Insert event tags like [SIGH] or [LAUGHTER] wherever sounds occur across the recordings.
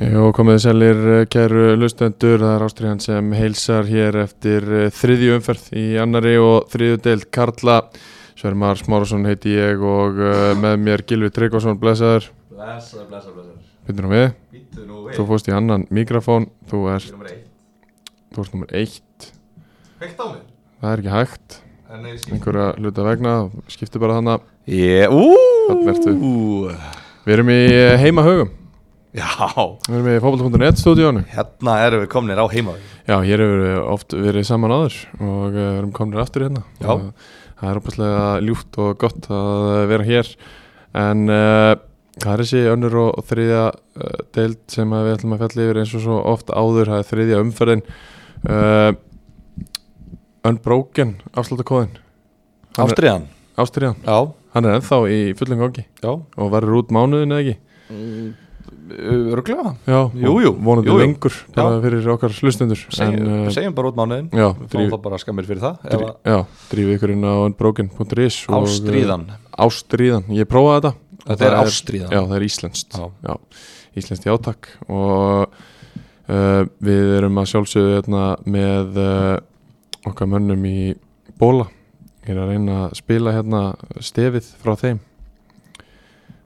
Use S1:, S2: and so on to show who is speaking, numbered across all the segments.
S1: Jó, komið sælir eh, kæru lustendur, það er Ástriðan sem heilsar hér eftir eh, þriðju umferð í annari og þriðju deild Karla. Svermar Smárasson heiti ég og eh, með mér Gilvi Tryggvason, blessaður,
S2: Blessaður, blessaður, blessaður.
S1: byrjum við.
S2: Býttu nú við.
S1: Þú fórst í annan mikrofón, þú ert,
S2: Fyrir nummer eitt.
S1: þú ert nummer eitt,
S2: Kveikt á mér.
S1: það er ekki hægt,
S2: Það er neyðið skýrt.
S1: einhverja hluta vegna, skipti bara þannig.
S2: Ég,
S1: Þarna
S2: úúúú.
S1: Við erum í eh, heimahögum,
S2: Já,
S1: við erum í fókbalt.net stúdíónu.
S2: hérna erum við komnir á heimaður.
S1: Já, hér hefur við oft verið saman áður og eh, erum komnir aftur hérna
S2: Já.
S1: Og Það er opaslega ljúft og gott að eh, vera hér En uh, hvað er þessi önnur og, og þriðja uh, deild sem að við ætlum að fjalla yfir eins og svo oft áður Það er þriðja umferðin uh, Unbroken, afsláttakóðin Hann er-
S2: Ástriðan.
S1: Ástriðan,
S2: Já,
S1: hann er ennþá í fullum gangi
S2: já.
S1: og verður út mánuðin eða ekki
S2: Mm, Ruglega.
S1: Já,
S2: Jú, jú,
S1: vonandi
S2: jú, jú.
S1: lengur bara fyrir okkar hlustendur
S2: Segjum,
S1: En, eh,
S2: segjum bara út mánuðin.
S1: Já,
S2: Fáum
S1: dríf,
S2: það bara skammir fyrir það.
S1: Drí,
S2: Drí,
S1: já, drífið ykkur inn á unbroken.is og,
S2: ástriðan.
S1: uh, Ástríðan, ég prófaði þetta
S2: Þetta
S1: það
S2: er
S1: er-
S2: ástriðan.
S1: Já, það er íslenskt
S2: Já.
S1: Já, Íslenskt játak og uh, við erum að sjálfsögðu hérna, með uh, okkar mönnum í bóla Ég er að reyna að spila hérna stefið frá þeim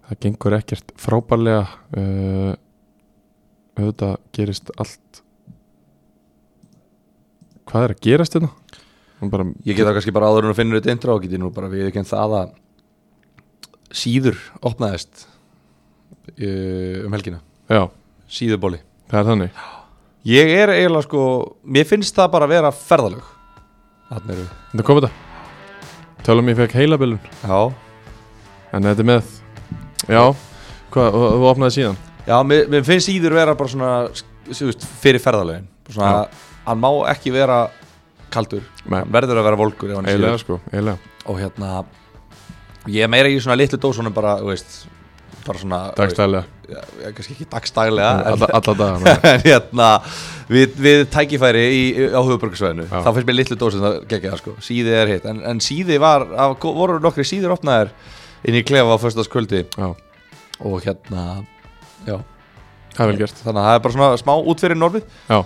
S1: Það gengur ekkert frábærlega uh, auðvitað gerist allt Hvað er að gerast hérna? Hún Bara,
S2: Ég geta kannski bara áður en að finna þetta eindra og geti nú bara við kemd það að síður opnaðist uh, um helgina.
S1: Já,
S2: Síðubóli.
S1: það er þannig
S2: Ég er eiginlega sko, mér finnst það bara að vera ferðalög Þannig eru við
S1: Þetta kom þetta Tölum ég fekk heilabilun
S2: Já,
S1: En þetta er með Já, hvað, og- og þú opnaði síðan
S2: já mér, mér finnst síður vera bara svona, þú veist, fyrir ferðalögin Svona, hann má ekki vera kaldur
S1: Nei.
S2: Hann verður að vera volgur ef hann er
S1: Eilega
S2: síður
S1: sko, eilega
S2: Og hérna, ég er meira í svona litlu dósunum bara, þú veist Bara svona
S1: Dagstælega,
S2: þú veist, já, já, Kannski ekki dagstaglega en-
S1: alla, alla daga
S2: En [LAUGHS] hérna, við, við tækifæri í, á höfuborgarsvæðinu
S1: Já.
S2: þá finnst mér litlu dósið það geggja það sko síði er hitt, en, en síði var af, voru nokkri síður opnaðir inn í klefa á föstaskvöldi
S1: Já,
S2: og hérna já,
S1: það er vel gert
S2: þannig að það er bara svona smá út fyrir norfið
S1: Já,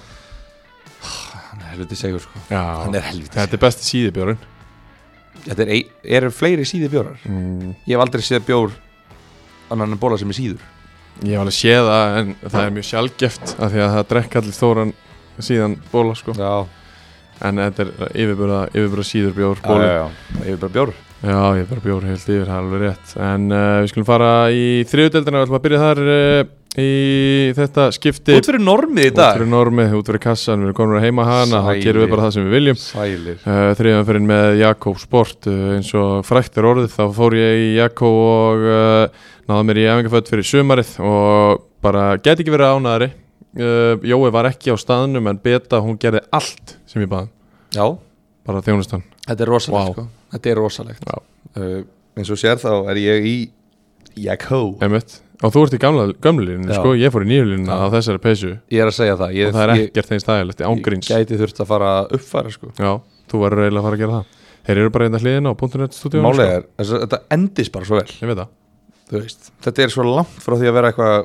S2: hann er helviti segur sko,
S1: já
S2: hann er helviti
S1: Þetta er besti síðibjörn
S2: segur þetta er, ein- eru fleiri síði bjórar
S1: mm,
S2: ég hef aldrei séð bjór annan en bóla sem er síður
S1: Ég hef alveg séð það en það er mjög sjálfgeft af því að það drekk allir þóran síðan bóla sko
S2: já,
S1: En þetta er yfirbúra, yfirbúra síðurbjór bóla
S2: já, ég er bara bjór
S1: Já, ég er bara bjór heilt yfir, það er alveg rétt En uh, við skulum fara í þriðudeldina Við ætlum að byrja þar uh, í þetta skipti
S2: út fyrir normið í
S1: Út
S2: dag
S1: fyrir normið, út fyrir kassan, við erum komin að heima hana Það
S2: Sælir.
S1: gerum við bara það sem við viljum
S2: sælir
S1: uh, Þriðanferinn með Jakob Sport uh, eins og frækt er orðið Þá fór ég í Jakob og uh, náða mér í æfingaföld fyrir sumarið Og bara geti ekki verið ánæðari uh, Jói var ekki á staðnum en Beta, hún gerði allt sem ég baði
S2: já,
S1: Bara þjónustan
S2: Þetta er rosalegt
S1: Vá.
S2: sko Þetta er rosalegt
S1: Já.
S2: uh, Eins og sér þá er ég í Jakko
S1: Einmitt. Og þú ert í gamla, gamla línunni,
S2: Já.
S1: sko, ég fór í nýju línunni
S2: Já.
S1: á þessari peysu
S2: Ég er að segja það
S1: og
S2: Ég,
S1: það er
S2: ég,
S1: ekkert þeim stæðilegt, ángríns
S2: ég gæti þurft að fara að uppfæra sko
S1: Já, þú verður eiginlega að fara að gera það Þeir eru bara einnig hliðin á .net stúdíu
S2: Málega er, þess að þetta endist bara svo vel
S1: Ég veit það
S2: Þú veist Þetta er svo langt frá því að vera eitthvað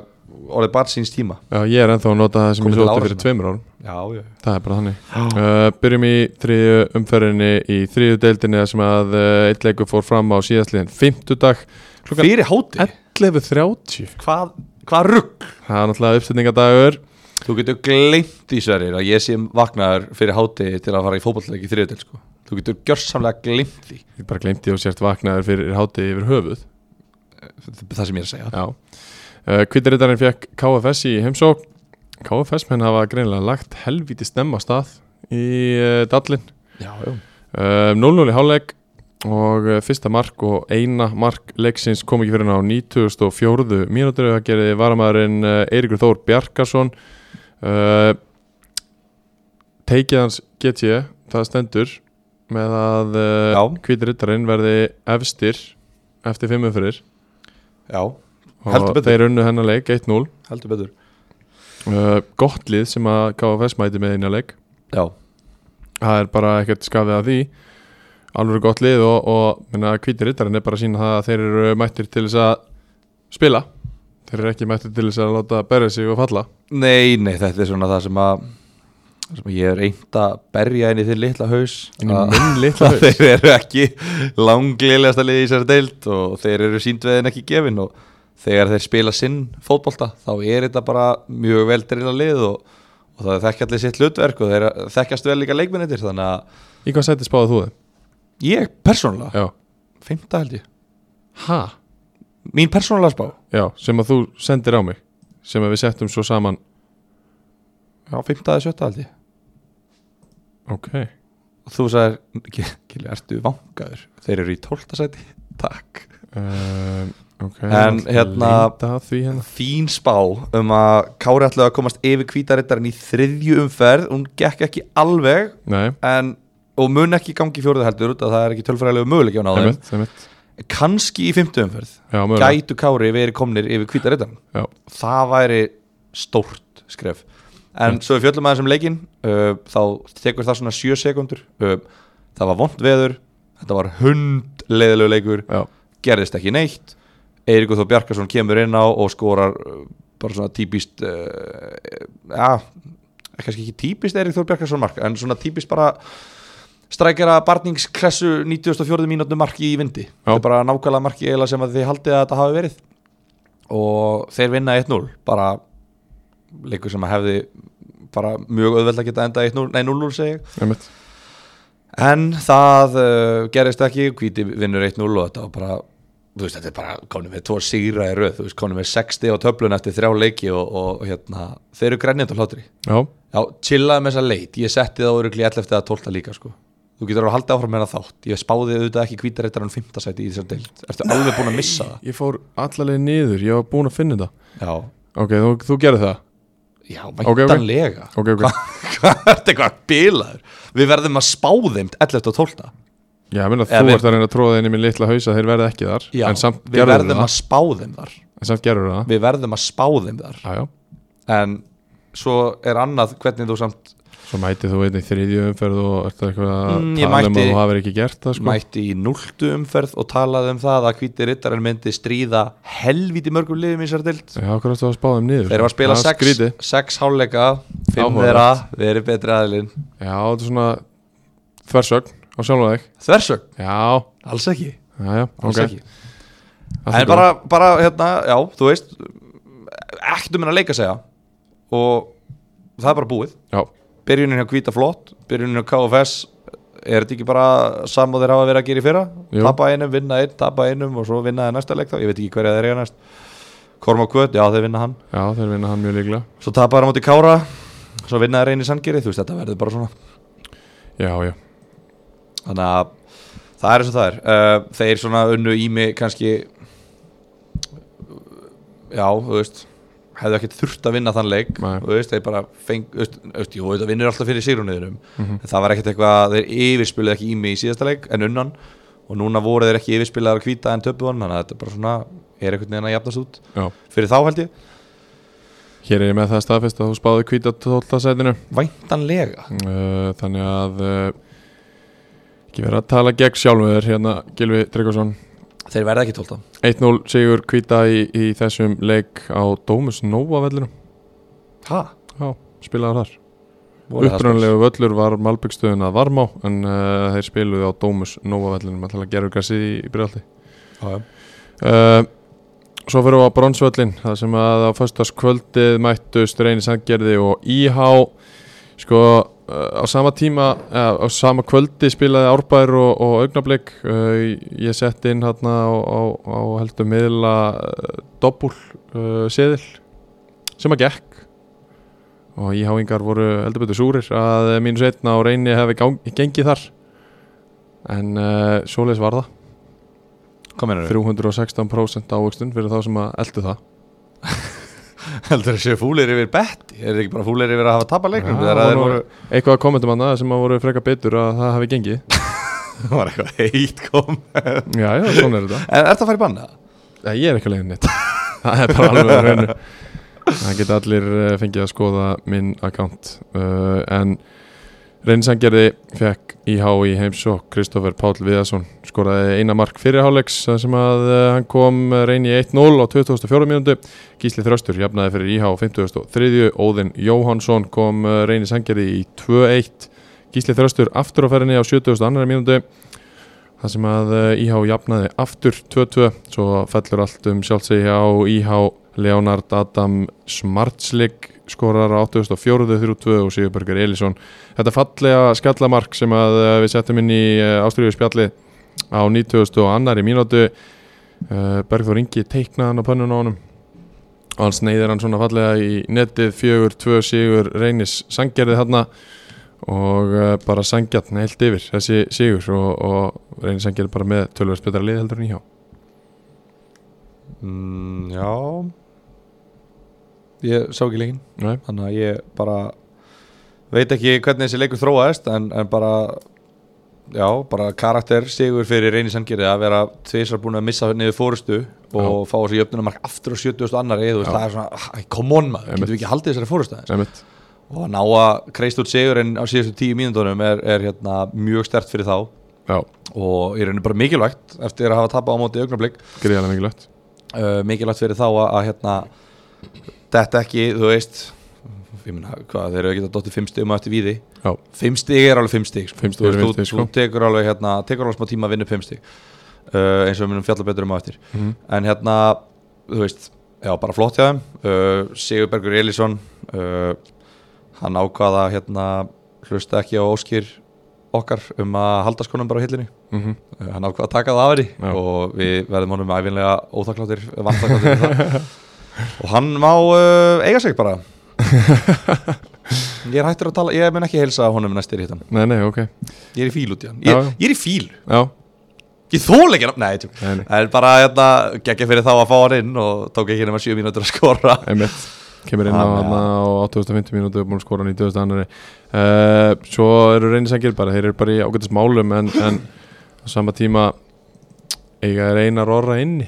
S2: orðið bara síns tíma
S1: Já, ég er ennþá að nota það sem ég
S2: Komið til
S1: sótti
S2: ára
S1: fyrir
S2: sinna.
S1: tveimur árum
S2: Já, já
S1: Það er bara þannig uh, Byrjum í þriðju umferðinni í þriðju deildinni þar sem að uh, eitt leikur fór fram á síðastliðin fimmtudag klukkan
S2: Fyrir háti
S1: 11.30
S2: Hvað, hvað rugg
S1: Það er náttúrulega uppsetningadagur
S2: Þú getur gleymt í sverir að ég sé vaknaður fyrir háti til að fara í fótballleik í þriðutel sko Þú getur gjörsamlega gleymt því
S1: Ég bara glemti og sért vaknaður fyrir hátíð yfir höfuð
S2: Það sem ég er að segja
S1: Já uh, Kvittirritarinn fekk KFS í heimsók KFS menn hafa greinilega lagt helvíti snemma af stað í uh, dallin
S2: Já, já
S1: uh, 0-0 í hálfleik og uh, fyrsta mark og eina mark leiksins kom ekki fyrir hann á 94. mínútur það gerði varamæðurinn uh, Eirikur Þór Bjarkason Eh, uh, teikið hans get ég það E, stendur með að uh,
S2: Já.
S1: hvítir rittarinn verði efstir eftir fimmu fyrir
S2: Já,
S1: og
S2: Heldur betur.
S1: þeir unnu hennar leik 1-0
S2: heldur betur
S1: uh, gott lið sem að KFS mæti með hennar leik
S2: Já,
S1: það er bara ekkert skafið að því alveg gott lið og, og minna, hvítir rittarinn er bara að sína það að þeir eru mættir til þess að spila þeir eru ekki mættir til þess að láta berja sig og falla
S2: nei, nei, þetta er svona það sem að það sem ég er reynd að berja inn í þinn litla haus
S1: Inn í
S2: að- [LAUGHS]
S1: minn litla
S2: að
S1: haus?
S2: Ah. Þeir eru ekki langlilegasta liði í þessari deild og þeir eru síndveðin ekki gefin og þegar þeir spila sinn fótbolta þá er þetta bara mjög vel drila lið og, og það er þekkja allir sitt hlutverk og þeir þekkjast vel líka leikminnitir þannig að
S1: í hvað sæti spáðu þú þið?
S2: ég persónulega,
S1: Já.
S2: fymta held ég
S1: Ha?
S2: mín persónulega spá,
S1: Já, sem að þú sendir á mig sem að við settum svo saman
S2: já, fymta eða sjötta held ég
S1: Ok
S2: og þú sagðir, Gili, ertu vangaður þeir eru í tólta sæti, takk
S1: um, Ok
S2: Ehm, En
S1: ég ætla
S2: hérna-
S1: að leita að því hérna
S2: þín spá um að Kári ætlaði að komast yfir kvítarittarinn í þriðju umferð hún gekk ekki alveg
S1: Nei,
S2: en, og mun ekki gangi fjóruðu heldur út að það er ekki tölfræðilegu möguleik á náðum
S1: einmitt, einmitt
S2: kannski í fymtu umferð
S1: Já, mögulega
S2: gætu Kári verið komnir yfir kvítarittarinn
S1: Já,
S2: það væri stórt skref en svo við fjöllum aðeins um leikin uh, þá tekur það svona 7 sekundur uh, það var vond veður þetta var hundleiðilegu leikur
S1: já,
S2: gerðist ekki neitt Eiríkur Þó Bjarkarsson kemur inn á og skorar uh, bara svona típist uh, ja, kannski ekki típist Eiríkur Þó Bjarkarsson mark en svona típist bara strækjara barningsklessu 94. mínútu marki í vindi þetta er bara nákvæmlega marki eiginlega sem að þið haldið að þetta hafi verið og þeir vinna 1-0 bara leikur sem að hefði bara mjög auðveld að geta enda 1-0 nei 0-0 segi ég
S1: einmitt
S2: En það uh, gerist ekki, hvíti vinnur 1-0 og þetta var bara, þú veist, þetta er bara konum við tvo sigra í röð, þú veist, konum við 60 á töflun eftir þrjá leiki og, og, hérna, þeir eru grænjandi á hlátri.
S1: Já,
S2: Já, chillaði með þessa leit, ég setti það örugli 11 eða 12 líka, sko. Þú getur alveg að halda áfram með það þátt, ég spáði auðvitað ekki hvítareittaran 5. sæti í þessar deild, ertu alveg búin að missa það?
S1: ég fór allaleg niður, ég var búinn að finna þetta
S2: Já,
S1: Ok, þú, þú gerir það
S2: já,
S1: ok.
S2: væntanlega. [LAUGHS]
S1: Ok, ok
S2: Hvað ertu eitthvað bilaður? Við verðum að spá þeim 11 og 12.
S1: Já, ég meina
S2: Eða
S1: þú
S2: við-
S1: ert að reyna að tróða inn í minn litla haus að þeir verði ekki þar
S2: Já,
S1: En samt
S2: við
S1: gerður
S2: verðum
S1: það
S2: að spá þeim þar.
S1: En samt gerður það
S2: Við verðum að spá þeim þar.
S1: Já, já
S2: en svo er annað hvernig þú samt
S1: Svo mætið þú einn í þriðju umferð og ert eitthvað að
S2: Mm, ég
S1: tala um að
S2: mætti-
S1: þú hafir ekki gert það sko
S2: mætti í núltu umferð og talaði um það að hvíti rittarinn myndi stríða helvíti mörgum liðum í sér dild
S1: Já, okkur áttu að spáða um niður
S2: þeir eru að spila
S1: Það er
S2: sex,
S1: skrítið.
S2: sex háleika fimm
S1: Áhugavert.
S2: þeirra, þeir eru betri aðilinn
S1: Já, þetta er svona þversögn á sjálfa þig
S2: þversög,
S1: Já,
S2: alls ekki,
S1: já, já,
S2: alls
S1: ok
S2: ekki.
S1: Allt í
S2: en
S1: góðu.
S2: bara, bara hérna, já, þú veist ekkert um hennar leika segja og það er bara búið
S1: Já,
S2: byrjunin hjá Hvíta flott, byrjunin hjá KFS er þetta ekki bara saman þeir hafa verið að gera í fyrra,
S1: Jú.
S2: tapa einum, vinna einn tapa einum og svo vinna þeir næsta leik þá ég veit ekki hverja þeir eiga næst Korma Kvöt, já þeir vinna hann,
S1: já, þeir vinna hann mjög líklega
S2: svo tapa þeir á móti Kára svo vinna þeir einn í Sandgeri, þú veist þetta verður bara svona
S1: Já, já,
S2: þannig að það er eins og það er uh, þeir svona unnu í mig kannski já, þú veist hefðu ekkert þurft að vinna þann leik
S1: Nei.
S2: þú veist, þeir bara feng þú veist, þú veist, jú, þetta vinnur alltaf fyrir sigrunniðurum
S1: Mhm.
S2: en það var ekkert eitthvað, þeir yfirspiluðu ekki í mig í síðasta leik en unnan og núna voru þeir ekki yfirspilaðar að hvíta en töpu hann þannig að þetta bara svona, er einhvern veginn að jafnast út
S1: já
S2: fyrir þá held ég,
S1: Hér er ég með það staðfest að þú spáði hvíta 12. sætinu
S2: væntanlega
S1: uh, Þannig að uh, ekki vera að tala gegn sjálfum þér hérna Gilvi Tryggvason
S2: þeir verða ekki tólta
S1: 1-0 sigur hvíta í, í þessum leik á Dómus Nóa vellinu
S2: ha,
S1: Já, spilaðar þar Upprunalegu völlur var Malbyggstöðin að Varmá en uh, þeir spiluðu á Dómus Nóa vellinum að tala gerur gassi í, í Brjaldi
S2: Já, já.
S1: Uh, Svo fyrir við á bronsvöllin það sem að á föstaskvöldið mættust reyni sangerði og IH sko uh, á sama tíma uh, á sama kvöldi spilaði Árbær og, og Augnablík uh, ég setti inn hérna á, á, á heldur miðla uh, doppul uh, seðil sem að gekk og IH-ingar voru heldur betur súrir að mínus einn á reyni hefði gang, gengið þar en uh, svoleiðis var það
S2: hvað meinar þau?
S1: 316% ávöxtun fyrir þá sem að eldu það
S2: heldur þessi fúlir yfir betti er ekki bara fúlir yfir að hafa tapað leiknum
S1: Já,
S2: þegar að
S1: og
S2: þeir
S1: nú-
S2: voru
S1: eitthvað að kommentum annað sem að voru freka betur að það hafi gengið
S2: það var eitthvað heitt kom en
S1: [LAUGHS] já, já, svona er þetta
S2: er það að fara í banna?
S1: Nei, ég er ekki að leiðin neitt [LAUGHS] það er bara alveg að reynu það geta allir eh, fengið að skoða minn account uh, en reynsangerði fekk IH í heimsók Kristoffer Páll Viðarsson skoraði eina mark fyrir hálegs sem að uh, hann kom eh, reyni í 1-0 á 2004 mínútu Gísli Þröstur jafnaði fyrir IH á 53 Óðinn Jóhansson kom eh, reyni sangerði í 2-1 Gísli Þröstur aftur á ferinni á 72. mínútu Það sem að eh, IH jafnaði aftur 2-2 svo fellur allt um sjálfsegi á IH Leonard Adam Smartslik skorar á 84-32 og Sigurbergur Elísson Þetta fallega skallamark sem að eh, við settum inn í Ástriðu spjalli á 90 og annar í mínútu Eh, Bergþór Ingi teiknaði hann á pönnun á honum og hann sneiðir hann svona fallega í netið 4-2 Sigur Reynis sangerði þarna og uh, bara sangjarn heilt yfir þessi sigur og, og reynir sangjarn bara með tölvörst betra lið heldur en íhjá
S2: Mm, já ég sá ekki leikin
S1: Nei,
S2: þannig að ég bara veit ekki hvernig þessi leikur þróaðist en, en bara já, bara karakter sigur fyrir reyni sangerði að vera tvisar búin að missa niður fórustu og fá þessi jöfnumark aftur á 70. annari þú veist,
S1: Já.
S2: það er svona, "Æ, come on maður,
S1: Einmitt.
S2: getum við ekki haldið þessari fórustu aðeins?"
S1: einmitt
S2: og að ná að kreist út sigurinn á síðustu tíu mínúndunum er, er hérna, mjög stert fyrir þá
S1: Já,
S2: og í rauninu bara mikilvægt eftir að hafa tappa á móti augnablik
S1: gríðarlega mikilvægt
S2: uh, mikilvægt fyrir þá að, að hérna, þetta ekki, þú veist ég meina, hvað, þeir eru ekki að dotti fimm stigum á eftir víði
S1: Já,
S2: fimm stig er alveg fimm stig sko.
S1: Fimm stig
S2: Þú
S1: eru
S2: veist,
S1: fimm stig,
S2: þú,
S1: sko.
S2: þú tekur alveg, hérna, tekur alveg smá tíma að vinna upp fimm stig uh, eins og við munum fjalla betur um á eftir
S1: Mhm.
S2: en hérna, þú veist já, bara flott hjá þeim uh, Sigurbergur Elísson uh, hann ákvaða hérna hlusta ekki á óskir okkar um að halda skonum bara á hillinni
S1: mm
S2: Uh, hann ákvaða að taka það af henni
S1: Já.
S2: og við verðum honum æfinlega óþakkláttir vantakláttir fyrir það og hann má uh, eiga sig bara ég er hættur að tala ég mun ekki heilsa honum næstir hittan
S1: Nei, nei, ok
S2: ég er í fíl út í hann
S1: Já,
S2: ég,
S1: já.
S2: ég er í fíl,
S1: Já,
S2: ég þól ekki nafn- nei, tjú.
S1: nei, nei,
S2: en bara hérna, geggja fyrir þá að fá hann inn og tók ekki nema 7 mínútur að skora
S1: einmitt Kemur inn á
S2: Þannig að-
S1: hann á 8.50 mínútu og búin að skora 90. annari uh, Svo eru reynir sangir bara, þeir eru bara í ágættis málum en, en á sama tíma eiga þeir einar orra inni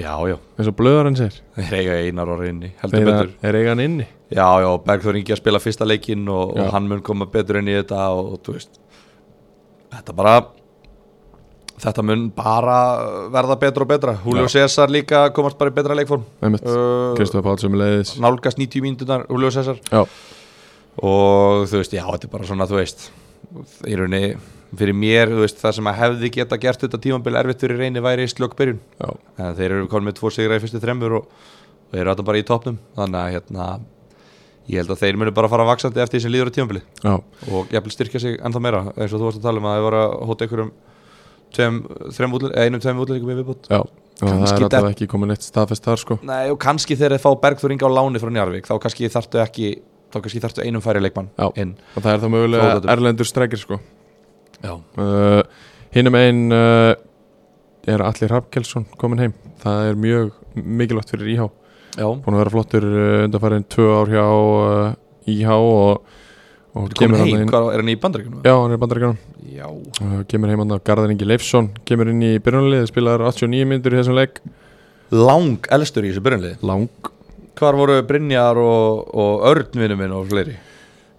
S2: já, já,
S1: eins og blöðar hann segir
S2: þeir eiga einar orðið inni heldur
S1: Þeir
S2: betur
S1: þeir eiga hann inni
S2: já, já, Bergþór Ingi að spila fyrsta leikinn og,
S1: Já.
S2: og hann mun koma betur inn í þetta og, og þú veist þetta bara þetta mun bara verða betra og betra Julio César líka komast bara í betra leikform
S1: Einmitt,
S2: Uh,
S1: Kristofa Páll sem leiðis
S2: nálgast 90 mínútunar Julio César
S1: Já,
S2: og þú veist, já, þetta er bara svona, þú veist í rauninni, fyrir mér, þú veist það sem að hefði geta gert þetta tímambil erfitt fyrir reyni væri slökbyrjun
S1: já,
S2: en þeir eru komin með tvo sigra í fyrstu þremur og, og eru alltaf bara í topnum þannig að hérna ég held að þeir munu bara fara vaksandi eftir því sem líður á tímabili
S1: já
S2: og jafnvel styrkja sig ennþá meira eins og þú varst að tala um að það var að hóta einhverjum tveim, þrem útl- eða einum tveim útlendingum í viðbútt
S1: Já, og það
S2: Kannski
S1: er alltaf
S2: dett-
S1: ekki komið neitt staðfest þar sko
S2: Nei, og kannski þegar þeir fá Bergþór Inga á láni frá Njarvík þá kannski þarftu ekki þá kannski þarftu einum færi leikmann
S1: Já.
S2: inn
S1: og það er þá mögulega
S2: Þróttatur.
S1: erlendur streikir sko
S2: Já.
S1: uh, Hinnum einn uh, er Allir Hrafkelsson komin heim það er mjög mikilvægt fyrir IH
S2: Já.
S1: búin að vera flottur uh, undanfærin tvö ár hjá uh, IH og, og
S2: Komin
S1: kemur
S2: heim,
S1: hann inn
S2: hvað, er hann í bandaríkunum?
S1: Já, hann er bandaríkanum
S2: Já.
S1: uh, kemur heim hann að Garðar Ingi Leifsson kemur inn í byrjunalið, spilar 89 myndur í þessum leik
S2: Lang elstur í þessu byrjunlið
S1: Lang
S2: Hvar voru Brynjar og, og Örn vinnu minn og fleiri?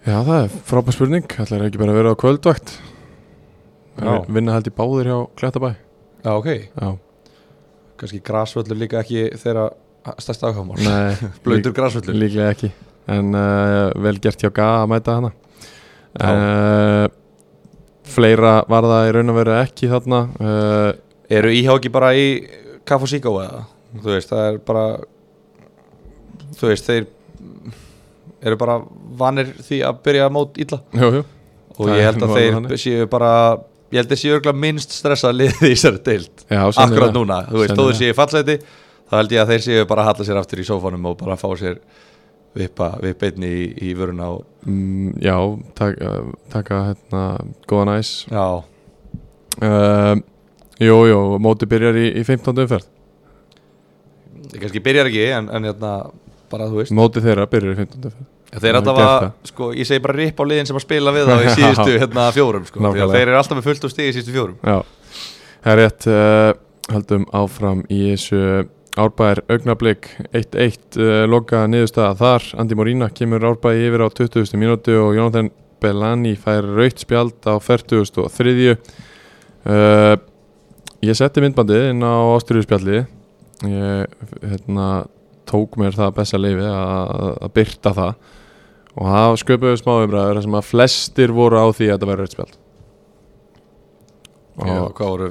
S1: Já, það er frábær spurning ætlar ekki bara að vera á kvöldvakt
S2: Já.
S1: vinna held í báðir hjá Klettabæ
S2: Já, ok
S1: Já,
S2: kannski grasvöllur líka ekki þeirra stærsta ákvæmál
S1: [LAUGHS] nei,
S2: blöytur
S1: lík-
S2: grasvöllur
S1: líklega ekki en uh, vel gert hjá Ga að mæta hana uh, Fleira var það í raun og veru ekki þarna uh,
S2: eru íhjá ekki bara í kaff og síkó eða þú veist það er bara þú veist þeir eru bara vanir því að byrja mót illa
S1: Jú, jú
S2: og
S1: Það
S2: ég
S1: er
S2: held
S1: nú
S2: að
S1: alveg
S2: þeir
S1: þannig.
S2: séu bara ég held að þeir séu örgulega minnst stressað liðið í þessari deild
S1: Já, sennilega.
S2: akkurat núna, þú veist, þó
S1: eh, Sennilega.
S2: þau séu fallseti þá held ég að þeir séu bara að halla sér aftur í sófanum og bara fá sér vippa, vippa einni í, í vöruna og
S1: mm, Já, tak, uh, taka hérna góðan æs
S2: já,
S1: uh, Jú, jú, móti byrjar í, í 15. umferð
S2: Ég kannski byrjar ekki en, en hérna bara þú veist
S1: Móti þeirra byrjar í 15. umferð
S2: Þeir
S1: Hann
S2: alltaf
S1: hefur
S2: að,
S1: gert
S2: sko, ég segi bara ripp á liðin sem að spila við þá í
S1: [LAUGHS]
S2: síðustu hérna, fjórum sko, því að
S1: Nákvæmlega.
S2: þeir eru alltaf með fullt á stigi í síðustu fjórum
S1: Já, það er rétt uh, Haldum áfram í þessu Árbæðir augnablík 1-1 uh, Loka niðurstaða þar Andi Morína kemur Árbæði yfir á 20. mínútu og Jonathan Bellani fær raut spjald á 43. Uh, ég setti myndbandið inn á ástyrjuspjaldi Ég hérna, tók mér það besta leifi að, að byrta það og það sköpuðu smáumræður sem að flestir voru á því að þetta væri raut spjald
S2: Já, hvað voru,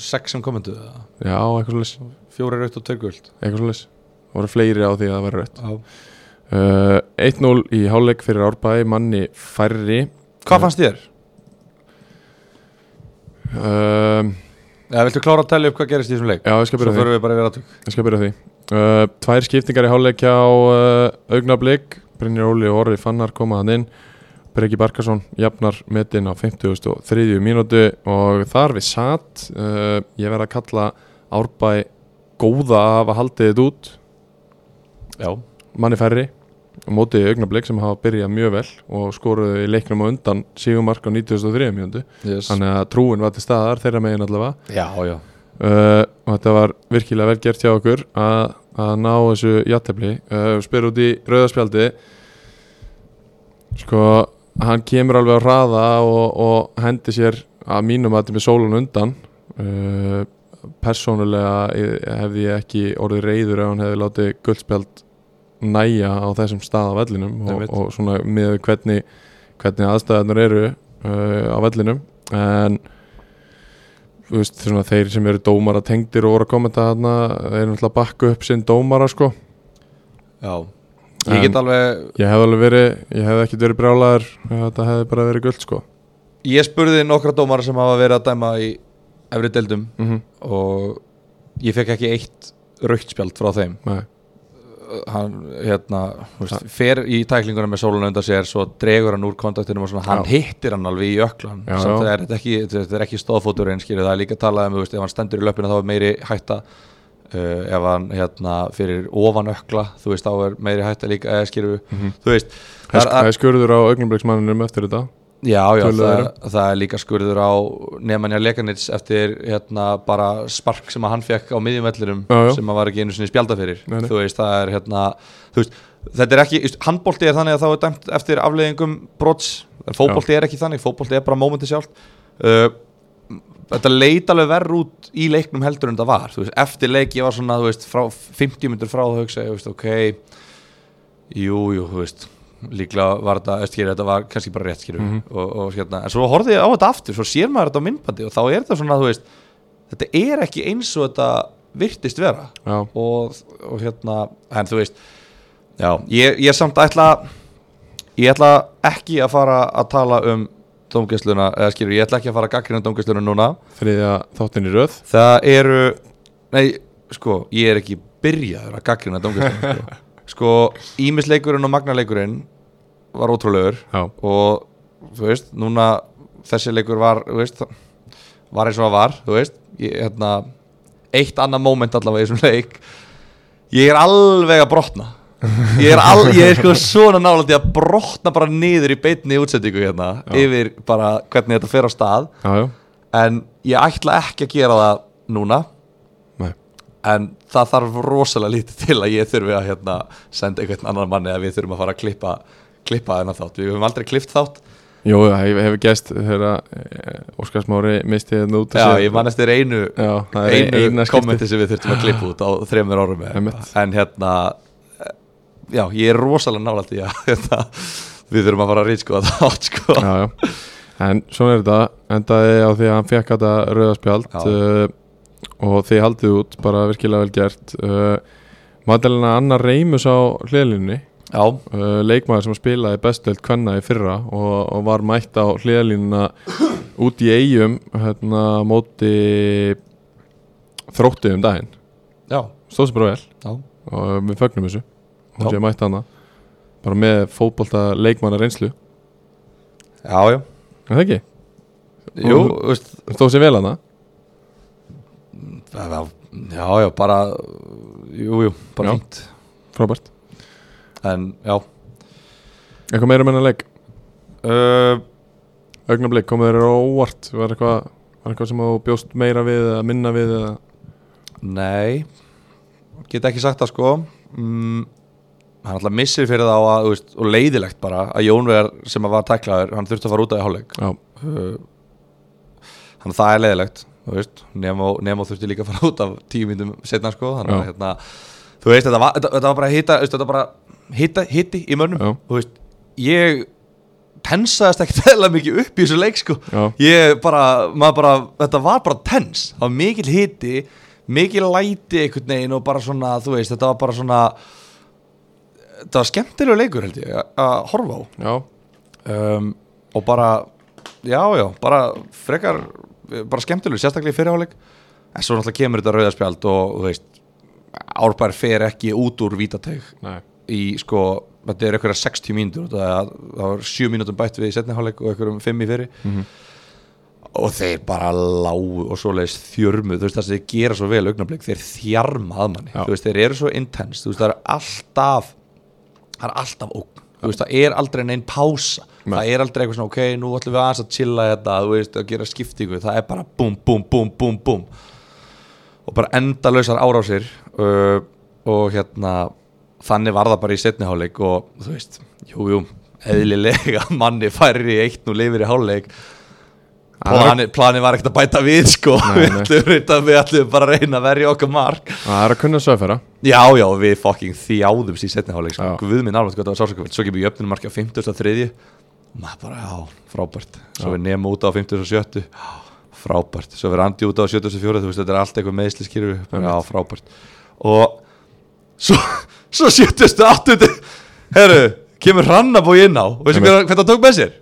S2: sex sem komendu
S1: Já, eitthvað svolítið
S2: fjóri raut og tveir guld
S1: eitthvað svolítið Það voru fleiri á því að það væri rétt
S2: Já.
S1: uh, 1-0 í hálfleik fyrir Árbæði manni færri
S2: Hvað fannst þér?
S1: um,
S2: Ja, viltu klára að tellja upp hvað gerist í þessum leik?
S1: Já, ég skal
S2: Svo
S1: byrja á því,
S2: förum við bara yfir aðtök
S1: ég skal byrja á því. Uh, Tvær skiptingar í hálfleik hjá uh, augnablík Brynjar Óli og Orri Fannar koma hann inn Breki Barkarsson jafnar metin á 53. mínútu og þar við satt uh, ég verð að kalla Árbæ góða að hafa haldið þetta út
S2: Já,
S1: manni færri og mótið augnablík sem hafa byrjað mjög vel og skoruðu í leiknum á undan sígumark á 93. mjöndu
S2: yes.
S1: þannig að trúin var til staðar þeirra megin allavega
S2: já, já
S1: uh, og þetta var virkilega vel gert hjá okkur að, að ná þessu jattefli uh, spyr út í rauðarspjaldi sko hann kemur alveg á hraða og, og hendi sér að mínum að þetta með sólun undan uh, persónulega eh, hefði ég ekki orðið reyður ef hann hefði látið guldspjald næja á þessum stað á vellinum og,
S2: Einmitt.
S1: og svona með hvernig, hvernig aðstæðanur eru uh, á vellinum en þú veist, svona, þeir sem eru dómara tengdir og voru að kommenta þarna þeir eru náttúrulega að bakka upp sinn dómara sko.
S2: Já, ég get
S1: En-
S2: alveg
S1: ég hef alveg verið, ég hef ekkert verið brjálaður ef þetta hefði bara verið guld sko.
S2: Ég spurði nokkra dómara sem hafa verið að dæma í efri deildum
S1: mm
S2: og ég fekk ekki eitt rautspjald frá þeim
S1: Nei,
S2: hann hérna þú veist, fer í tæklinguna með sólun undan sér svo dregur hann úr kontaktinum og svona hann
S1: Já.
S2: hittir hann alveg í öklan
S1: Já, já.
S2: samt að er þetta ekki, þetta er ekki stóðfótur einskýrið, það er líka talað um, þú veist, ef hann stendur í löpina þá er meiri hætta uh, ef hann hérna fyrir ofan ökla, þú veist, þá er meiri hætta líka eða skýrðu,
S1: Mhm.
S2: þú veist það
S1: það
S2: er- það
S1: er skurður á augnumbliksmanninum eftir þetta
S2: Já, já,
S1: Töluðu um?
S2: það, það er líka skurður á Nemanja Lekanits eftir hérna, bara spark sem að hann fekk á miðjumvellinum
S1: Já, já.
S2: sem að var ekki einu sinni spjálda fyrir
S1: Nei, nei.
S2: þú veist, það er hérna þú veist, þetta er ekki, handbólti er þannig að þá er dæmt eftir afleiðingum brots en fótbólti er ekki þannig, fótbólti er bara mómenti sjálft uh, þetta leit alveg verð út í leiknum heldur en það var, þú veist, eftir leik ég var svona, þú veist, frá 50 minnur frá það hugsa, ég þú veist, ok, Jú, jú, þú veist líklega var þetta, veist, skilur, þetta var kannski bara rétt skilur, og, og hérna, en svo horfði ég á þetta aftur svo sér maður þetta á myndbandi og þá er þetta svona þú veist, þetta er ekki eins og þetta virtist vera
S1: já,
S2: og, og hérna, en þú veist já, ég, ég samt ætla ég ætla ekki að fara að tala um dómgæsluna, eða skilur, ég ætla ekki að fara að gaggrina dómgæsluna núna,
S1: þriðja þáttin í röð
S2: það eru nei, sko, ég er ekki byrjaður að gaggrina dómgæsluna sko. sko, ímisleikurinn og magnaleikurinn var ótrúlegur
S1: já,
S2: og þú veist, núna þessi leikur var, þú veist var eins og það var, þú veist ég, hérna, eitt annað moment allavega í þessum leik ég er alveg að brotna ég er, al, ég er sko svona nálægt að brotna bara niður í beinni útsendingu hérna,
S1: Já.
S2: yfir bara hvernig þetta fer á stað
S1: já, já,
S2: en ég ætla ekki að gera það núna
S1: nei
S2: en það þarf rosalega lítið til að ég þurfi að hérna, senda einhvern annan manni að við þurfum að fara að klippa klippa þennan þátt, við höfum aldrei klippt þátt
S1: Jú, það hefur hef gæst þegar eh, Óskarsmári misti þetta hérna út af
S2: Já,
S1: sér.
S2: ég mannast þér einu,
S1: Já, það er
S2: einu
S1: eina skipti.
S2: kommenti sem við þurftum að klippa út á þremur árum eða
S1: Einmitt.
S2: eitthvað. en hérna já, ég er rosalega nálægt í að [LAUGHS] hérna, við þurfum að fara að rýtskoða það átt sko.
S1: já, já. En svona er þetta endaði á því að hann fekk þetta rauðaspjald
S2: Já.
S1: uh, og þið haldið út, bara virkilega vel gert uh, Madalina Anna Reimus á hliðlinni
S2: já,
S1: uh, leikmaður sem spilaði bestöld kvenna í fyrra og, og var mætt á hliðlínuna út í eigum hérna á móti þróttið um daginn
S2: já,
S1: stóð sem bara vel
S2: já
S1: og eh, við fögnum þessu hún
S2: Já.
S1: sé mætt hana bara með fótbolta leikmanna reynslu
S2: Já, já,
S1: er það ekki?
S2: jú, þú veist
S1: stóð sem vel hana
S2: það var- Já, já, bara Jú, jú, bara
S1: Já.
S2: fínt
S1: frábært
S2: En, já
S1: Eitthvað meira menna leik Eh,
S2: uh,
S1: Augnablík, komið þér á óvart Var eitthvað, var eitthvað sem þú bjóst meira við eða minna við eða
S2: Nei Get ekki sagt það sko mm, Hann alltaf missir fyrir þá að, þú veist, og leiðilegt bara að Jónvegar sem að var tæklaður, hann þurfti að fara út af í hálfleik
S1: Já,
S2: uh, Þannig að það er leiðilegt þú veist, Nemo, Nemo þurfti líka að fara út af tíu myndum setna sko þannig að
S1: Já.
S2: hérna, þú veist, þetta var, þetta, þetta var bara hitta, þú veist, þetta var bara hitta, hitti í mönnum
S1: Já.
S2: þú veist, ég tensaðist ekkert [LAUGHS] eða mikið upp í þessu leik sko
S1: já,
S2: ég bara, maður bara, þetta var bara tens, það var mikil hiti mikil læti einhvern veginn og bara svona, þú veist, þetta var bara svona þetta var skemmtilega leikur held ég, að- að horfa á
S1: já
S2: um, og bara, já, já bara frekar, bara skemmtilega sérstaklega í fyrirháleik, en svo náttúrulega kemur þetta rauðarspjald og, þú veist Árbær fer ekki út úr vítateg
S1: Nei,
S2: í sko, þetta er einhverja 60 mínútur það, er- það var 7 mínútum bætt við í setniháleik og einhverjum 5 í fyrir
S1: mhm,
S2: og þeir bara lágu og svoleiðis þjörmu, þú veist það sem þeir gera svo vel augnablik, þeir þjarma að manni
S1: Já.
S2: þú veist, þeir eru svo intense, þú veist það er alltaf það er alltaf ógn þú veist, það er aldrei neinn pása
S1: Nei.
S2: það er aldrei eitthvað svona, ok, nú ætlum við aðeins að chilla þetta, þú veist, að gera skiptingu það er bara búm, búm, búm, búm, búm og bara endalausar árásir uh, og hérna þannig var það bara í setni hálfleik og þú veist, jú, jú eðlilega [LAUGHS] manni færir í eitt nú lifir í hálfleik plani, plani var ekkert að bæta við sko
S1: Nei,
S2: við,
S1: nei.
S2: ætlum, við, við ætlum bara að reyna að verja okkar mark
S1: það er að kunna sögfæra
S2: já, já, við fucking þjáðumst í setni hálfleik sko.
S1: Já.
S2: guð minn alveg hvað það var sásakafell svo kemur jöfnum marki á 53 maður bara, já, frábært svo
S1: Já.
S2: við nefnum út á 57 Já, frábært, svo við randi út á 74 þú veist, þetta er allt eitthvað meðsliskýru já, frábært og svo, svo 78 herru, kemur Rannabói inn á og veistu
S1: Einmitt.
S2: hver- hvernig það tók með sér?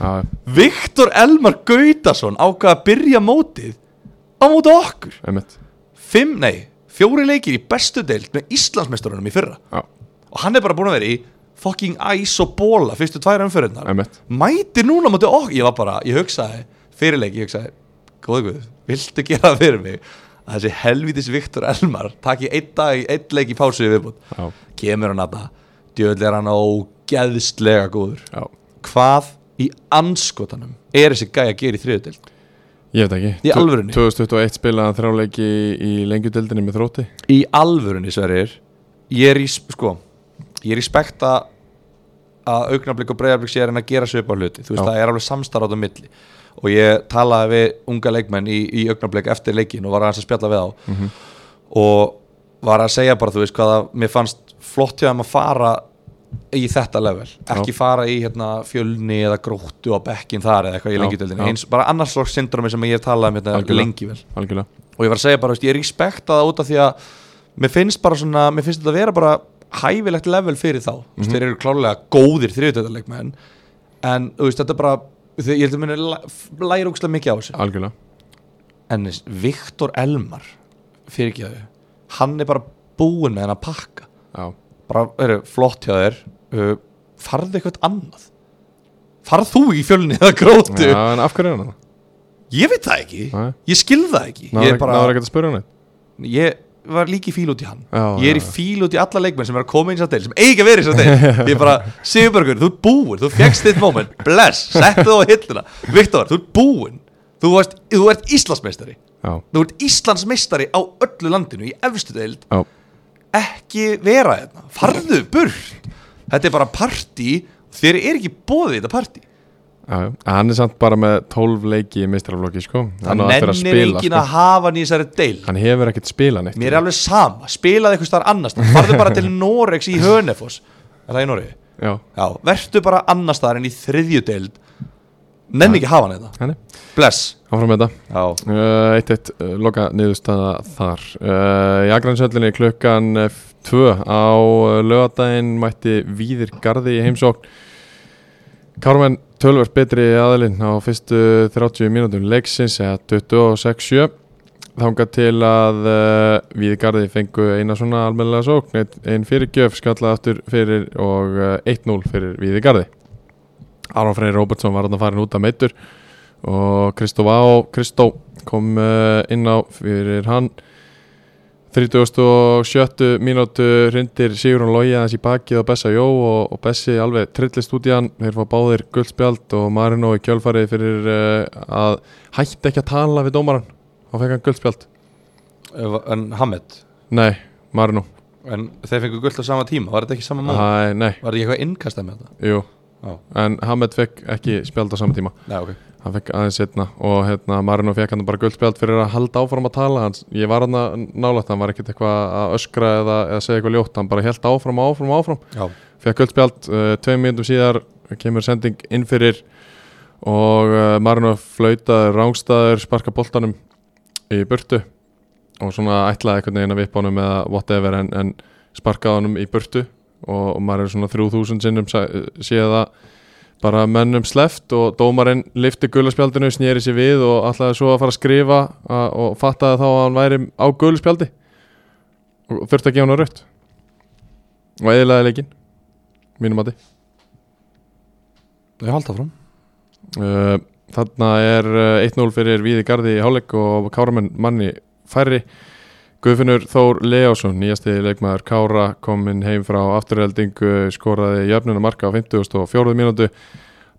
S1: Já,
S2: Viktor Elmar Gautason ákvað að byrja mótið á móti okkur
S1: einmitt
S2: Fimm, nei, fjóri leikir í bestu deild með Íslandsmeistarunum í fyrra
S1: Já,
S2: og hann er bara búin að vera í fucking æs og bóla fyrstu tvær umfyrirnar
S1: einmitt
S2: mætir núna á móti okkur ég var bara, ég hugsaði, fyrirleik, ég hugsaði góði guð, viltu gera það fyrir mig að þessi helvitis Viktor Elmar taki einn dag, einn leik í pásu í viðbútt
S1: Já,
S2: kemur hann að það, djöðlega er hann ógeðslega góður
S1: já
S2: hvað í anskotanum er þessi gæja að gera í þriðutild
S1: Ég veit ekki
S2: Í alvörunni?
S1: 2021 spilaði hann þráleiki í, í lengjudeldinni með þrótti
S2: í alvörunni sverir ég er í, sko, ég er í spekta að augnablik og breyðarblik sé að reyna að gera sig upp á hluti þú veist,
S1: Já.
S2: það er alveg samstarf á það milli og ég talaði við unga leikmenn í, í augnablik eftir leikin og var aðeins að spjalla við á
S1: Mhm.
S2: og var að segja bara, þú veist, hvaða mér fannst flott hjá þeim að fara í þetta level, ekki fara í hérna, fjölni eða gróttu á bekkin þar eða eitthvað í
S1: Já, já.
S2: lengjutöldinni, eins bara annarsloks syndromi sem ég hef talað um hérna
S1: Algjörlega.
S2: lengi vel
S1: Algjörlega
S2: og ég var að segja bara, veist, ég respekta það út af því að mér finnst bara svona, mér finnst þetta vera bara hæfilegt level fyrir þá mm
S1: Mhm.
S2: -hmm. þeir eru klárlega góðir þriðutöðarleikmenn en þú veist, þetta er bara þau- ég held að minna læra úkslega mikið á þessu
S1: Algjörlega
S2: en þess, Viktor Elmar fyrir ekki þau, hann er bara búinn með hann að pakka
S1: Já,
S2: bara, heru, flott hjá þér uh, farðu eitthvað annað farð þú í fjölni eða grótu
S1: já en af hverju er hann það?
S2: ég veit það ekki,
S1: Nei.
S2: ég skil það ekki ég
S1: Náður
S2: er bara
S1: ekkert að spura hann eitt
S2: ég var líki fíl út í hann
S1: Já,
S2: ég er í
S1: já, já.
S2: fíl út í alla leikmenn sem er að koma inn í sattel sem eiga verið í
S1: [LAUGHS]
S2: sattel ég er bara, Sigurbergur, þú ert búinn þú fegst þitt moment, bless, settu þú á hilluna Viktor, þú ert búinn þú, varst, þú ert Íslandsmeistari
S1: Já,
S2: þú ert Íslandsmeistari á öllu landinu í efstu deild,
S1: já,
S2: ekki vera hérna, farðu burt þetta er bara partí, þér er ekki bóðið þetta partí
S1: já, já En Hann er samt bara með 12 leiki í mistraflokki sko
S2: það
S1: Hann á eftir
S2: nennir
S1: að spila
S2: enginn
S1: sko.
S2: að hafa hann í þessari deild
S1: Hann hefur ekkert spilað neitt
S2: Mér er alveg sama, spilaði eitthvað starf annars staðar. Farðu bara til Norex í Hönefoss Er það í Noregi?
S1: Já,
S2: Já, vertu bara annars staðar en í þriðju deild Nenni ekki að hafa hann þetta
S1: hann
S2: Bless
S1: Áfram með þetta
S2: Já,
S1: Uh, eitt eitt uh, loka niðurstaða þar uh, í Akransöllinni klukkan 2 á lögadaginn mætti Víðir Garði í heimsókn Kármenn tölvert betri aðilinn á fyrstu 30 mínútum leiksins eða 26-7 þangað til að uh, Víðir Garði fengu eina svona almennilega sókn einn- einn fyrir gjöf skallað aftur fyrir og uh, 1-0 fyrir Víðir Garði Aron Freyr Robertsson var þarna farin út að meittur eh, og Kristó Vá Kristó kom uh, inn á fyrir hann 37. mínútu hrindir Sigurún Lógi aðeins í bakið og Bessa Jó og, og Bessi alveg trillist út í hann þeir fá báðir guldspjald og Marino í kjölfarið fyrir uh, að hætti ekki að tala við dómaran og fekk hann guldspjald
S2: Ef- en Hamed
S1: Nei, Marino
S2: en þeir fengu gullt á sama tíma, var þetta ekki sama mót?
S1: Æ, Nei,
S2: Var þetta ekki eitthvað innkasta með þetta?
S1: jú
S2: Já.
S1: En Hamed fekk ekki spjald á sama tíma
S2: Nei, ok
S1: hann fekk aðeins setna og hérna Marino fekk hann bara guldspjald fyrir að halda áfram að tala hans. ég var hann að nálægt, hann var ekkert eitthvað að öskra eða, eða segja eitthvað ljótt hann bara held áfram, áfram, áfram
S2: Já,
S1: fekk guldspjald, uh, tveim mínútum síðar kemur sending inn fyrir og uh, Marino flautaði rángstæður, sparka boltanum í burtu og svona ætlaði einhvern veginn að vippa honum eða whatever en, en sparkaði honum í burtu og, og maður er svona 3000 sinnum sa- séð að bara mönnum sleft og dómarinn lifti gulaspjaldinu, snýri sér við og ætlaði svo að fara að skrifa að, og fattaði þá að hann væri á gulaspjaldi og þurfti að gefa hann á rött og eðilaði leikinn mínum mati
S2: ég halda fram
S1: Uh, Þarna er uh, 1-0 fyrir Víði Garði í hálfleik og Káramenn manni færri Guðfinnur Þór Leásson, nýjasti leikmaður Kára kominn heim frá afturheldingu skoraði jöfnuna marka á 54. mínútu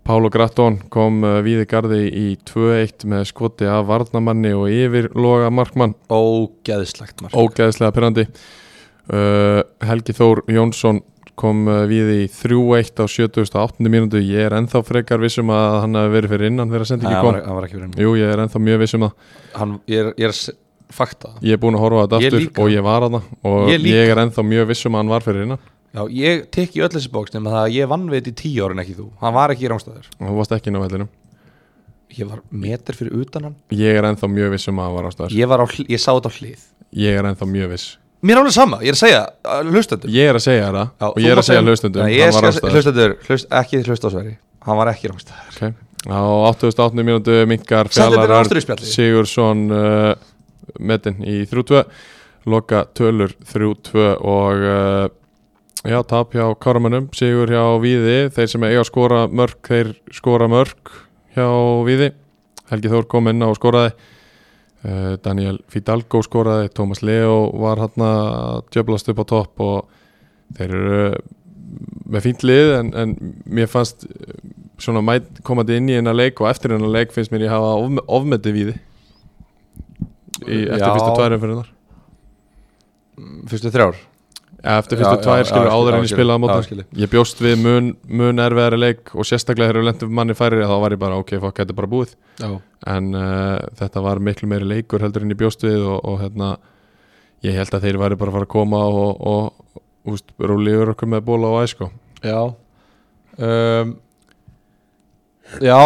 S1: Pálo Grattón kom uh, Víði Garði í 2-1 með skoti af varnamanni og yfirloga markmann
S2: Ógeðslegt mark
S1: ógæðislega pyrrandi uh, Helgi Þór Jónsson kom uh, við í 3-1 á 78. mínútu ég er ennþá frekar vissum að hann hafi verið fyrir innan þegar
S2: Nei,
S1: sendingi
S2: hann var,
S1: kom
S2: hann var ekki verið
S1: Jú, ég er ennþá mjög vissum það
S2: hann, Ég er, ég er s- fakta
S1: ég er búin að horfa á þetta
S2: Ég
S1: aftur
S2: líka.
S1: og ég var að það og
S2: Ég
S1: ég,
S2: líka.
S1: er ennþá mjög vissum að hann var fyrir innan
S2: Já, ég tek í öll þessi bóks nema það að ég vann við þetta í tíu árin ekki þú Hann var ekki í rámstæður
S1: og þú varst ekki inn á vellinum
S2: Ég var metr fyrir utan hann
S1: ég er ennþá mjög vissum að hann var ástæður
S2: Ég, var á, hl- ég sá þetta á hlið
S1: ég er ennþá mjög viss
S2: Mér er alveg sama, ég er að segja, uh, hlustandi
S1: ég er að segja það og ég er að segja hlustundum hann var ástæður
S2: Hlustendur, hlust, ekki hlust á Sverri Hann var ekki rámstæður
S1: okay. á 88. mínútu minkar
S2: Sættu þetta
S1: fjallarar
S2: ástríðspjalli
S1: Sigursson uh, metin í 3-2 loka tölur 3-2 og uh, já, tap hjá Kármannum, Sigur hjá Víði þeir sem eiga að skora mörg, þeir skora mörg hjá Víði Helgi Þór kom inn á og skoraði uh, Daniel Fidalgo skoraði Tómas Leo var hann að djöblast upp á topp og þeir eru uh, með fínt lið en, en mér fannst uh, svona mæt komandi inn í hennar leik og eftir hennar leik finnst mér ég hafa ofme- ofmetið víði í, eftir
S2: Já.
S1: fyrstu tvær umfyrir hennar
S2: Fyrstu þrjár
S1: Eh, eftir fyrstu
S2: Já, já,
S1: tvær
S2: já,
S1: skilur
S2: já,
S1: áður
S2: skil-
S1: en
S2: já,
S1: ég
S2: skil-
S1: spilaði á
S2: já, skil.
S1: móti ég bjóst við mun, mun erfiðari leik og sérstaklega þegar lendur manni færri þá var ég bara ok, fokk, þetta er bara búið
S2: Já
S1: en uh, þetta var miklu meiri leikur heldur en ég bjóst við og, og hérna ég held að þeir væri bara að fara að koma og, og, og úst, rúliður okkur með bóla og sko. æsko
S2: Já
S1: Ehm,
S2: um, Já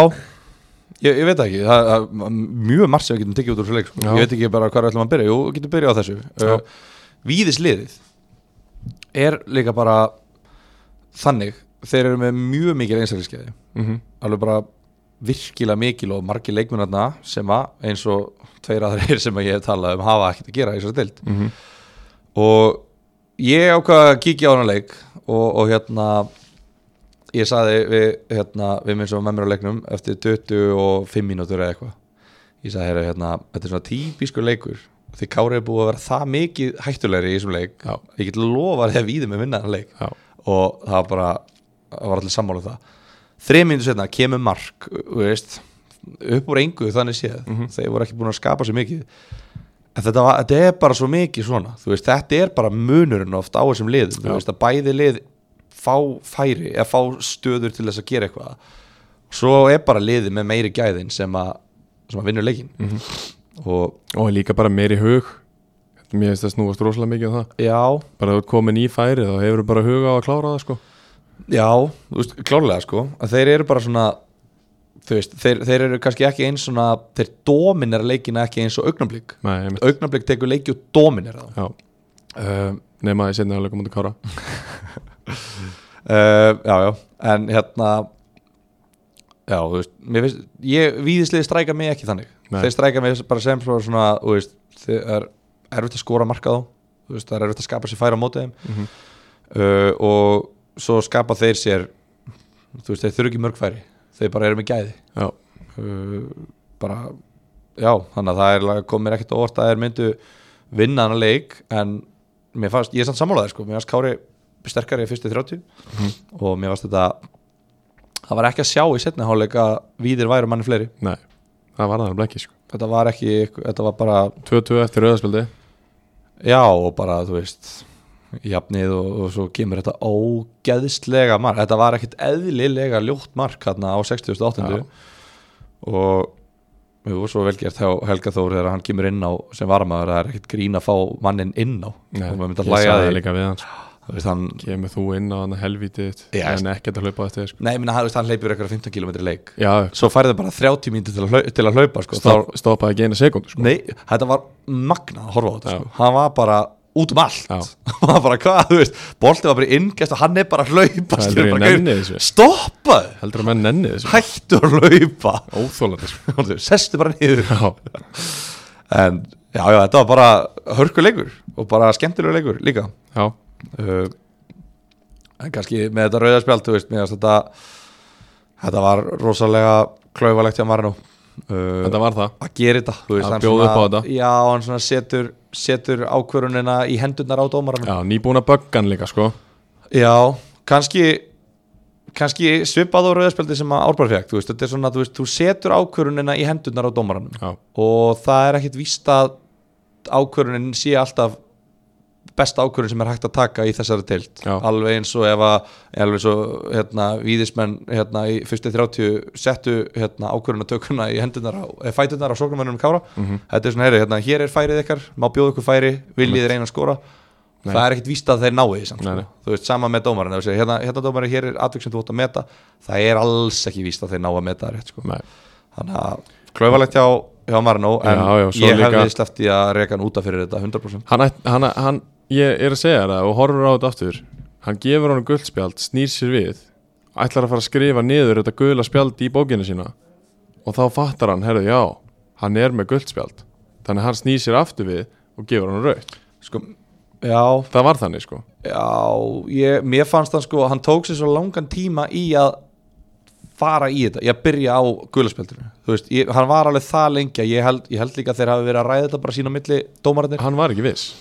S2: Ég, ég veit það ekki, það það er mjög margt sem við getum tekið út úr þessu leik sko.
S1: Já.
S2: Ég veit ekki bara hvað við ætlum að byrja, jú, við getum byrjað á þessu
S1: Já.
S2: uh, Víðisliðið er líka bara þannig, þeir eru með mjög mikil einstakliskeiði
S1: mm -hmm.
S2: alveg bara virkilega mikil og margir leikmennarna sem að eins og tveir aðrir [LAUGHS] sem að ég hef talað um hafa ekkert að gera í þessari deild
S1: Mm
S2: og ég ákvaði að kíkja á hann leik og, og hérna ég saði við, hérna, við minn sem var með mér á leiknum eftir 25 mínútur eða eitthvað ég saði hérna, hérna, þetta er svona típiskur leikur því Kári er búið að vera það mikið hættulegri í þessum leik
S1: Já.
S2: ég get lofað þegar við með vinna hann leik
S1: já,
S2: og það var bara það var allir sammála um það þreim minnum setna kemur mark þú veist, upp úr engu þannig séð þeir voru ekki búin að skapa sér mikið en þetta, var, þetta er bara svo mikið svona þú veist, þetta er bara munurinn oft á þessum liðum þú
S1: Já.
S2: veist að bæði lið fá færi, eða fá stöður til þess að gera eitthvað svo er bara liðið með meiri gæðin sem að, sem að vinnur leikin og
S1: og líka bara meiri hug mér finnst það snúast rosalega mikið um það
S2: já,
S1: bara þú ert komin í færi þá hefur þú bara huga á að klára það sko
S2: Já, þú veist, klárlega sko að þeir eru bara svona þú veist, þeir, þeir eru kannski ekki eins svona þeir dominar leikina ekki eins og augnablík
S1: Nei, einmitt.
S2: augnablík tekur leiki og dominar þá
S1: já, uh, nema ég setna að leikum út að kára
S2: uh, Já, já, en hérna já, þú veist mér finnst, ég, víðisliði stræka mig ekki þannig
S1: Nei.
S2: þeir stræka mig bara sem svona, svona þú veist, þeir er erfitt að skora marka þá þú veist, það er erfitt að skapa sér færa á móti þeim
S1: mm -hmm.
S2: uh, og svo skapa þeir sér þú veist, þeir þurfi ekki mörg færi þeir bara eru með gæði
S1: já,
S2: uh, bara já, þannig að það er komir ekkert á óvart að þeir myndu vinna hann að leik en mér fannst, ég er samt sammálaðið sko, mér fannst Kári sterkari í fyrstu 30 og mér fannst þetta það var ekki að sjá í setni hálfleik að víðir væru manni fleiri
S1: Nei, það var það ekki sko
S2: þetta var ekki, þetta var bara
S1: 2-2 eftir rauðarspildi
S2: Já og bara þú veist jafnið og, og svo kemur þetta ógeðslega mark, þetta var ekkit eðlilega ljótt mark hérna á 60.8. og við vorum svo velgjert hjá Helga Þór þegar hann kemur inn á sem varmaður, það er ekkit grín að fá mannin inn á
S1: Nei,
S2: og maður myndi
S1: ég
S2: að hlæja
S1: sagði
S2: að því
S1: líka við hann sko.
S2: Þú veist, hann,
S1: Kemur þú inn á hann að helvítið þitt,
S2: Já,
S1: En ekkert að hlaupa á eftir sko.
S2: Nei, ég minna, hann, þú veist, hann leipur eitthvað 15 km leik
S1: Já,
S2: svo færði bara 30 mínútur til, að hlau- til að hlaupa sko.
S1: stopp, stoppaði ekki eina sekund sko.
S2: Nei, þetta var magnað að horfa á þetta
S1: Já.
S2: sko. hann var bara út um allt
S1: Já.
S2: [LAUGHS] hann var bara hvað, þú veist, bolti var bara í inngest og hann er bara að hlaupa
S1: Það
S2: skilur,
S1: heldur ég
S2: bara,
S1: nenni
S2: gaur,
S1: þessu.
S2: stoppaðu,
S1: Heldur að menn nenni þessu
S2: hættu að hlaupa [LAUGHS]
S1: Óþólandi sko.
S2: Og þú, sestu bara niður
S1: Já,
S2: en já, já, þetta var bara hörkuleikur og bara skemmtilegur leikur líka
S1: já,
S2: uh, en kannski með þetta rauðarspjald, þú veist, mér fannst þetta þetta var rosalega klauvalegt hjá Marino uh,
S1: þetta var það
S2: að gera þetta þú
S1: Að
S2: hann
S1: bjóða upp á þetta.
S2: já, hann svona setur, setur ákvörunina í hendurnar á dómaranum já,
S1: Já, nýbúna böggan líka sko
S2: kannski kannski svipað á rauðarspjaldi sem að Árbær fekk, þú veist, þetta er svona þú, veist, þú setur ákvörunina í hendurnar á dómaranum
S1: Já,
S2: og það er ekkit víst að ákvörunin sé alltaf besta ákvörun sem er hægt að taka í þessari deild
S1: Já.
S2: alveg eins og ef að alveg eins og hérna víðismenn hérna í fyrstu 30 settu hérna ákvörunatökuna í hendunar á, eh, fætunar á sóknumennunum kára
S1: Mhm.
S2: þetta er svona heyri, hérna hér er færið ykkar má bjóða ykkur færi, viljið þið reyna að skora
S1: Nei.
S2: það er ekkit víst að þeir náu því samt,
S1: Nei,
S2: sko.
S1: nei.
S2: þú veist sama með dómarinn ef þú segir, hérna, hérna dómarinn, hér er atvik sem þú átt að meta það er alls ekki víst að þeir ná að meta það rétt sko
S1: nei
S2: þannig að klauvalegt hjá, hjá Marino en
S1: Já, já, svo
S2: ég
S1: líka-
S2: hefði sleppt í að reka hann útaf fyrir þetta 100%
S1: hann, ætt- hann, hann, ég er að segja þér það og horfur á þetta aftur hann gefur honum gult spjald, snýr sér við ætlar að fara að skrifa niður þetta gula spjald í bókinu sína og þá fattar hann, herðu, já hann er með gult spjald þannig að hann snýr sér aftur við og gefur honum raukt
S2: sko, já,
S1: það var þannig sko
S2: já ég, mér fannst hann sko, hann tók sér svo langan tíma í að fara í þetta, ég að byrja á gulaspjöldinu þú veist, ég, hann var alveg það lengi að ég held, ég held líka að þeir hafi verið að ræða þetta bara sín á milli dómarinnir
S1: hann var ekki viss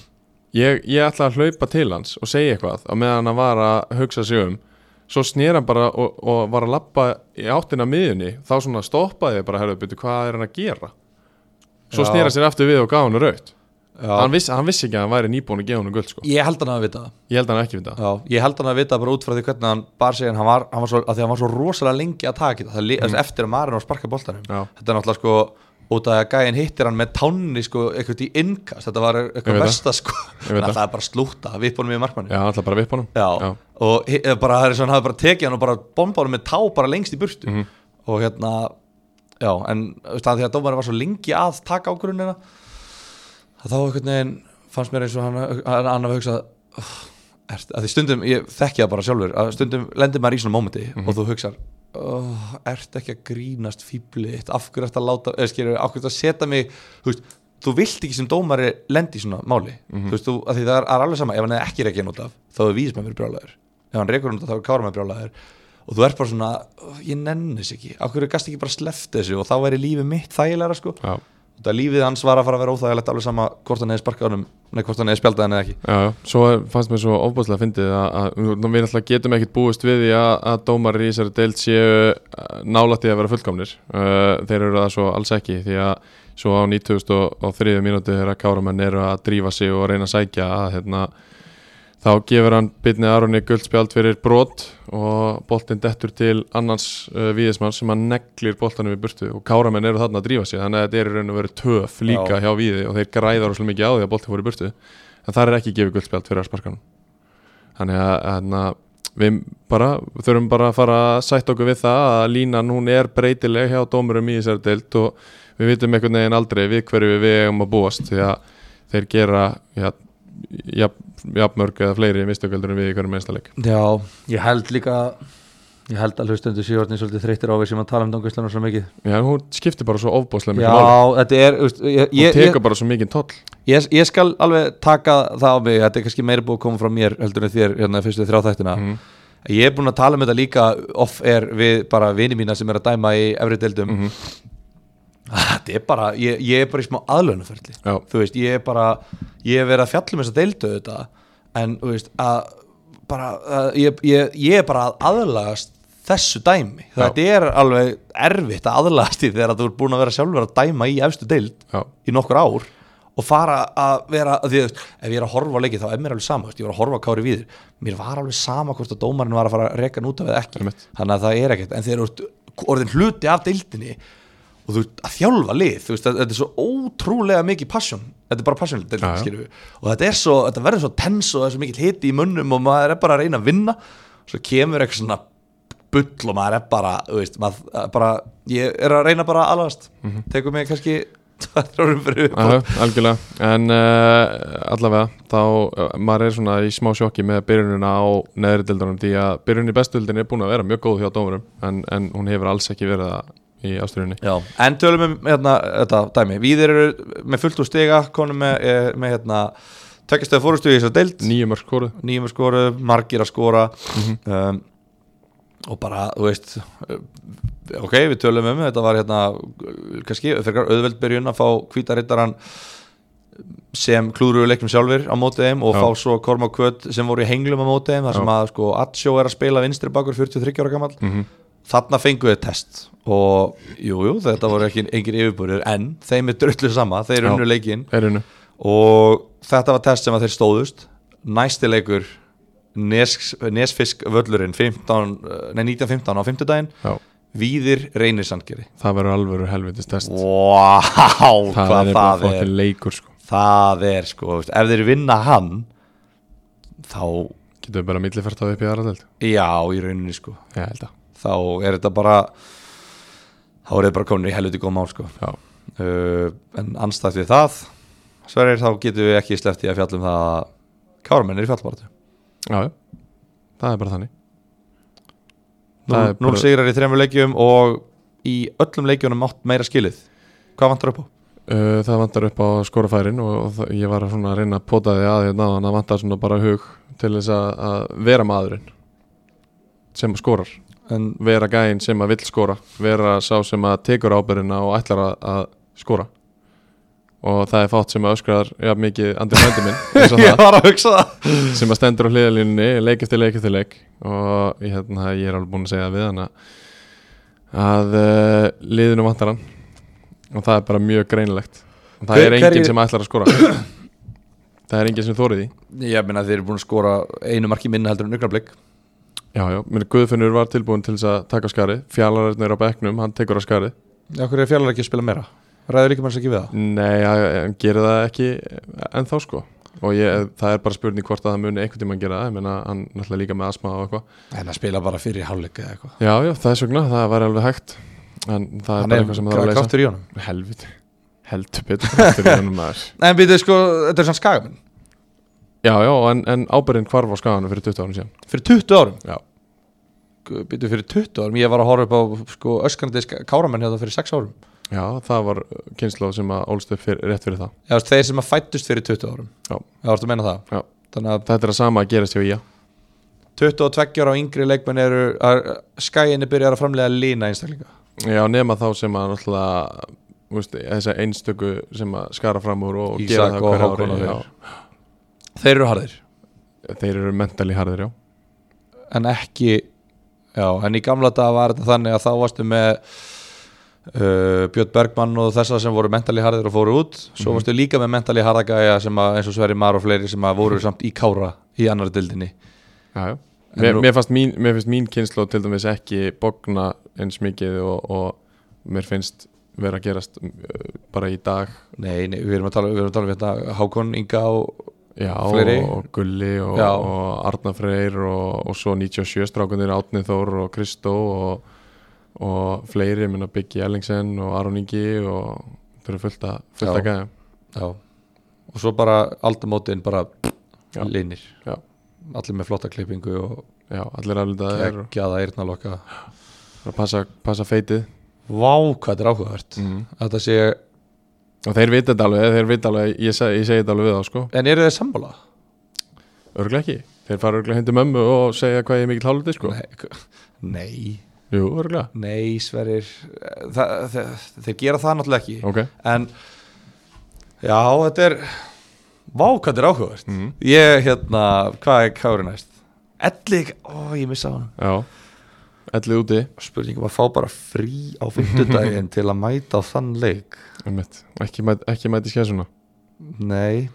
S1: ég, ég ætla að hlaupa til hans og segja eitthvað á meðan hann var að hugsa sig um svo snýr hann bara og, og var að lappa í áttina að miðjunni þá svona stoppaði ég bara, herðu, byrju, hvað er hann að gera svo
S2: Já.
S1: snýr hann sér aftur við og gaf hann raukt hann
S2: já,
S1: vissi, hann vissi ekki að hann væri nýbúin að gefa hann guld sko.
S2: ég held hann að vita það
S1: ég held að hann ekki við það
S2: Já, ég held hann að vita bara út frá því hvernig hann bar sig en hann var, hann var svo, að því hann var svo rosalega lengi að taka þetta, það li, mm. eftir að Marino sparka boltanum
S1: Já.
S2: þetta er náttúrulega sko út af að gæinn hittir hann með tánni sko eitthvað í innkast, þetta var
S1: Ég
S2: eitthvað
S1: veit
S2: mesta sko,
S1: Ég veit
S2: en
S1: það.
S2: það er bara slúta að vipa honum í markmanni
S1: já, hann ætla bara að vippa hann
S2: Já. og hi- eh, bara það er svona, hann hafði bara tekið hann og bara bomba honum með tá bara lengst í burtu
S1: Mhm.
S2: og hérna, já, en þú veist, að því að dómarinn var svo lengi að taka ákvörunina að þá einhvern veginn fannst mér eins og hann, hann, hann að hugsa að því stundum, ég þekki það bara sjálfur að stundum lendir maður í svona mómenti og þú hugsar oh, ert ekki að grínast fýblitt, af hverju ert að láta eða skilur, af hverju ert að setja mig þú veist, þú vilt ekki sem dómari lendi í svona máli, þú veist, þú, að því það er, er alveg sama ef hann er ekki reikin út af, þá er vísmenn verið brjálæður ef hann reikur út af, þá er kárum verið brjálæður og þú ert bara svona, oh, ég nenni þess ekki af hverju gast ekki bara sleppt þessu og þá væri lífið mitt þægilega sko,
S1: já,
S2: þetta lífið hans var að fara að vera óþægilegt alveg sama hvort hann hefði sparkað honum, nei, hvort hann hefði spjaldað hann eða ekki
S1: já, já. svo fannst mér svo ofbúðslega fyndið að, að nú, við náttúrulega getum ekkert búist við því að, að dómar í þessari deild séu nálætti að vera fullkomnir uh, þeir eru það svo alls ekki því að svo á 2003 mínúti þegar káramenn eru að drífa sig og reyna að sækja að hérna þá gefur hann Byrni Aroni guldspjald fyrir brot og boltinn dettur til annars uh, víðismann sem hann neglir boltanum í burtu og káramenn eru þarna að drífa sig þannig að þetta er í raun og veru töf líka
S2: Já.
S1: hjá víði og þeir græðar rosalega mikið á því að boltinn fór í burtu en þar er ekki gefið guldspjald fyrir að sparka hann þannig að, þannig að við bara, þurfum bara að fara að sætt okkur við það að línan hún er breytileg hjá dómurum í þessari deilt og við vitum einhvern veginn aldrei við hverju við eigum að búast því að þeir gera já, jafn, jafnmörg eða fleiri mistököldur en við í hverjum einsta leik
S2: Já, ég held líka ég held að hlustendur síðvartin svolítið þreyttir á við sem að tala um Dóngislan og svo mikið
S1: Já, hún skiptir bara svo ofbáslega
S2: Já,
S1: mikið máli
S2: þetta er þú veist, ég,
S1: Hún
S2: ég,
S1: tekur
S2: ég,
S1: bara svo mikið tóll
S2: ég, ég skal alveg taka það á mig þetta er kannski meira búið að koma frá mér heldur en þér hérna í fyrstu þráþættina mm. ég er búin að tala um þetta líka off-air við bara vini mína sem er að dæma í efri deildum Ah, þetta er bara, ég, ég er bara í smá aðlönaferli
S1: Já.
S2: þú veist, ég er bara ég er verið að fjalla um þess að deildu þetta en, þú veist, að bara, að, ég, ég, ég er bara að aðlagast þessu dæmi,
S1: Já.
S2: þetta er alveg erfitt að aðlagast því þegar þú ert búin að vera sjálfur að dæma í efstu deild
S1: Já.
S2: í nokkur ár og fara að vera að því, þú veist, ef ég er að horfa á leikið þá er mér alveg sama, þú veist, ég var að horfa á Kári Víður mér var alveg sama hvort að dómarinn var að fara að reka hann út af eða ekki,
S1: Einmitt.
S2: þannig að það er ekkert en þeir eru orðin hluti af deildinni og þú veist, að þjálfa lið þú veist, að- þetta er svo ótrúlega mikið passion þetta er bara passion
S1: Já,
S2: deildin,
S1: já.
S2: skilju og þetta er svo, þetta verður svo tens og það er svo mikill hiti í munnum og maður er bara að reyna að vinna svo kemur eitthvað svona bull og maður er bara, þú veist, maður eh, bara, ég er að reyna bara aðlast mm tekur mig kannski tvær þrjórum fyrir upp
S1: Já, algjörlega, en uh, allavega, þá uh, maður er svona í smá sjokki með byrjunina á neðri dildunum, því að byrjunin í bestöldin er búin að vera mjög góð hjá dómurum, en, en hún hefur alls ekki verið það í ástriðunni
S2: Já, en tölum við hérna, þetta dæmi, við eru með fullt úr stiga, konum með, eh, með hérna, tveggjastöðu fórustu í þessu deild
S1: Nýju mörg skoru
S2: nýjum að skora, margir að skora
S1: Mhm.
S2: um, og bara, þú veist eh, ok, við tölum um þetta var hérna, eh, kannski fyrir auðveld byrjun að fá hvítarittaran sem klúruðu leiknum sjálfur á mótið þeim og
S1: Já.
S2: fá svo Korma Kvöt sem voru í henglum á mótið þeim þar sem
S1: Já. Mhm.
S2: að sko Atsjó er að spila vinstri bakur 43 ára gamall þarna fengu þið test og jújú, jú, þetta voru ekki engin yfirbúrið en þeim er drullu sama, þeir
S1: Já.
S2: unnu leikinn
S1: Erinu,
S2: og þetta var test sem að þeir stóðust næsti leikur Nes, Nesfisk völlurinn 15, nei, 1915 á 50 daginn
S1: já,
S2: Víðir reynir sandgeri
S1: það verður alvöru helvitist test
S2: Vá, hvað
S1: er bara
S2: það er
S1: fokkin leikur sko
S2: Það er sko, veist, ef þeir vinna hann þá,
S1: Getur við bara millifært á upp í aðra dild
S2: já, í rauninni sko
S1: Já, ég held að,
S2: þá er þetta bara þá er þetta bara komin í helviti góð mál sko
S1: já,
S2: uh, en anstætt við það Sverrir, þá getum við ekki sleppt í að fjallum það að Kármenn er í fjallbaratu
S1: já, já Það er bara þannig Það er
S2: 0
S1: bara-
S2: sigrar í þremur leikjum og í öllum leikjunum átt meira skilið hvað vantar upp á?
S1: Uh, það vantar upp á skorafærin og, og það- ég var að svona að reyna að pota því að ég náðan að vantar svona bara hug til þess að, að vera maðurinn sem að skorar,
S2: [LAUGHS] En,
S1: vera gæinn sem að vill skora, vera sá sem að tekur ábyrðina og ætlar að, að skora og það er fátt sem að öskrar jafn mikið Andri frændi minn
S2: [LAUGHS]
S1: eins og
S2: ég
S1: það
S2: var að hugsa það
S1: sem að stendur á hliðalínunni leik eftir leik eftir leik og ég, hérna, ég er alveg búinn að segja við hann að- að uh, liðinu vantar hann og það er bara mjög greinilegt og það
S2: Hver-
S1: er
S2: hverjir-
S1: enginn sem ætlar að [COUGHS] skora það er enginn sem þórið í
S2: ég meina þeir eru búin að skora einu marki minna heldur en augnablik
S1: já, já, minn Guðfinnur var tilbúin til þess að taka skari fjallarinn er á bekknum, hann tekur á skari
S2: okkur er fjallar ekki að spila meira ræður líka manns ekki við það
S1: nei, hann hann gerir það ekki ennþá sko og ég, það er bara spurning hvort að það muni einhvern tímann gera það, ég meina hann náttúrulega líka með asma og eitthvað
S2: en að spila bara fyrir hálfleik eða eitthvað
S1: Já, já, það er svona, það væri alveg hægt En það er
S2: hann
S1: bara
S2: er
S1: eitthvað sem það er að leysa
S2: kraftur í honum
S1: Helviti, heldur betur kraftur í [LAUGHS] honum maður
S2: en býtið sko, þetta er sann skagamenn
S1: Já, já, en, en ábyrðin hvarf á skaganu fyrir 20 árum síðan
S2: fyrir 20 árum
S1: Já,
S2: býtu fyrir 20 árum, ég var að horfa upp á sko, öskrandi sk- káramenn hérna fyrir 6 árum
S1: já það var kynnslóð sem að ólst upp fyrir, rétt fyrir það
S2: eða þú veist, þeir sem að fættust fyrir 20 árum
S1: Já.
S2: eða varstu að meina það
S1: Já.
S2: þannig að
S1: Þetta er að sama að gerast hjá í
S2: 22 ára og yngri leikmenn eru að skæinni byrjar að framlega lína einstaklinga
S1: Já, nema þá sem að náttúrulega þú veist, þessa einstöku sem að skara fram úr og
S2: Ísak
S1: gera það
S2: og
S1: hverju
S2: Hákon og
S1: ári
S2: þeir.
S1: já.
S2: þeir eru harðir
S1: Þeir eru mentali harðir, já
S2: en ekki já, en í gamla daga var þetta þannig að þá varstu með uh, Björn Bergmann og þessar sem voru mentali harðir og fóru út svo varstu líka með mentali harðagæja sem að eins og Sverri Mar og fleiri sem að voru samt í kára í annar dildinni
S1: Já, já.
S2: En
S1: Mér,
S2: nú-
S1: mér, fannst mín, mér finnst mín kynnslóð til dæmis ekki bogna eins mikið og, og mér finnst vera að gerast uh, bara í dag
S2: nei, nei, við erum að tala, við erum að tala um hérna Hákon Inga og
S1: Já,
S2: Fleiri?
S1: og, og Gulli og,
S2: Já.
S1: og Arna Freyr og, og svo 97 strákundir Átni Þór og Kristó og, og fleiri, ég minna Biggi Ellingsen og Aron Ingi og þau eru fullt að, fullt að
S2: Já.
S1: gæða
S2: Já, og svo bara aldamótin bara
S1: Já.
S2: linir
S1: Já.
S2: allir með flotta klippingu og
S1: Já, allir aðlitaðir og
S2: geggjaða eyrnalokka
S1: bara passa, passa feitið
S2: Vá, hvað þetta er áhugavert Þetta sé,
S1: og þeir vita þetta alveg, þeir vita alveg ég, seg, ég segi þetta alveg við þá sko
S2: en eru þeir sammála?
S1: Örglega ekki. Þeir fara örglega hindi mömmu og segja hvað ég er mikill hálfandi sko.
S2: Nei, k- nei
S1: Jú, örgulega
S2: Nei, sverir það, það, Þeir gera það náttúrulega ekki
S1: Ok,
S2: En Já, þetta er Vá, hvað þetta er áhugavert
S1: Mhm.
S2: Ég, hérna, hvað er Kári næst? Ellig, ó, ég missa hann
S1: já Ellið úti,
S2: Spurningum að fá bara frí á fimmtudaginn til að mæta á þann leik
S1: einmitt Ekki, mæt, ekki mæti skessuna
S2: Nei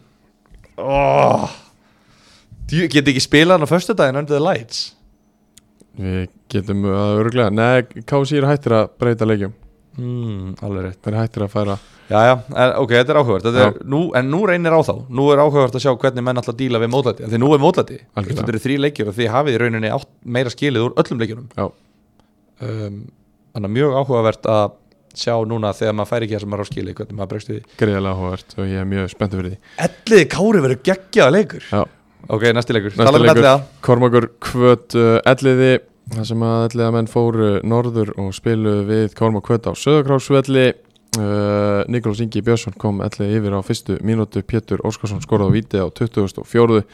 S2: Ó Djú, Get ekki spilað hann á föstudaginn Under the lights
S1: Við getum að örgulega Nei, KC er hættir að breyta leikjum
S2: mm, Alveg rétt
S1: Það er hættir að færa
S2: Jæja, en, ok, þetta er áhugavert þetta er,
S1: Já.
S2: nú, En nú reynir á þá Nú er áhugavert að sjá hvernig menn alltaf díla við mótlæti Því nú er mótlæti
S1: Algjörlega.
S2: Þetta eru þrý leikir og því hafið í rauninni átt, meira skilið úr öllum leikjunum
S1: Já.
S2: um, Þannig að mjög áhugavert að sjá núna þegar maður færi ekki það sem maður á skilið Hvernig maður bregst við því.
S1: greiðilega hóvert og ég er mjög spenntið fyrir því
S2: Elliði Kári verður geggjaða leikur
S1: Já.
S2: Ok, næsti leikur
S1: Næsti
S2: Talar um
S1: leikur.
S2: elliða.
S1: Kormakur kvöt uh, elliði þar sem að elliða menn fóru norður og spiluðu við Kormak kvöt á Söðakráksvelli uh, Nikolás Ingi Björnsson kom elliði yfir á fyrstu mínútu Pétur Óskarsson skoraði á víti á 2004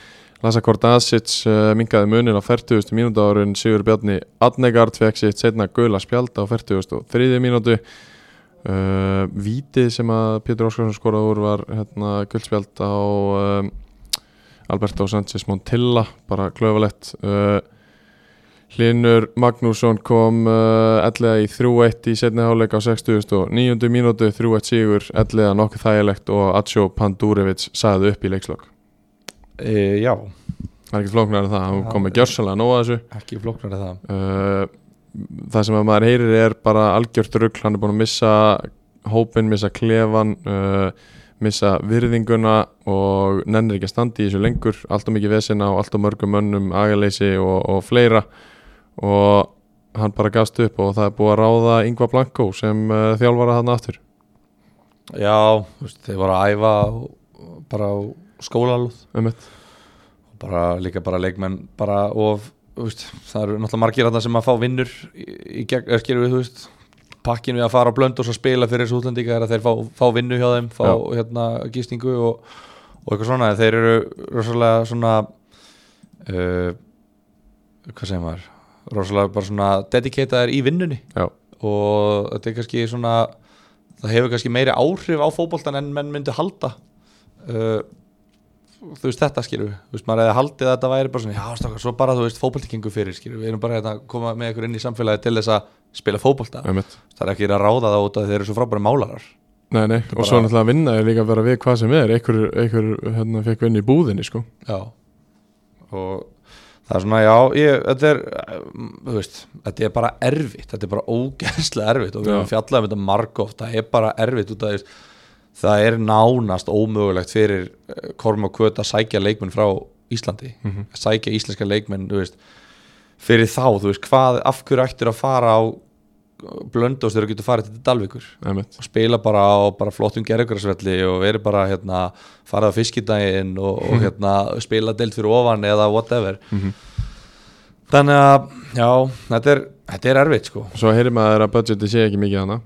S1: Lasa Kordasic uh, mingaði munin á 40. mínútu árun Sigur Bjarni Adnegard fekk sitt setna gula spjald á 43. mínútu Uh, vítið sem að Pétur Óskarsson skoraði úr var hérna, guldspjald á um, Alberto Sanchez Montilla bara klöfalett uh, Hlinur Magnússon kom uh, ellega í 3-1 í setni háleik á 60 og 9. mínútu 3-1 sigur, ellega nokkuð þægilegt og Atsjó Pandurevic sagði upp í leikslokk
S2: e, Já,
S1: það er ekki flóknar en það, hann
S2: Já.
S1: kom með gjörsalega nóg að þessu
S2: ekki flóknar það
S1: uh, það sem að maður heyrir er bara algjört rugg, hann er búin að missa hópin, missa klefan uh, missa virðinguna og nennir ekki að standa í þessu lengur allt og mikið vesina og allt og mörgum mönnum agaleysi og, og fleira og hann bara gafst upp og það er búið að ráða Ingvar Blanko sem uh, þjálfara hann aftur
S2: Já, þú veist, þeir voru að æfa á- bara á skólalúð
S1: um
S2: bara líka bara leikmenn bara of, þú veist, það eru náttúrulega margir þarna sem að fá vinnur í, í gegn, er, skilur við, þú veist pakkin við að fara á blönd og svo spila fyrir þessu útlendinga er að þeir fá, fá vinnu hjá þeim fá
S1: Já.
S2: hérna gístingu og, og eitthvað svona, En þeir eru rosalega svona uh, hvað segir maður rosalega bara svona dedikataðir í vinnunni
S1: Já.
S2: og þetta er kannski svona það hefur kannski meiri áhrif á fótboltan en menn myndi halda uh, þú veist þetta skilur við þú veist maður hefði haldið að þetta væri bara svona já stokkar svo bara þú veist fótboltingingu fyrir skilur við erum bara hérna að koma með ykkur inn í samfélagi til þess að spila fótbolta
S1: um
S2: það er ekki að ráða það út af því þeir eru svo frábæri málarar
S1: Nei, nei, og svo náttúrulega að vinna er líka bara við hvað sem er, einhver, einhver hérna, fekk vinna í búðinni sko.
S2: já og það er svona já ég, þetta er um, þú veist þetta er bara erfitt þetta er bara ógeðslega erfitt og við
S1: Já.
S2: erum fjallað um þetta margóft það er bara erfitt út af því þú veist, það er nánast ómögulegt fyrir eh, Korma Kvöt að sækja leikmenn frá Íslandi að sækja íslenska leikmenn þú veist, fyrir þá, þú veist, hvað af hverju ættir að fara á blöndós þegar þú getur farið til Dalvíkur
S1: um
S2: og spila bara á bara flottum gerðugræsvelli og verið bara hérna farið á fiskidaginn og, og hérna spila deilt fyrir ofan eða whatever
S1: Mhm.
S2: þannig að já, þetta er, þetta er erfitt sko
S1: Svo heyrir maður að budgeti sé ekki mikið hana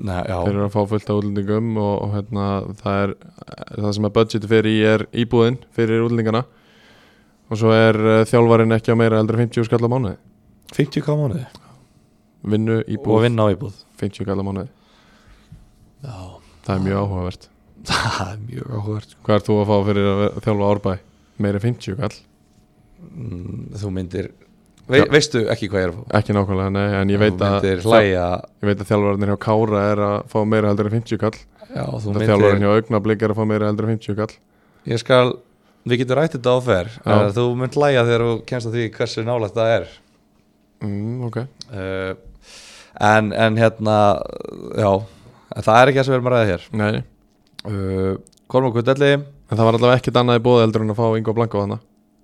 S2: Nei, já,
S1: þeir eru að fá fullt af útlendingum og, og hérna, það er það sem að budgeti fyrir í er íbúðin fyrir útlendingana og svo er uh, þjálfarin ekki á meira heldur en 50 skall á mánuði
S2: 50 hvað mánuði
S1: vinnu
S2: og
S1: íbúð,
S2: vinna á íbúð
S1: 50 skall á mánuði
S2: já, [LAUGHS]
S1: það er mjög áhugavert
S2: það er mjög áhugavert sko.
S1: hvað er þú að fá fyrir að ve- þjálfa árbæ meira en 50 skall,
S2: Mm, þú myndir vei,
S1: Já.
S2: veistu ekki hvað ég er að fá
S1: ekki nákvæmlega nei, en ég veit,
S2: þú
S1: að,
S2: myndir hlæja
S1: ég veit að þjálfarin hjá Kára er að fá meira heldur en 50 skall
S2: já, þú
S1: myndir...
S2: myndir
S1: þjálfarin hjá Augnablik er að fá meira heldur en 50 skall
S2: ég skal, við getum rætt þetta áfer
S1: Já.
S2: þú mynd hlæja þegar þú kemst að því hversu nálægt það er
S1: mm, ok,
S2: uh, en, en hérna já, en það er ekki það sem við erum að ræða hér
S1: nei
S2: uh, Kormur Kvöldelli
S1: En það var allavega ekkert annað í bóði heldur en að fá Ingo Blanko hana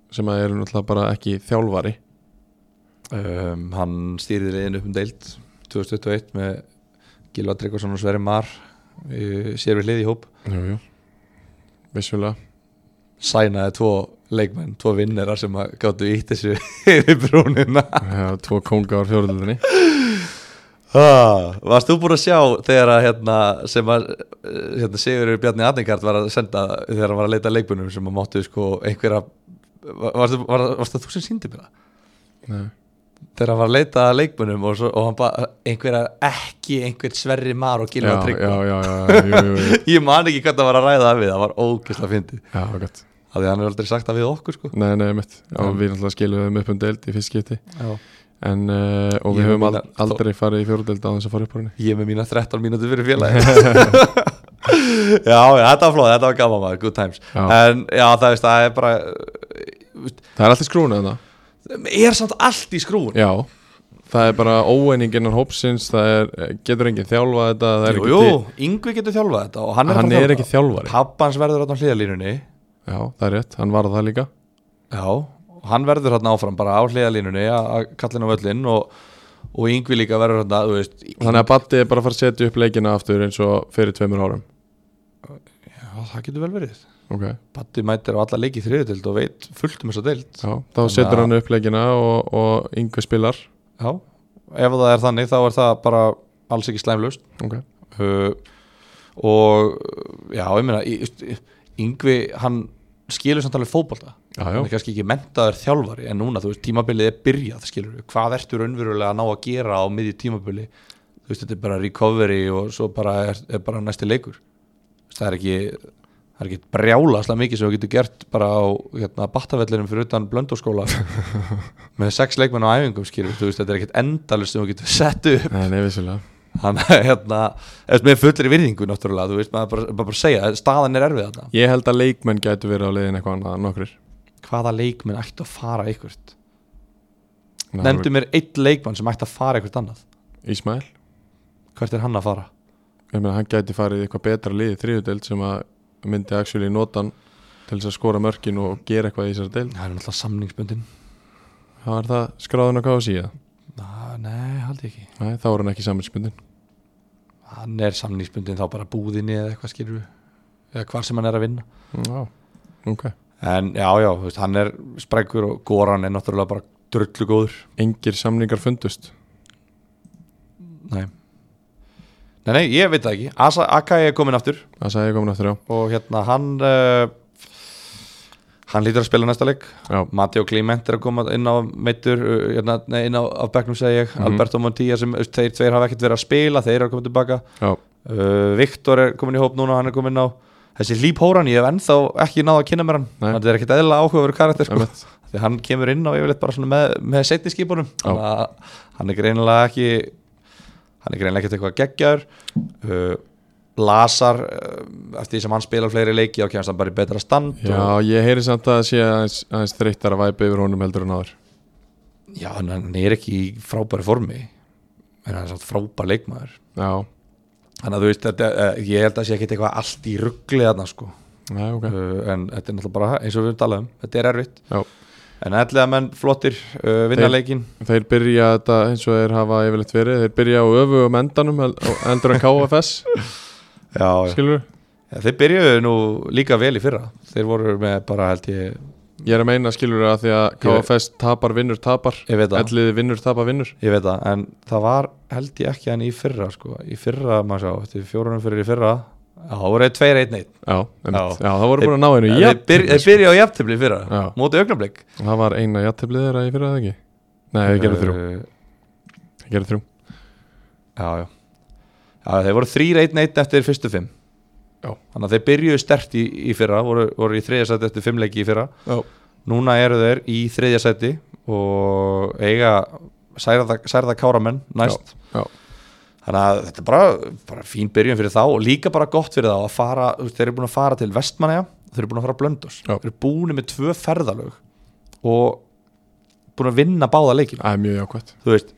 S1: sem að er náttúrulega bara ekki þjálfari
S2: um, hann stýrði liðin upp um deild 2021 með Gilva Tryggvason og Sverri Mar uh, sér við hlið í hóp
S1: Jú, jú Vissulega
S2: sænaði tvo leikmenn, tvo vinnera sem að gáttu ítt þessu [LAUGHS] yfir brúnina
S1: Já, Tvo konga ár fjóruðinni
S2: ah, Varst þú búin að sjá þegar að hérna, sem að eh, hérna, Sigur Bjarni Atningard var að senda þegar hann var að leita að leikmennum sem að máttu sko einhverja Varst, var, varst það þú sem síndi mér það?
S1: Nei,
S2: þegar hann var að leita að leikmunum og, svo, og hann bara, einhverja ekki einhvern sverri mar og gilfa
S1: já,
S2: tryggva
S1: já, já, já, jú, jú, jú.
S2: ég man ekki hvað það var að ræða það við það var ógeðslega fyndið
S1: já, gott
S2: af því að hann hefur aldrei sagt það við okkur sko.
S1: [LAUGHS] Nei, nei, mitt, já,
S2: Já.
S1: við náttúrulega skilum þeim upp um deild í fyrst skipti
S2: Já.
S1: en, uh, og við
S2: Ég
S1: höfum
S2: meina,
S1: al- aldrei farið í fjóruðdeild á þess að fara upp á henni
S2: ég með mína 13 mínútur fyrir félagi
S1: [LAUGHS]
S2: [LAUGHS] já, já, þetta var flóð, þetta var gaman maður, good times
S1: Já.
S2: en já, það, veist, það er bara
S1: Það er alltaf skrúna þetta
S2: er samt allt í skrúun
S1: Já, það er bara óeining innan hópsins, það er, getur enginn þjálfað þetta, það er
S2: jú,
S1: ekki
S2: jú, Yngvi getur þjálfað þetta og hann
S1: til,
S2: er,
S1: hann
S2: bara
S1: er
S2: þjálfari.
S1: ekki þjálfari
S2: pappans verður þarna á hliðalínunni
S1: Já, það er rétt, hann var það líka
S2: já, og hann verður þarna áfram bara á hliðalínunni að að kalla inn á völlinn og, og Yngvi líka verður þarna þú veist, í-
S1: Þannig að Batti er bara að fara að setja upp leikina aftur eins og fyrir tveimur árum
S2: já, það getur vel verið
S1: Ok,
S2: Batti mætir á alla leiki þriðutild og veit fullt um þessa deild
S1: já, þá setur hann upp leikina og, og yngve spilar
S2: já, ef það er þannig þá er það bara alls ekki slæmlaust
S1: Ok,
S2: uh, og uh, já, ég meina í- í- Yngvi, hann skilur samt alveg fótbolta
S1: já,
S2: hann er
S1: já,
S2: kannski ekki mentaður þjálfari en núna, þú veist, tímabilið er byrjað skilur við, hvað ertu raunverulega að ná að gera á miðju tímabili, þú veist, þetta er bara recovery og svo bara er, er bara næsti leikur, Þú veist, það er ekki það er ekki brjála slega mikið sem þú getur gert bara á hérna, battavellinum fyrir utan
S1: [LAUGHS]
S2: blöndóskóla með sex leikmenn á æfingum skilur, við, þú veist, þetta er ekkit endalist sem þú getur sett upp
S1: nei, nei, vissulega
S2: hann hérna, eftir með fullri virðingu náttúrulega, þú veist, maður bara, bara, bara segja staðan er erfið þetta,
S1: Ég held að leikmenn gætu verið á leiðin eitthvað annað en nokkrir
S2: hvaða leikmenn ættu að fara ykkurt,
S1: Nei,
S2: nefndu mér eitt leikmann sem ætti að fara ykkurt annað,
S1: Ísmael,
S2: hvert er hann að fara
S1: ég meina hann gæti farið í eitthvað betra liði þriðudeild sem að myndi actually notan til þess að skora mörkin og gera eitthvað í þessari deild
S2: það er náttúrulega samningsbundin
S1: Það var það skráðun á KFC eða?
S2: Ná, nei, haldi ekki,
S1: Nei, þá er hann ekki samanspundin
S2: hann er samningsbundin þá bara búðinni eða eitthvað skilur eða hvar sem hann er að vinna
S1: Já, ok
S2: en já, já, þú veist, hann er sprækur og Goran er náttúrulega bara drullu góður
S1: Engir samningar fundust
S2: nei. nei, nei, ég veit það ekki Asa, Akai er komin aftur
S1: Það sagði ég komin aftur á
S2: og hérna hann uh, hann lítur að spila næsta leik
S1: Já,
S2: Matti og Kliment er að koma inn á meittur uh, hérna, nei, inn á, á bekknum segi ég
S1: Mhm.
S2: Alberto Montilla sem þú veist, þeir tveir hafa ekkert verið að spila þeir eru að koma tilbaka
S1: já,
S2: uh, Viktor er komin í hóp núna, hann er komin á þessi Líp Hóran, ég hef ennþá ekki náða að kynna mér hann,
S1: Nei.
S2: þetta er ekkert eðla áhugaveru karakter sko,
S1: emitt
S2: því hann kemur inn á yfirleitt bara svona með, með setni skipunum
S1: Já.
S2: þannig að hann er greinilega ekki hann er greinilega ekkert eitthvað geggjaður uh, Lazar uh, eftir því sem hann spilar fleiri leiki þá kemst hann bara í betra stand
S1: Já,
S2: og,
S1: ég heyri samt að það sé aðeins, aðeins þreyttar að væpa yfir honum heldur en áður
S2: já en hann er ekki í frábæri formi en hann er samt frábær leikmaður
S1: Já,
S2: þannig að þú veist, þetta, uh, ég held að sé ekkert eitthvað allt í ruggli þarna sko
S1: já, ok
S2: uh, en þetta er náttúrulega bara eins og við höfum talað um þetta er erfitt
S1: Já.
S2: en ætliða menn flottir uh, vinna
S1: Þeir-
S2: leikin
S1: Þeir byrja þetta eins og þeir hafa yfirleitt verið Þeir byrja á öfugum endanum hel- á- heldur en KFS,
S2: [LAUGHS] já, já.
S1: skilur
S2: þeir byrjuðu nú líka vel í fyrra þeir voru með bara held ég
S1: Ég er að meina skilur að því að KFS tapar, vinnur, tapar
S2: ég veit það,
S1: Elliði vinnur, tapar, vinnur
S2: ég veit það en það var held ég ekki hann í fyrra sko. í fyrra, maður sjá, eftir fjórunum fyrir í fyrra já, það voru tveir einn einn
S1: Já, emitt
S2: Já.
S1: Já, það voru búin að ná einu sko.
S2: þeir byrja- þeir byrjuðu á jafntefli í fyrra
S1: Já.
S2: móti augnablik
S1: Það var eina játtiflið þeirra í fyrra eða ekki Nei, ég gerði þrjú,
S2: Uh,
S1: ég gerði þrjú
S2: já, já. já, þeir voru þrýr einn eitt eftir fyrstu fimm
S1: Já.
S2: þannig að þeir byrjuðu stert í, í fyrra voru, voru í þriðja sæti eftir fimm leiki í fyrra
S1: Já.
S2: núna eru þeir í þriðja sæti og eiga særða, særða káramenn næst
S1: Já, já.
S2: þannig að þetta er bara, bara fín byrjun fyrir þá og líka bara gott fyrir þá að fara þú veist, þeir eru búin að fara til Vestmannaja þeir eru búin að fara að Blöndos
S1: Já.
S2: þeir eru búin með tvö ferðalög og búin að vinna báða leikina
S1: Það er mjög jákvæmt
S2: þú veist,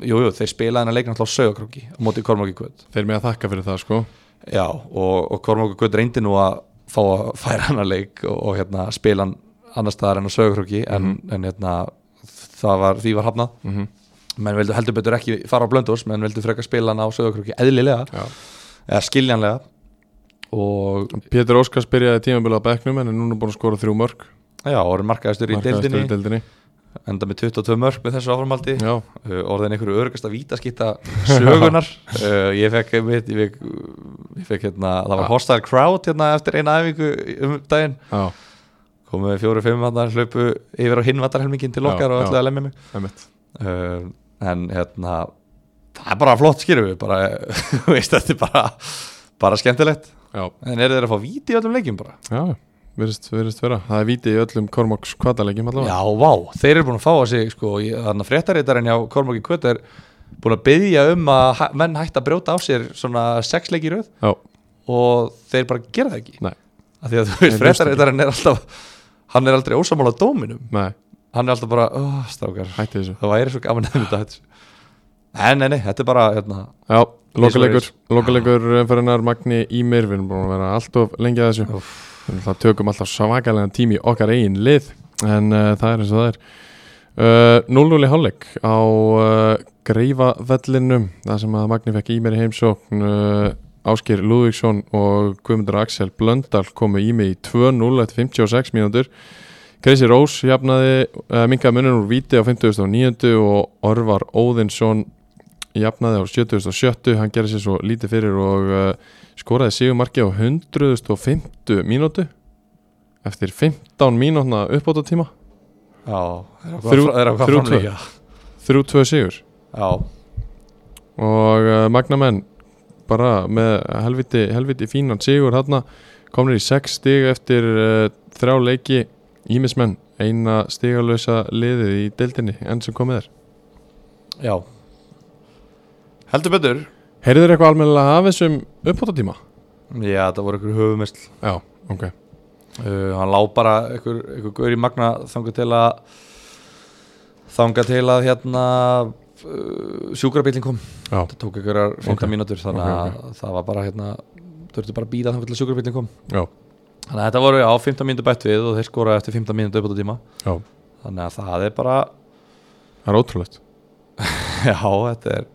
S2: jújú, jú, þeir spilaði hennar leikna alltaf á sögakróki á móti Kormáki Kvöld
S1: Þeir með að þakka fyrir það sko
S2: já, og, og Kormáki Kvöld reyndi nú að fá að færa hennar leik og, og hérna, spila hann annar staðar en á sögakróki en, en hérna, það var, því var hafnað
S1: mm
S2: menn vildu heldur betur ekki fara á blöndos menn vildu frekar spila hann á sögakróki eðlilega eða skiljanlega og
S1: Pétur Óskars byrjaði tímabili á bekknum en er núna búin að skora þrjú mörg
S2: já, orðin markaðistur í
S1: Markahæstur
S2: deildinni
S1: í deildinni.
S2: enda með 22 mörg með þessu áframaldi
S1: Já,
S2: uh, orðin einhverju örgasta vítaskitta [LAUGHS] sögunar uh, ég fekk, einmitt- ég fekk, ég fekk hérna, það var hostile crowd hérna eftir eina æfingu um daginn
S1: já,
S2: komum við fjóru-fimm hann hlaupu yfir á hinvatarhelmingin til
S1: Já,
S2: okkar og
S1: já.
S2: ætlaði að lemja mig
S1: emitt
S2: uh, en hérna það er bara flott skilur við bara, [LAUGHS] þú veist, þetta er bara bara skemmtilegt,
S1: Já,
S2: en eru þeir að fá víti í öllum leikjum bara?
S1: já, virðist, virðist vera Það er vítið í öllum Kormoks kvatalegjum allavega
S2: Já, vá, þeir eru búin að fá að sig sko, í- þarna fréttarítarinn hjá Kormáki Kvöt er búin að byggja um að hæ- menn hægt að brjóta á sér svona sex leiki í röð
S1: Já,
S2: og þeir bara gera það ekki
S1: Nei.
S2: af því að þú veist,
S1: Nei, ljóst ekki.
S2: fréttarítarinn er alltaf hann er aldrei ósamála dóminum
S1: nei,
S2: hann er alltaf bara, oh, strákar
S1: hætti þessu
S2: það væri svo gaman að mynda þetta en, nei, nei, þetta er bara hérna,
S1: Já, lokalegur,
S2: Ísvaris.
S1: lokalegur umfyrirnar Magni Ímir, við erum búin að vera allt of lengi að þessu Þannig það tökum alltaf svakalega tími í okkar eigin lið en uh, það er eins og það er Uh, 0-0 í hálfleik á uh, greifavellinum það sem að Magni fekk í mér í heimsókn uh, Áskir Lúðvíksson og Guðmundur Axel Blöndal komu í mig í 2-0 eftir 56 mínútur Krisi Rós jafnaði uh, minkaði munur úr víti á 59 og Orvar Óðinsson jafnaði á 77 hann gerði sér svo lítið fyrir og uh, skoraði sigumarki á 150 mínútu eftir 15 mínútna uppbóta tíma
S2: já, þeir eru að-
S1: Þrjú-
S2: þeir eru að
S1: þrjú
S2: hvað framlega
S1: 3-2 sigur
S2: já,
S1: og uh, Magnamenn bara með helviti, helviti fínan sigur hérna komnir í 6 stig eftir uh, þrjá leiki Ímismenn, eina stigalösa liðið í deildinni enn sem komið er
S2: já heldur betur
S1: Heyrður eitthvað almennilega af þessum uppbótatíma?
S2: já, það voru ykkur höfumist
S1: Já, ok
S2: uh, hann lá bara einhver, einhver gaur í magna þanga til að þanga til að hérna uh, sjúkrabílinn kom
S1: Já,
S2: það tók einhverjar 15
S1: Ok.
S2: mínútur þannig að
S1: Ok,
S2: það var bara hérna þurftu bara að býða þanga til að sjúkrabílinn kom
S1: já,
S2: þannig að þetta voru á 15 mínútur bætt við og þeir skora eftir 15 mínútur upp á tíma
S1: já
S2: þannig að það er bara
S1: Það er ótrúlegt
S2: já, þetta er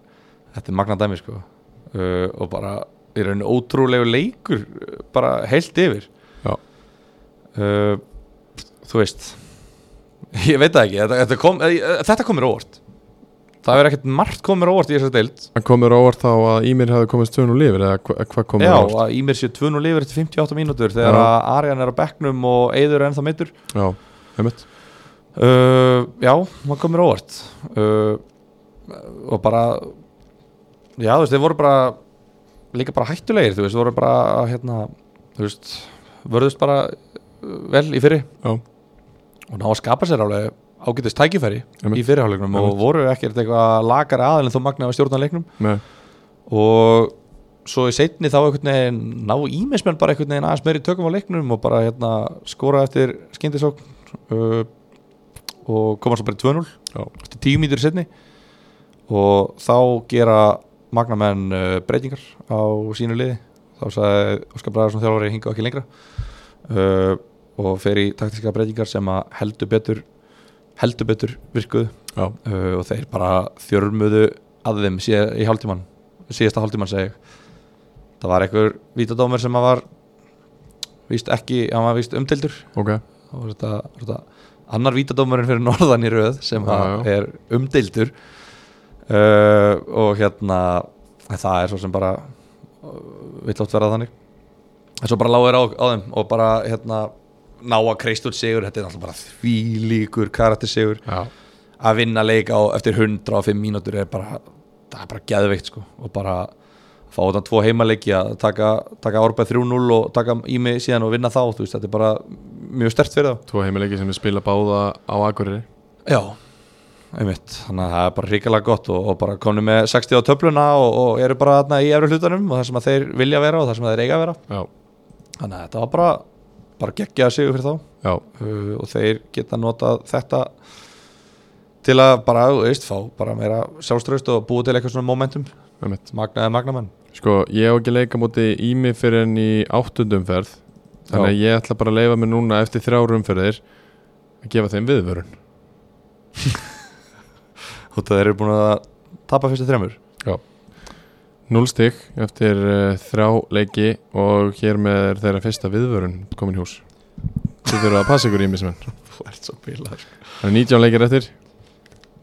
S2: þetta er magna dæmi sko uh, og bara í rauninu ótrúlegu leikur uh, bara heilt yfir
S1: Já,
S2: uh, þú veist ég veit það ekki, þetta, þetta, kom, eh, þetta komir óvart það er ekkert margt komir óvart í þessar deild
S1: það komur óvart þá að Ímir hefði komist tvön og lifir eða hva- hvað komur
S2: já,
S1: óvart
S2: að í mér sé 2 og lifir eftir 58 mínútur þegar
S1: Já.
S2: að Arjan er á bekknum og Eyður er ennþá meittur
S1: Já, einmitt
S2: uh, já, það komir óvart uh, og bara já, þú veist, þeir voru bara líka bara hættulegir, þú veist, voru bara hérna, þú veist vörðust bara uh, vel í fyrri
S1: Já,
S2: og ná að skapa sér alveg ágætist tækifæri
S1: Einmitt.
S2: í fyrirháleiknum og
S1: Einmitt.
S2: voru ekkert eitthvað lagara aðeins þó magnaði að stjórna leiknum
S1: með,
S2: og svo í seinni þá einhvern veginn ná ímismenn bara einhvern veginn aðeins meiri tökum á leiknum og bara hérna, skora eftir skyndisókn uh, og koma svo bara í 2-0
S1: já,
S2: eftir 10 mítur setni og þá gera magnamenn uh, breytingar á sínu liði þá sagði Óskar Bræðarsson þjálfari hinga ekki lengra uh, og fer í taktiska breytingar sem að heldur betur heldur betur virkuðu
S1: já,
S2: uh, og þeir bara þjörmuðu að þeim síða, í hálftíman síðasta hálftíman segi ég það var einhver vítadómur sem að var víst ekki, hann var víst umtildur
S1: ok
S2: og var þetta, var þetta annar vítadómurinn fyrir norðan í röð sem
S1: Já,
S2: já,
S1: já.
S2: er umdeildur uh, og hérna en það er svo sem bara eh, vill átt vera þannig en svo bara lágur á, á þeim og bara hérna ná að kreist út sigur þetta er náttúrulega bara því líkur karaktersigur
S1: Já,
S2: að vinna leik á eftir 105 mínútur er bara, það er bara geðveikt sko og bara fá þetta tvo heimaleiki að taka, taka árbæð 3-0 og taka í mig síðan og vinna þá þú veist, þetta er bara mjög stert fyrir þá
S1: tvo heimileiki sem við spila báða á Akureyri
S2: Já, einmitt þannig að það er bara ríkilega gott og, og bara komnum með 60 á töfluna og, og eru bara þarna í efri hlutanum og það sem að þeir vilja vera og það sem að þeir eiga að vera
S1: Já,
S2: þannig að þetta var bara, bara geggjaða sigur fyrir þá
S1: já,
S2: uh, og þeir geta notað þetta til að bara, þú veist, fá bara meira sjálfströðst og búa til eitthvað svona momentum
S1: einmitt
S2: magnaði magnamenn
S1: Sko, ég á ekki að leika móti ími fyrir enn í áttundumferð Þannig að ég ætla bara að leifa mig núna eftir þrjárum fyrir þeir að gefa þeim viðvörun
S2: og þeir eru búin að tapa fyrstu þremur
S1: 0 stygg eftir uh, þrjá leiki og hér með er þeirra fyrsta viðvörun komin í hús Þið þurfa að passa ykkur ímismenn
S2: þú ert svo bílar
S1: Það er 19 leikir eftir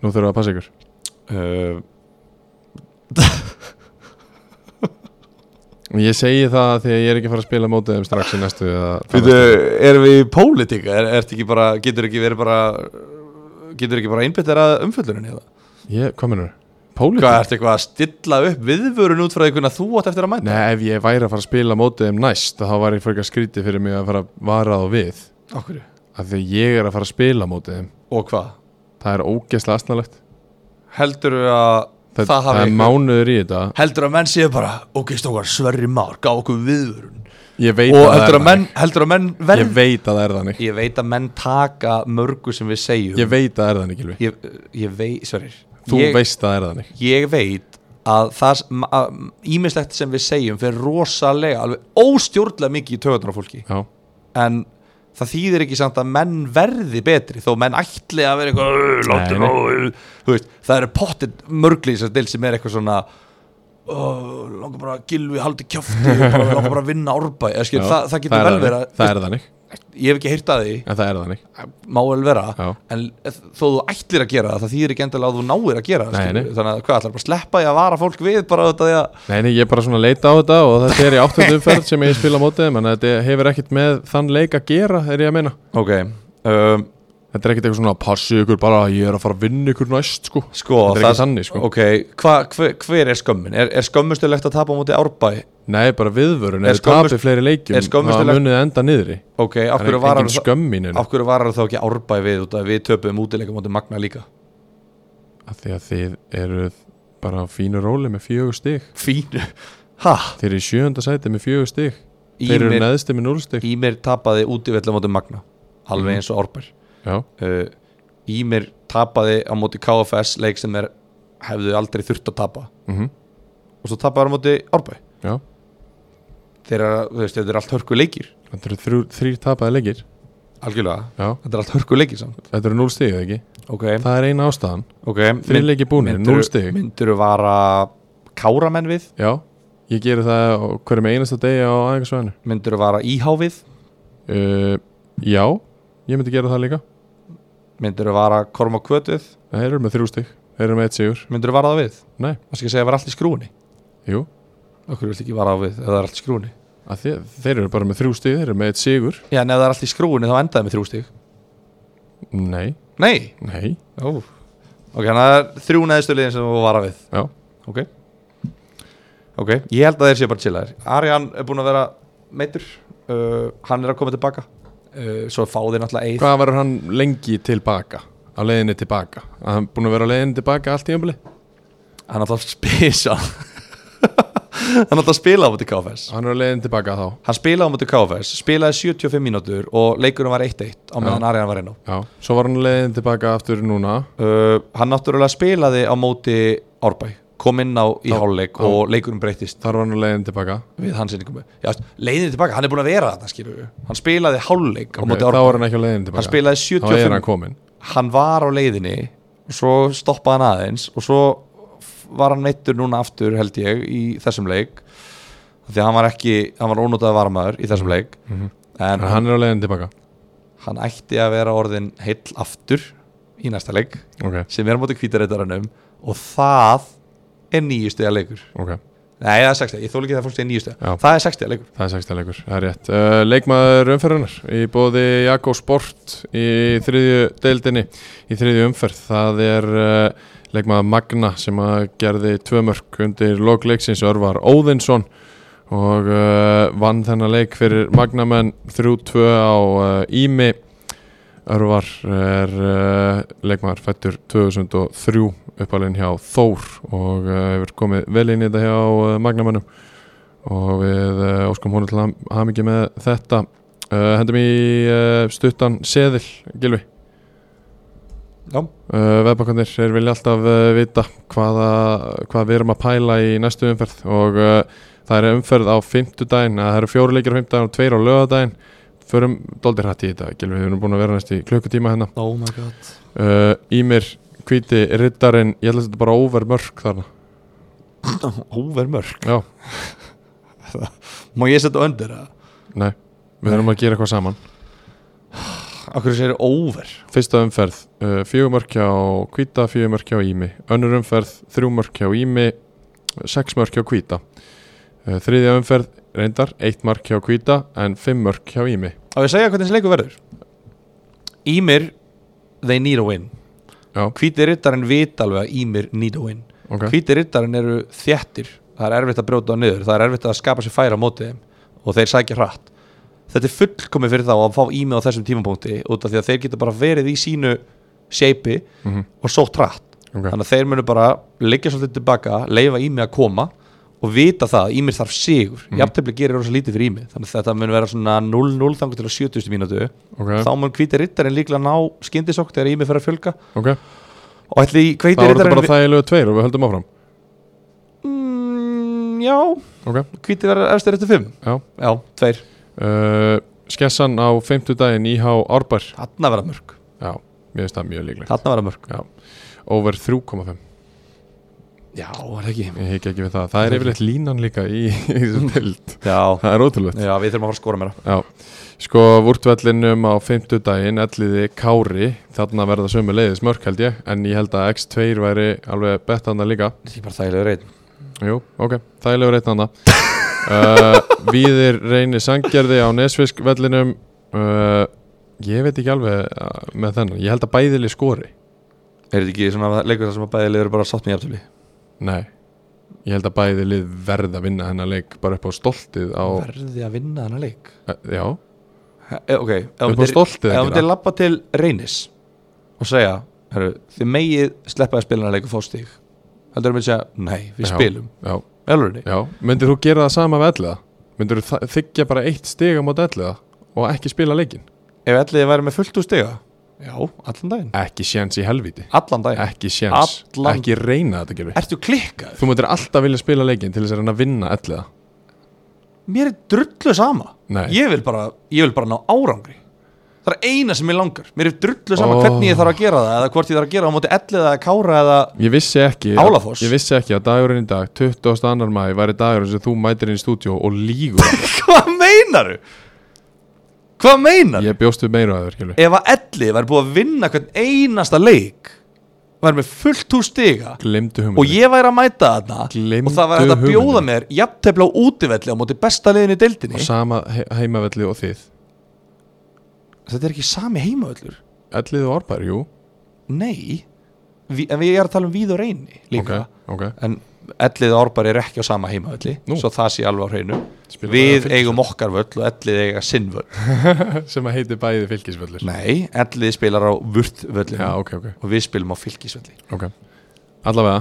S1: Nú þurfa að passa ykkur
S2: uh,
S1: Ég segi það því að ég er ekki að fara að spila mótið þeim strax í næstu eða þar
S2: Býtu,
S1: næstu.
S2: erum við í pólitík? Er, ertu ekki bara, getur ekki verið bara getur ekki bara einbyttir að umfylluninni eða?
S1: Ég, hvað mennur? Pólitík?
S2: Hvað ertu eitthvað að stilla upp viðvörun út frá einhvern að þú átt eftir að mæta?
S1: Nei, ef ég væri að fara að spila mótið þeim næst þá var ég fyrir skrítið fyrir mig að fara að vara þá við
S2: Okkur.
S1: af því að ég er að fara að spila mótið þeim
S2: Og hvað?
S1: það er ógeðslega astnalegt
S2: Heldur að
S1: það,
S2: það,
S1: það,
S2: hafi
S1: er
S2: eitthvað-
S1: mánuður í þetta
S2: Heldur að menn séu bara, ok stókar, sverri már, gá okkur viðvörun
S1: ég veit, að,
S2: Og
S1: það
S2: heldur
S1: er
S2: að menn, heldur að menn
S1: þannig.
S2: verð
S1: ég veit að það er þannig
S2: Ég veit að menn taka mörgu sem við segjum
S1: ég veit að það er þannig Gylfi.
S2: ég, eh, ég veit, sverir
S1: þú
S2: ég,
S1: veist að það er þannig
S2: ég veit að það sem- að ímislegt sem við segjum fyrir rosalega, alveg óstjórnlega mikið í töðunar á fólki
S1: já,
S2: en það þýðir ekki samt að menn verði betri þó menn ætli að vera eitthvað "Ö,
S1: Nei, nei.
S2: láttu nú, ö." Þú veist, það eru pottit mörgli í þessar del sem er eitthvað svona "Ó, langar bara að gilvi haldi kjafti
S1: [LAUGHS]
S2: og bara, langar bara að vinna árbæ Eski,
S1: já,
S2: það, það getur
S1: er
S2: vel
S1: þannig.
S2: vera
S1: það er þannig,
S2: ég hef ekki heyrt að því,
S1: en það er þannig
S2: má vel vera
S1: já,
S2: en þó þú ætlir að gera það það þýðir ekki endilega að þú náir að gera það
S1: Nei,
S2: skilur. þannig að hvað ætlar bara að sleppa því að vara fólk við bara þetta því að
S1: nei, nei, ég er bara svona að leita á þetta og þetta er í
S2: [LAUGHS]
S1: áttundu umferð sem ég spila mótið þeim en þetta hefur ekkert með þann leik að gera er ég að meina
S2: ok, um,
S1: þetta er ekkert eitthvað svona að passi ykkur bara að ég er að fara að vinna ykkur næst sko
S2: sko
S1: Þetta er ekki þannig, sko.
S2: ok, hva, hver, hver er skömmin? Er, er skömmustulegt að tapa á móti árbæ?
S1: Nei, bara viðvörun,
S2: Er
S1: ef þið tapir
S2: skömmust-
S1: fleiri leikjum
S2: er skömmustulegt-
S1: þá munið þið enda niðri
S2: ok, af
S1: Það er
S2: hverju varar
S1: engin
S2: þá-
S1: skömmin
S2: af hverju varar þá ekki árbæ við út af við töpuðum útileika móti magna líka
S1: af því að þið eruð bara á fínu róli með fjögur stig
S2: fínu, ha?
S1: Þeir eru í sjönda sæti með fjögur stig Þeir eru
S2: Ímir,
S1: neðsti með núl stig
S2: Ímir tapaði útivella móti magna
S1: Mhm.
S2: alveg eins og árbær
S1: Já,
S2: uh, Ímir tapaði á móti KFS leik sem er hefðu aldrei þurft að tapa
S1: mm
S2: og svo tapaði á móti árbæ
S1: já
S2: þeirra, þú veist, þetta er allt hörku leikir
S1: Þetta eru þrjú, þrýr tapaði leikir
S2: algjörlega,
S1: Já,
S2: þetta er allt hörku leikir samt
S1: þetta eru núl stig, eða ekki?
S2: ok,
S1: Það er eina ástæðan
S2: ok
S1: Þrýr leikir búinir, núl stig
S2: myndur vara káramenn við
S1: Já, ég geri það á hverjum einasta degi á æfingasvæðinu
S2: myndur vara íhávið
S1: uh, Já, ég myndi gera það líka
S2: myndur vara korma kvötuð
S1: Þeir eru með þrjú stig, þeir eru með eitt sigur
S2: myndur vara það við,
S1: Nei,
S2: það skal segja að vera allt í skrúni
S1: jú
S2: okkur vilt ekki vara það við, ef það er allt í skrúni
S1: að þeir, þeir eru bara með þrjú stig, þeir eru með eitt sigur
S2: já, en ef það er allt í skrúni þá endaði með þrjú stig
S1: Nei,
S2: nei,
S1: nei,
S2: Ó. ok, þannig að það er þrjú neðstu liðin sem þú vara við
S1: já
S2: ok ok, ég held að þeir séu bara chillaðir Arjan er búin að vera meitur uh, hann er að koma tilbaka uh, svo fá þeir náttúrulega eið
S1: Hvað verður hann lengi tilbaka? Á leiðinni tilbaka? Að hann búin að vera á leiðinni tilbaka allt í ömbli?
S2: hann er náttúrulega spisa [LAUGHS] hann er náttúrulega að spila á móti KFS
S1: Hann er á leiðinni tilbaka þá
S2: hann spilaði á móti KFS, spilaði 75 mínútur og leikurinn var 1-1 á meðan Arjan var inn á
S1: Já, svo var hann á leiðinni tilbaka aftur núna
S2: uh, hann náttúrulega spilaði á móti Árbæ, kom inn á í
S1: Já,
S2: hálfleik
S1: já.
S2: og leikurinn breytist
S1: Þar var hann á leiðinni tilbaka
S2: við hans innkomu leiðin tilbaka, hann er búin að vera þetta skilur hann spilaði hálfleik á
S1: okay,
S2: móti
S1: Þá
S2: Árbæ
S1: var hann ekki á leiðinni
S2: hann
S1: tilbaka
S2: spilaði
S1: Þá er
S2: 75
S1: hann kominn
S2: hann var á leiðinni og svo stoppaði hann aðeins og svo f- var hann meittur núna aftur held ég í þessum leik Af því að hann var ekki, hann var ónótaði varmaður í þessum leik
S1: Mhm.
S2: en
S1: En
S2: hann,
S1: hann er á leiðinni tilbaka
S2: hann ætti að vera orðin heill aftur í næsta leik
S1: Ok,
S2: sem er á móti kvítareitarannum og það er nýjustuða leikur
S1: ok,
S2: nei það er sextuða, ég þóla ekki það fólk segir
S1: Já.
S2: nýjustuða það er sextuða leikur
S1: það er sexta leikur, það er rétt uh, Leikmaður umferðunar í bóði Jakko Sport í þriðju deildinni í þriðju umferð það er uh, leikmaður Magna sem að gerði tvö mörk undir lokleiksins Örvar Óðinsson og uh, vann þennan leik fyrir Magnamenn 3-2 á uh, Ími Örvar er uh, leikmaður fættur 2003 uppalinn hjá Þór og uh, hefur komið vel inn í þetta hjá uh, Magnamennum og við uh, óskum honum til ham hamingi með þetta uh, hendum í uh, stuttan seðil, Gilvi
S2: Já.
S1: uh, veðbakkandir, þeir vilja alltaf uh, vita hvaða, hvað við erum að pæla í næstu umferð og uh, það er umferð á fimmtudaginn að það eru fjóru leikir á fimmtudaginn og tveir á lögadaginn förum doldir hætt í þetta, Gilvi, við erum búin að vera næst í klukkutíma hérna
S2: oh my god
S1: uh, Ímir, hvíti, riddarinn ég held að þetta bara over mörk þarna
S2: óver mörg [LAUGHS]
S1: já,
S2: má ég setja undir það?
S1: nei, við erum að gera eitthvað saman
S2: okkur sér óver
S1: Fyrsta umferð, uh, fjögumörk hjá Kvíta, fjögumörk hjá Ími. Önnur umferð, þrjúmörk hjá Ími, sexmörk hjá Kvíta. Uh, þriðja umferð, reyndar, eitt mark hjá Kvíta en fimmmörk hjá Ími.
S2: Á ég að segja hvernig þessi leikur verður Ímir, they need a win
S1: Já,
S2: hvíti rittarinn vit alveg að Ímir need a win
S1: ok
S2: hvíti rittarinn eru þjættir það er erfitt að brjóta á niður, það er erfitt að skapa sér færa á móti þeim og þeir sækja hratt þetta er fullkomið fyrir þá að fá ími á þessum tímapunkti út af því að þeir geta bara verið í sínu seipi
S1: Mhm.
S2: og sótt hratt
S1: Ok.
S2: þannig að þeir munu bara liggja svolítið tilbaka, leifa ími að koma og vita það að ímir þarf sigur mm -hmm. jafntefli gerir rosa lítið fyrir ími þannig að þetta mun vera svona 0-0 þangur til að 70 mínútu
S1: Ok,
S2: þá mun hvíti rittarinn líklega ná skyndisokk þegar ími fer að fjölga
S1: ok
S2: og ætli
S1: Þá
S2: hvíti
S1: eru þetta bara
S2: rittarinn
S1: þægilegu tveir og við höldum áfram
S2: mm, já,
S1: Ok,
S2: Hvítið verður efstir eftir 5
S1: já
S2: Já, tveir
S1: uh, Skessan á 50 daginn íhá Árbær
S2: Þarna verða mörg
S1: Já, mér finnst það mjög líklegt
S2: Þarna verða mörg
S1: Over 3,5
S2: Já, var það ekki
S1: Ég hekki ekki við það Það er yfirleitt línan líka í, [LAUGHS] í þessu tild
S2: Já,
S1: Það er ótrúlegt
S2: já við þurfum að fara að skora meira
S1: Já, sko vúrtvellinum á 50 daginn elliði Kári Þarna verða sömu leiðis mörk held ég En ég held að X2 væri alveg bett handa líka
S2: Þetta er bara þægilega reynd
S1: Jú, ok, þægilegur eitt handa
S2: [LAUGHS]
S1: uh, Víðir reynir sangjarði á Nesfiskvellinum uh, Ég veit ekki alveg uh, með þennan Ég held að bæðili skori
S2: Er þetta ekki svona leikur þar sem að bæði liður bara sátt með jafntöfli
S1: Nei, ég held að bæði lið verð að vinna hennar leik bara upp á stoltið á,
S2: Verði að vinna þennan leik
S1: Eh, já,
S2: e, Ok ef
S1: upp á
S2: myndir-
S1: stoltið að
S2: Ef þú myndir
S1: gera
S2: lappa til reynis Og segja heru, Þið megið sleppaði spilina leik og fá stig Heldur að myndir segja Nei, við
S1: Já.
S2: spilum
S1: já,
S2: Elurni
S1: já, myndir þú gera það sama við elliða? Myndir þú þa- þiggja bara eitt stiga mot elliða og ekki spila leikin?
S2: Ef ætliði væri með fullt úr stiga Já, allan daginn
S1: Ekki séns í helviti
S2: Allan daginn
S1: Ekki séns,
S2: Allan-
S1: ekki reyna þetta gerfi
S2: Ertu klikkað?
S1: Þú myndir alltaf vilja spila leikin til þess að reyna að vinna elliða
S2: mér er drullu sama
S1: Nei.
S2: ég vil, bara, ég vil bara ná árangri það er eina sem ég langar mér er drullu
S1: Ó.
S2: sama hvernig ég þarf að gera það eða hvort ég þarf að gera það á móti elli eða kára eða [LAUGHS]
S1: Ég vissi ekki
S2: Álafoss.
S1: Ég vissi ekki að dagurinn í dag, 22. maður væri dagurinn sem þú mætir inn í stúdíó og lígur
S2: [LAUGHS] hvað meinaru? hvað meinaru?
S1: Ég bjóst við meira að þér, skilur
S2: ef að elli væri búið að vinna hvern einasta leik væri með fullt úr stiga
S1: Glemdu
S2: og
S1: hugmyndinni
S2: ég væri að mæta þarna
S1: Gleymdu
S2: og það væri hægt að bjóða
S1: hugmyndinni.
S2: mér jafntefla á útivelli á móti besta liðin í
S1: á
S2: deildinni
S1: sama he heimavelli og þið
S2: þetta er ekki sami heimavöllur
S1: Ellið og árbær, jú
S2: nei Vi, en ég er að tala um víð og reyni líka
S1: Ok, ok.
S2: en ellið árbar er ekki á sama heimavalli
S1: Nú.
S2: svo það sé alveg á hreinu
S1: Spila
S2: við
S1: bara á
S2: eigum okkar völl og ellið eiga sinn völl
S1: [LAUGHS] Sem að heiti bæði fylgisvöllur
S2: nei, ellið spilar á vurt völlinu
S1: Já, ok, ok,
S2: og við spilum á fylgisvölli
S1: ok Allavega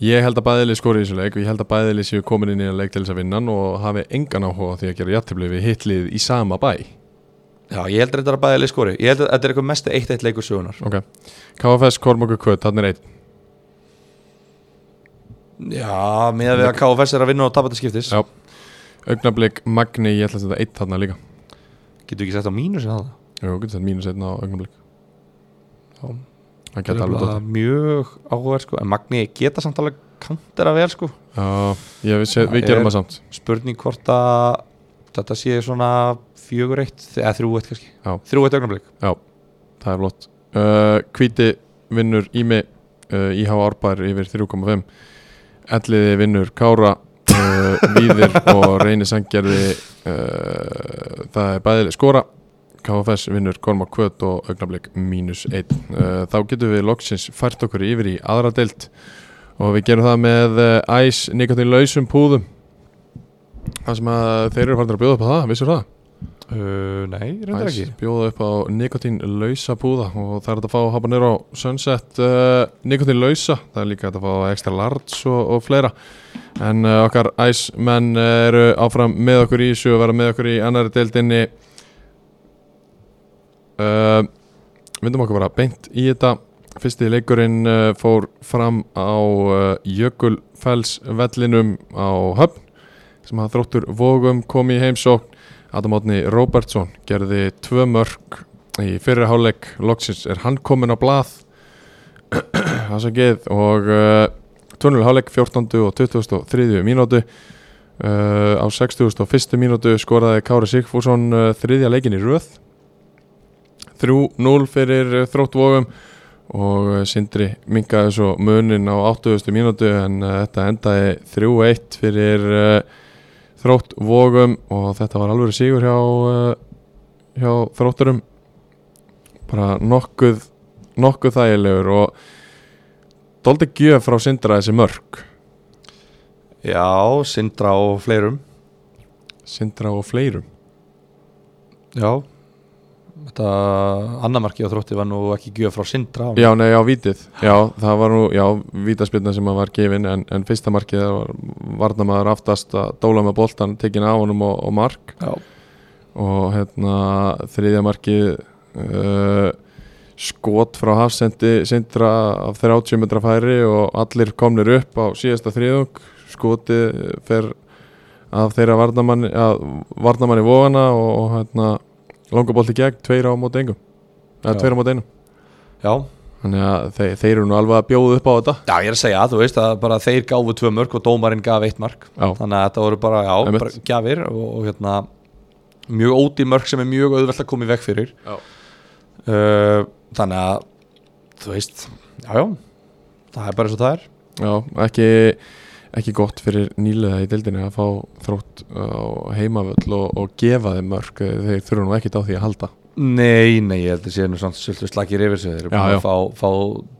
S1: Ég held að bæðili skori í þessu leik og ég held að bæðili séu komin inn í að leik til þess að vinna hann og hafi engan áhuga á því að gera jættibli við hitlið í sama bæ
S2: já, ég heldur þetta að bæða leið skori ég heldur þetta er eitthvað mest eitt eitt leikur sögunar
S1: Ok KFS Kormokur Kvöt, hann er einn
S2: já, með að við að KFS er að vinna og tapa þetta skiptis
S1: Já. Augnablík Magni, ég ætla að þetta eitt þarna líka
S2: getur ekki sett á mínus en það
S1: Jú, getur þetta mínus einn á augnablik
S2: Já.
S1: Það
S2: það
S1: geta
S2: er
S1: alveg
S2: bara
S1: dótt
S2: mjög áhver sko. en Magni geta samt alveg kantera vel sko.
S1: Já, ég, við, sé, við
S2: Það
S1: gerum
S2: er-
S1: það samt
S2: spurning hvort að þetta sé svona fjögur eitt eða þrjú eitt kannski
S1: Já.
S2: þrjú eitt augnablik
S1: Já, það er flott uh, Hvíti vinnur Ími uh, IH Árbær yfir 3,5 Elliði vinnur Kára uh, Víðir og Reyni Sangjarði uh, Það er bæðileg skora KFS vinnur Korma Kvöt og augnablik mínus 1 uh, Þá getum við loksins fært okkur yfir í aðra deilt og við gerum það með uh, æs nikotin lausum púðum Það sem að þeir eru farin að bjóða upp á það, vissur það?
S2: Uh, nei, reyndar
S1: Æs,
S2: ekki
S1: bjóða upp á nikotín lausa púða og það er hægt að fá að hapa nýra á Sunset uh, nikotín lausa, það er líka hægt að fá extra large og, og fleira en uh, okkar æsmenn uh, eru áfram með okkur í þessu og vera með okkur í annari deildinni uh, Vindum okkur bara beint í þetta Fyrsti leikurinn uh, fór fram á uh, Jökulfellsvellinum á Höfn sem að þróttur Vogum kom í heimsókn Adam Átni Róbertsson gerði tvö mörg í fyrri hálfleik loksins er hann komin á blað [CLEARS THROAT] afsakið og uh, tunnel hálfleik 14. og 23. mínútu uh, á 61. mínútu skoraði Kári Sigfússon uh, þriðja leikin í röð 3-0 fyrir uh, þróttvogum og uh, Sindri minkaði svo munin á 80. mínútu en uh, þetta endaði 3-1 fyrir uh, þrótt vogum og þetta var alveg sigur hjá, eh, hjá þrótturum bara nokkuð nokkuð þægilegur og doldi gjöf frá Sindra þessi mörg
S2: Já, Sindra og fleirum
S1: Sindra og fleirum
S2: Já Þetta annamarki á þrótti var nú ekki gjöf frá Sindra
S1: Já, nei, já, vítið Já, það var nú, já, vítaspilna sem að var gefin en, en fyrsta markið það var varnamaður aftast að dóla með boltan tekin af honum og, og mark
S2: Já.
S1: og hérna þriðja markið uh, skot frá hafsendi sindra af 30 metra færi og allir komnir upp á síðasta þriðung skotið fer af þeirra varnamanni, að, varnamanni vóana og, og hérna langabolti gegn, tveir á móti engum eða
S2: Já.
S1: tveir á móti einum
S2: Já.
S1: þannig að þeir, þeir eru nú alveg að bjóða upp á þetta
S2: Já, ég er að segja, þú veist að bara þeir gáfu tvö mörg og dómarinn gaf eitt mark
S1: já,
S2: þannig að þetta voru bara, já,
S1: Einmitt.
S2: bara gjafir og, og hérna mjög óti mörg sem er mjög auðvelt að koma í veg fyrir
S1: Já.
S2: uh, þannig að þú veist, já, já það er bara eins og það er
S1: já ekki, ekki gott fyrir nýlega í dildinni að fá þrótt uh, á heimavöll og, og gefa þeim mörg þeir þurfa nú ekkit á því að halda
S2: Nei, nei, ég held að sé nú samt svolítið slakir yfir sig þeir eru
S1: Já,
S2: búin
S1: já.
S2: að fá, fá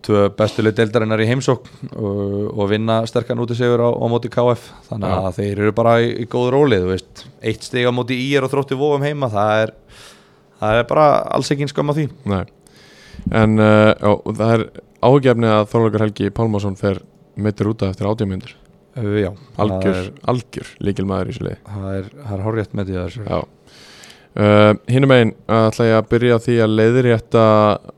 S2: tvö bestu leitdeildarinnar í heimsókn og, og vinna sterkan út í sigur á, á móti KF þannig
S1: Já.
S2: að þeir eru bara í, í góð rólið þú veist, eitt stig á móti í er og þrótti vofum heima það er, það er bara alls ekki skam á því
S1: Nei. en uh, já, og það er ágefni að Þorlokar Helgi Pálmarsson fer meittur úta eftir átjámyndur
S2: uh, Já,
S1: algjör,
S2: það er,
S1: algjör líkil maður í svo liði
S2: það er, það er hárjætt með því að þessu
S1: já Uh, Hinnum einn ætla ég að byrja á því að leiðrétta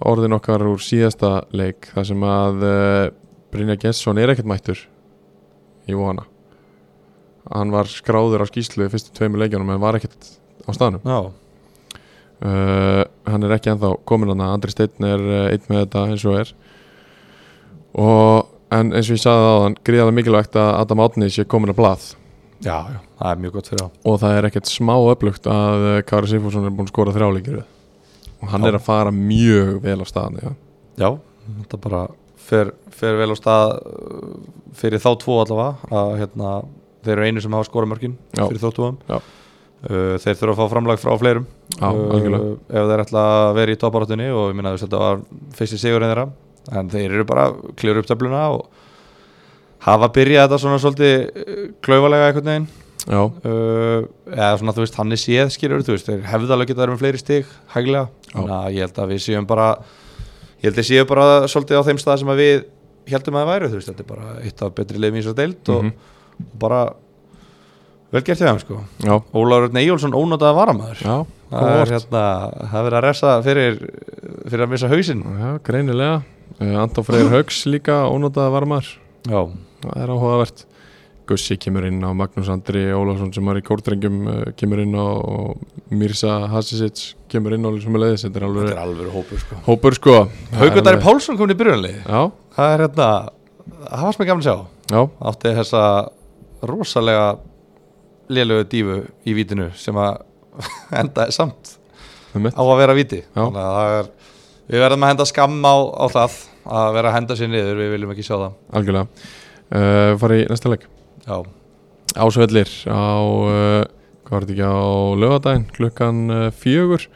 S1: orðin okkar úr síðasta leik þar sem að uh, Brynja Gesson er ekkert mættur í vona hann var skráður á skýslu í fyrstu tveimur leikjunum en var ekkert á staðnum
S2: Já,
S1: uh, hann er ekki ennþá komin hann Andri Steinn er uh, einn með þetta eins og er og en eins og ég sagði áðan gríðarlega mikilvægt að Adam Átni sé komin að blað
S2: já, já, það er mjög gott fyrir á
S1: og það er ekkert smá öflugt að uh, Kári Sigfússon er búin að skora þrjáleikir og hann
S2: Já.
S1: er að fara mjög vel á staðan já.
S2: Já, þetta bara fer, fer vel á stað uh, fyrir þá tvo allavega að hérna, þeir eru einu sem hafa skora mörkin
S1: Já.
S2: fyrir þóttuðum
S1: Já.
S2: Uh, þeir þurfa að fá framlag frá fleirum Uh,
S1: Já,
S2: Eh,
S1: algjörlega.
S2: ef þeir ætla að vera í topparáttunni og ég minna að þetta var fyrsti sigurinn þeirra en þeir eru bara kljóru upp töfluna og hafa byrjað þetta svona svolítið uh, klaufalega einhvern veginn
S1: Já.
S2: uh, eða svona þú veist hann er séð skilur þú veist þeir hefði alveg getað verið með fleiri stig hæglega
S1: Já.
S2: þannig að ég held að við séum bara ég held að séum bara svolítið á þeim stað sem að við heldum að það væru þú veist þetta er bara eitt af betri liðum í þessar deild og
S1: Mhm.
S2: bara vel gert hjá þeim sko
S1: já,
S2: Ólafur Örn Eyjólfsson ónótaða varamaður
S1: já, kom
S2: það er
S1: vart.
S2: hérna það er verið að ressa fyrir fyrir að missa hausinn
S1: já, greinilega uh, Anton Freyr Haugs líka ónótaða varmar
S2: já
S1: það er áhugavert Gussi kemur inn á Magnús Andri Ólafsson sem var í kórdrengjum uh, kemur inn á og Mirza Hasisic kemur inn á sem er leiðis þetta er
S2: þetta
S1: alveg
S2: er alveg hópur sko
S1: hópur sko
S2: Haugundari Pálsson komin í byrjunlið
S1: Já,
S2: það er hérna það varst mér gaman að sjá
S1: já,
S2: átti þessa rosalega lélögu dífu í vítinu sem að [LAUGHS] endaði samt
S1: það mitt
S2: á að vera víti þannig að það er, við verðum að henda skam á, á það að vera að henda sér niður, við viljum ekki sjá það
S1: algjörlega uh, fara í næsta leik
S2: já,
S1: Ásvellir á uh, hvað var þetta ekki á lögadaginn klukkan uh, fjögur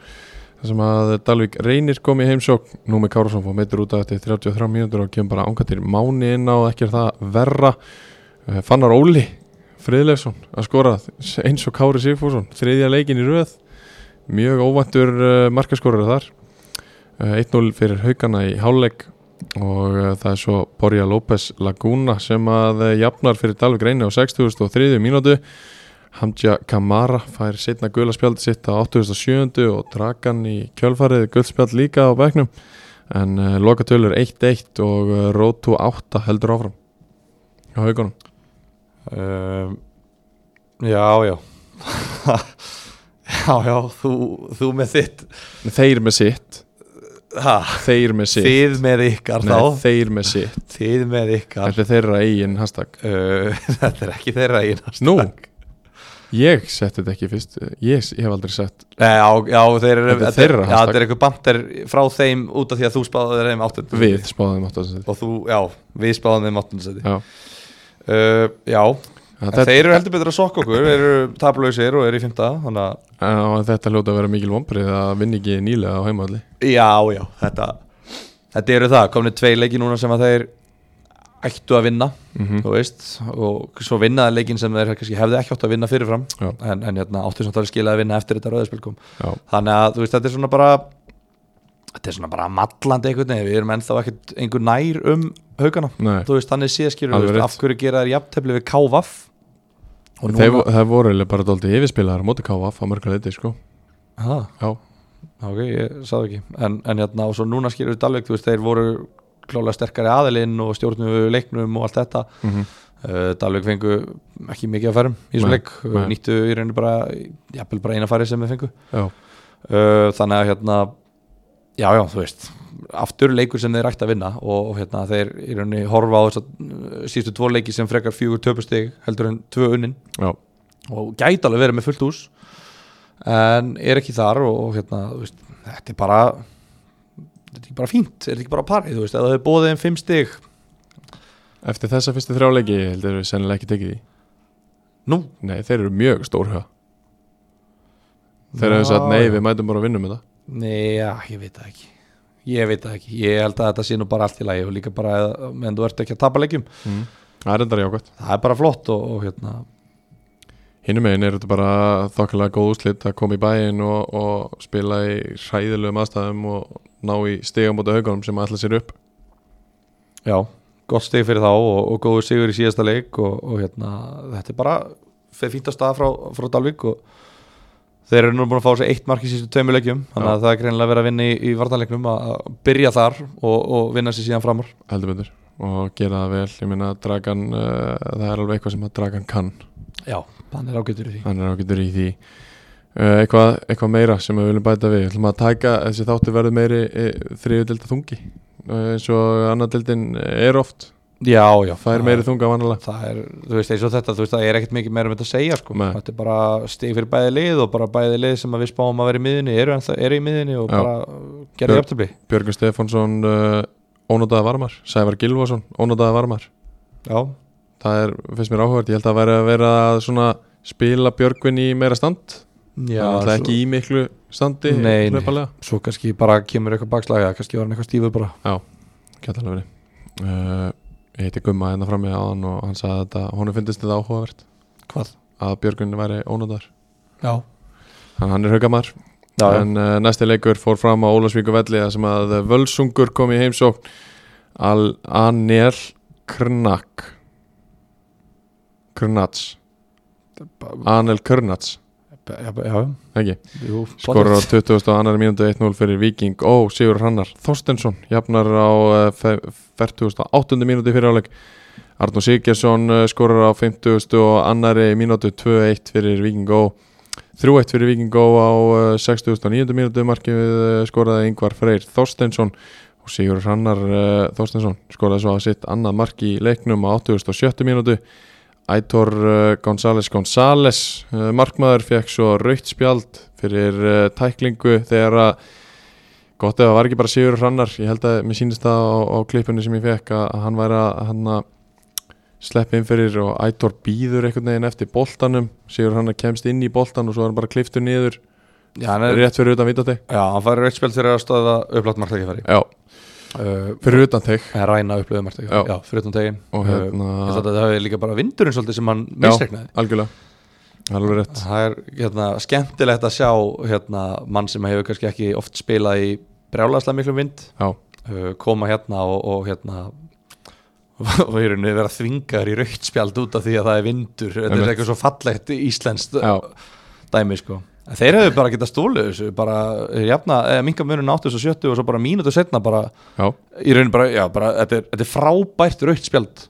S1: þar sem að Dalvik reynir kom í heimsókn Númi Kárasson fór meitur út af þetta 33 mínútur og kemur bara ángatir máni inn á og ekki er það verra uh, Fannar Óli Friðleifsson að skora eins og Kári Sigfússon þriðja leikin í röð mjög óvæntur uh, markaskorur þar uh, 1-0 fyrir haugana í hálfleik og uh, það er svo Borja López Laguna sem að uh, jafnar fyrir Dalvik reyni á 60.3 mínútu Hamdja Kamara fær setna guðlaspjald sitt á 87. og Dragan í kjölfarið guðspjald líka á bekknum en uh, lokatölur 1-1 og uh, Rótu 8 heldur áfram á haugunum
S2: um, já, já [LAUGHS] já, já þú, þú með þitt
S1: þeir með sitt
S2: ha,
S1: þeir með sitt
S2: þið með ykkar
S1: Nei,
S2: þá
S1: þeir með [LAUGHS] sitt
S2: þið með ykkar
S1: þetta er þeirra eigin hashtag
S2: uh, [LAUGHS] þetta er ekki þeirra einast
S1: nú ég setti þetta ekki fyrst ég, ég hef aldrei sett
S2: Nei, já, já, þeir eru
S1: Þetta er
S2: þetta er-
S1: þeirra
S2: Já,
S1: hashtag.
S2: þetta er eitthvað bandir frá þeim út af því að þú spáði þeim áttund
S1: við spáðum átt að
S2: Og þú, já, við spáðum þeim áttund seti
S1: Já.
S2: uh, Já, en
S1: þetta
S2: þeir eru heldur betur að sokka okkur Þeir eru taplausir og eru í fymta Þannig að,
S1: Já, en þetta hljóta að vera mikil vombrið að vinna ekki nýlega á heimavalli
S2: já, já, þetta þetta eru það, komni tvei leiki núna sem að þeir ættu að vinna
S1: Mhm.
S2: þú veist, og svo vinnaði leikin sem þeir kannski hefði ekki átt að vinna fyrirfram
S1: Já.
S2: en, en hérna, áttu samt að skila að vinna eftir þetta rauðaspil kom
S1: Já.
S2: þannig að þú veist, þetta er svona bara þetta er svona bara mallandi einhvern veginn við erum ennþá ekkert einhver nær um haugana,
S1: Nei,
S2: þú veist, þannig sé skilur
S1: Alveg
S2: veist,
S1: rétt.
S2: af hverju gera þær jafntefli við KVaf og
S1: þeir, vo- þeir voru eiginlega bara dóldi yfirspilaðar á móti KF á mörguleiti sko
S2: ha,
S1: Já,
S2: ok, ég sagði ekki en, en hérna, og svo núna skilur við dalveg þú veist, þeir voru klálega sterkari aðilinn og stjórnum leiknum og allt þetta
S1: mm
S2: uh, Dalvik fengu ekki mikið að færum í þessum
S1: Nei,
S2: leik, uh,
S1: nei.
S2: nýttu í rauninu bara jafnvel bara eina færi sem við fengu
S1: já,
S2: uh, þannig að hérna já, já, þú veist aftur leikur sem þeir ætti að vinna og og hérna þeir í rauninni horfa á þess að sístu tvo leiki sem frekar fjögur töpustig heldur en tvö unnin
S1: já,
S2: og gæti alveg verið með fullt hús en er ekki þar og, og hérna, þú veist, þetta er bara þetta er ekki bara fínt, þetta er ekki bara parið, þú veist, að það hefur bóðið þeim fimm stig
S1: eftir þessa fyrstu þrjáleiki heldur við sennilega ekki tekið í
S2: nú,
S1: Nei, þeir eru mjög stórhuga Þeir eru sagt,
S2: Já,
S1: nei,
S2: já.
S1: við mætum bara að vinna með það
S2: Nei, já, ég veit það ekki Ég veit það ekki, ég held að þetta sé nú bara allt í lagi og líka bara, að- menn þú ert ekki að tapa leikjum
S1: Það er endara jákvæmt
S2: það er bara flott og, og hérna
S1: Hinnum megin er þetta bara þokkilega góð úslit að koma í bæinn og, og spila í hræðilegum aðstæðum og ná í stigum út af haugunum sem ætla sér upp
S2: já, gott steg fyrir þá og, og góðu sigur í síðasta leik og, og hérna, þetta er bara fyrir fínt að staða frá, frá Dalvík og þeir eru nú búin að fá sér eitt mark í sístu tveimur leikjum, þannig
S1: Já.
S2: að það er greinilega verið að vinna í, í vartanleiknum að að byrja þar og, og vinna sér síðan framar
S1: heldur betur og gera það vel, ég meina Dragan uh, það er alveg eitthvað sem að Dragan kann
S2: Já, hann er ágætur í því
S1: hann er ágættur í því uh, eitthvað, eitthvað meira sem við viljum bæta við ætlum að taka þessi þáttu verður meiri e, þriðu delta þungi uh, eins og annar deltin er oft
S2: Já, já,
S1: það er meiri þunga vanalega
S2: það er, þú veist, eins og þetta, þú veist, það er ekkert mikið meira um þetta að segja, sko,
S1: Nei.
S2: þetta er bara stig fyrir bæði lið og bara bæði lið sem að við spáum að vera í miðunni, eru, ennþá- eru í miðunni og
S1: Já.
S2: bara uh, gerði
S1: Björn.
S2: jafntöfli
S1: Björgur Stefánsson uh, ónótaða varmar, Sævar Gilvason ónótaða varmar,
S2: Já,
S1: það er finnst mér áhugavert, ég held að væri að vera að svona spila Björgvin í meira stand
S2: já
S1: það er alltaf ekki í miklu standi
S2: Nei, nei.
S1: hlaupalega.
S2: svo kannski bara kemur eitthvað bakslaga, kannski var hann eitthvað stífur bara
S1: Gæti alveg verið uh, ég heiti Gumma hérna frammi áðan og hann sagði að þetta, honum finnist þetta áhugavert
S2: Hvað?
S1: að Björgvin væri ónótaðar
S2: Já,
S1: hann, hann er haugamar,
S2: já, já.
S1: en uh, næsti leikur fór fram á Ólasvíku velli þar sem að Völsungur kom í heimsókn Al Anel Krnak Krnats
S2: Ba-
S1: Anel Körnats
S2: ba- já, já,
S1: ekki,
S2: já jú,
S1: skorur á
S2: pottet.
S1: 22. mínútu 1-0 fyrir Viking og Sigur Hrannar Þorstensson jafnar á eh, fe- 48. mínútu fyrir áleik Arnur Siggersson eh, skorur á 52. mínútu 2-1 fyrir Viking og 3-1 fyrir Viking og á eh, 69. mínútu markið eh, skoraði Ingvar Freyr Þorstensson og Sigur Hrannar uh, Þorstensson skoraði svo að sitt annað mark í leiknum á 87. mínútu Ætor uh, González González uh, markmaður fekk svo raukt spjald fyrir uh, tæklingu þegar að gott ef það var ekki bara Sigur Hrannar ég held að mér sýnist það á, á klipunni sem ég fekk að, að hann væri að hann að sleppi inn fyrir og Ætor býður einhvern veginn eftir boltanum Sigur Hrannar kemst inn í boltan og svo er hann bara kliftur niður
S2: Já, hann er,
S1: rétt fyrir utan vítati
S2: já, hann fær rautt spjöld fyrir að stöða upplátt marktækifæri
S1: Já,
S2: uh,
S1: fyrir utan teg
S2: Ræna upplöðu marktækifæri,
S1: Já.
S2: já, fyrir utan tegin
S1: og
S2: Ég
S1: hérna,
S2: þátti að það hefði líka bara vindurinn svolítið sem hann misregnaði
S1: algjörlega alveg rétt
S2: Það er hérna, skemmtilegt að sjá hérna, mann sem hefur kannski ekki oft spilað í brjálaðslega miklum vind
S1: Já,
S2: uh, koma hérna og, og hérna [LAUGHS] og í rauninni vera þvingar í raukt spjald út af því að það er vindur þetta er
S1: Einmitt.
S2: eitthvað svo fallegt íslenskt uh,
S1: já,
S2: dæmi sko En Þeir hefðu bara getað stólið þessu, bara eh, jafna, eh, minga munun 870 og svo bara mínútu setna bara,
S1: já,
S2: í rauninni bara, já, bara þetta, er, þetta er frábært raukt spjald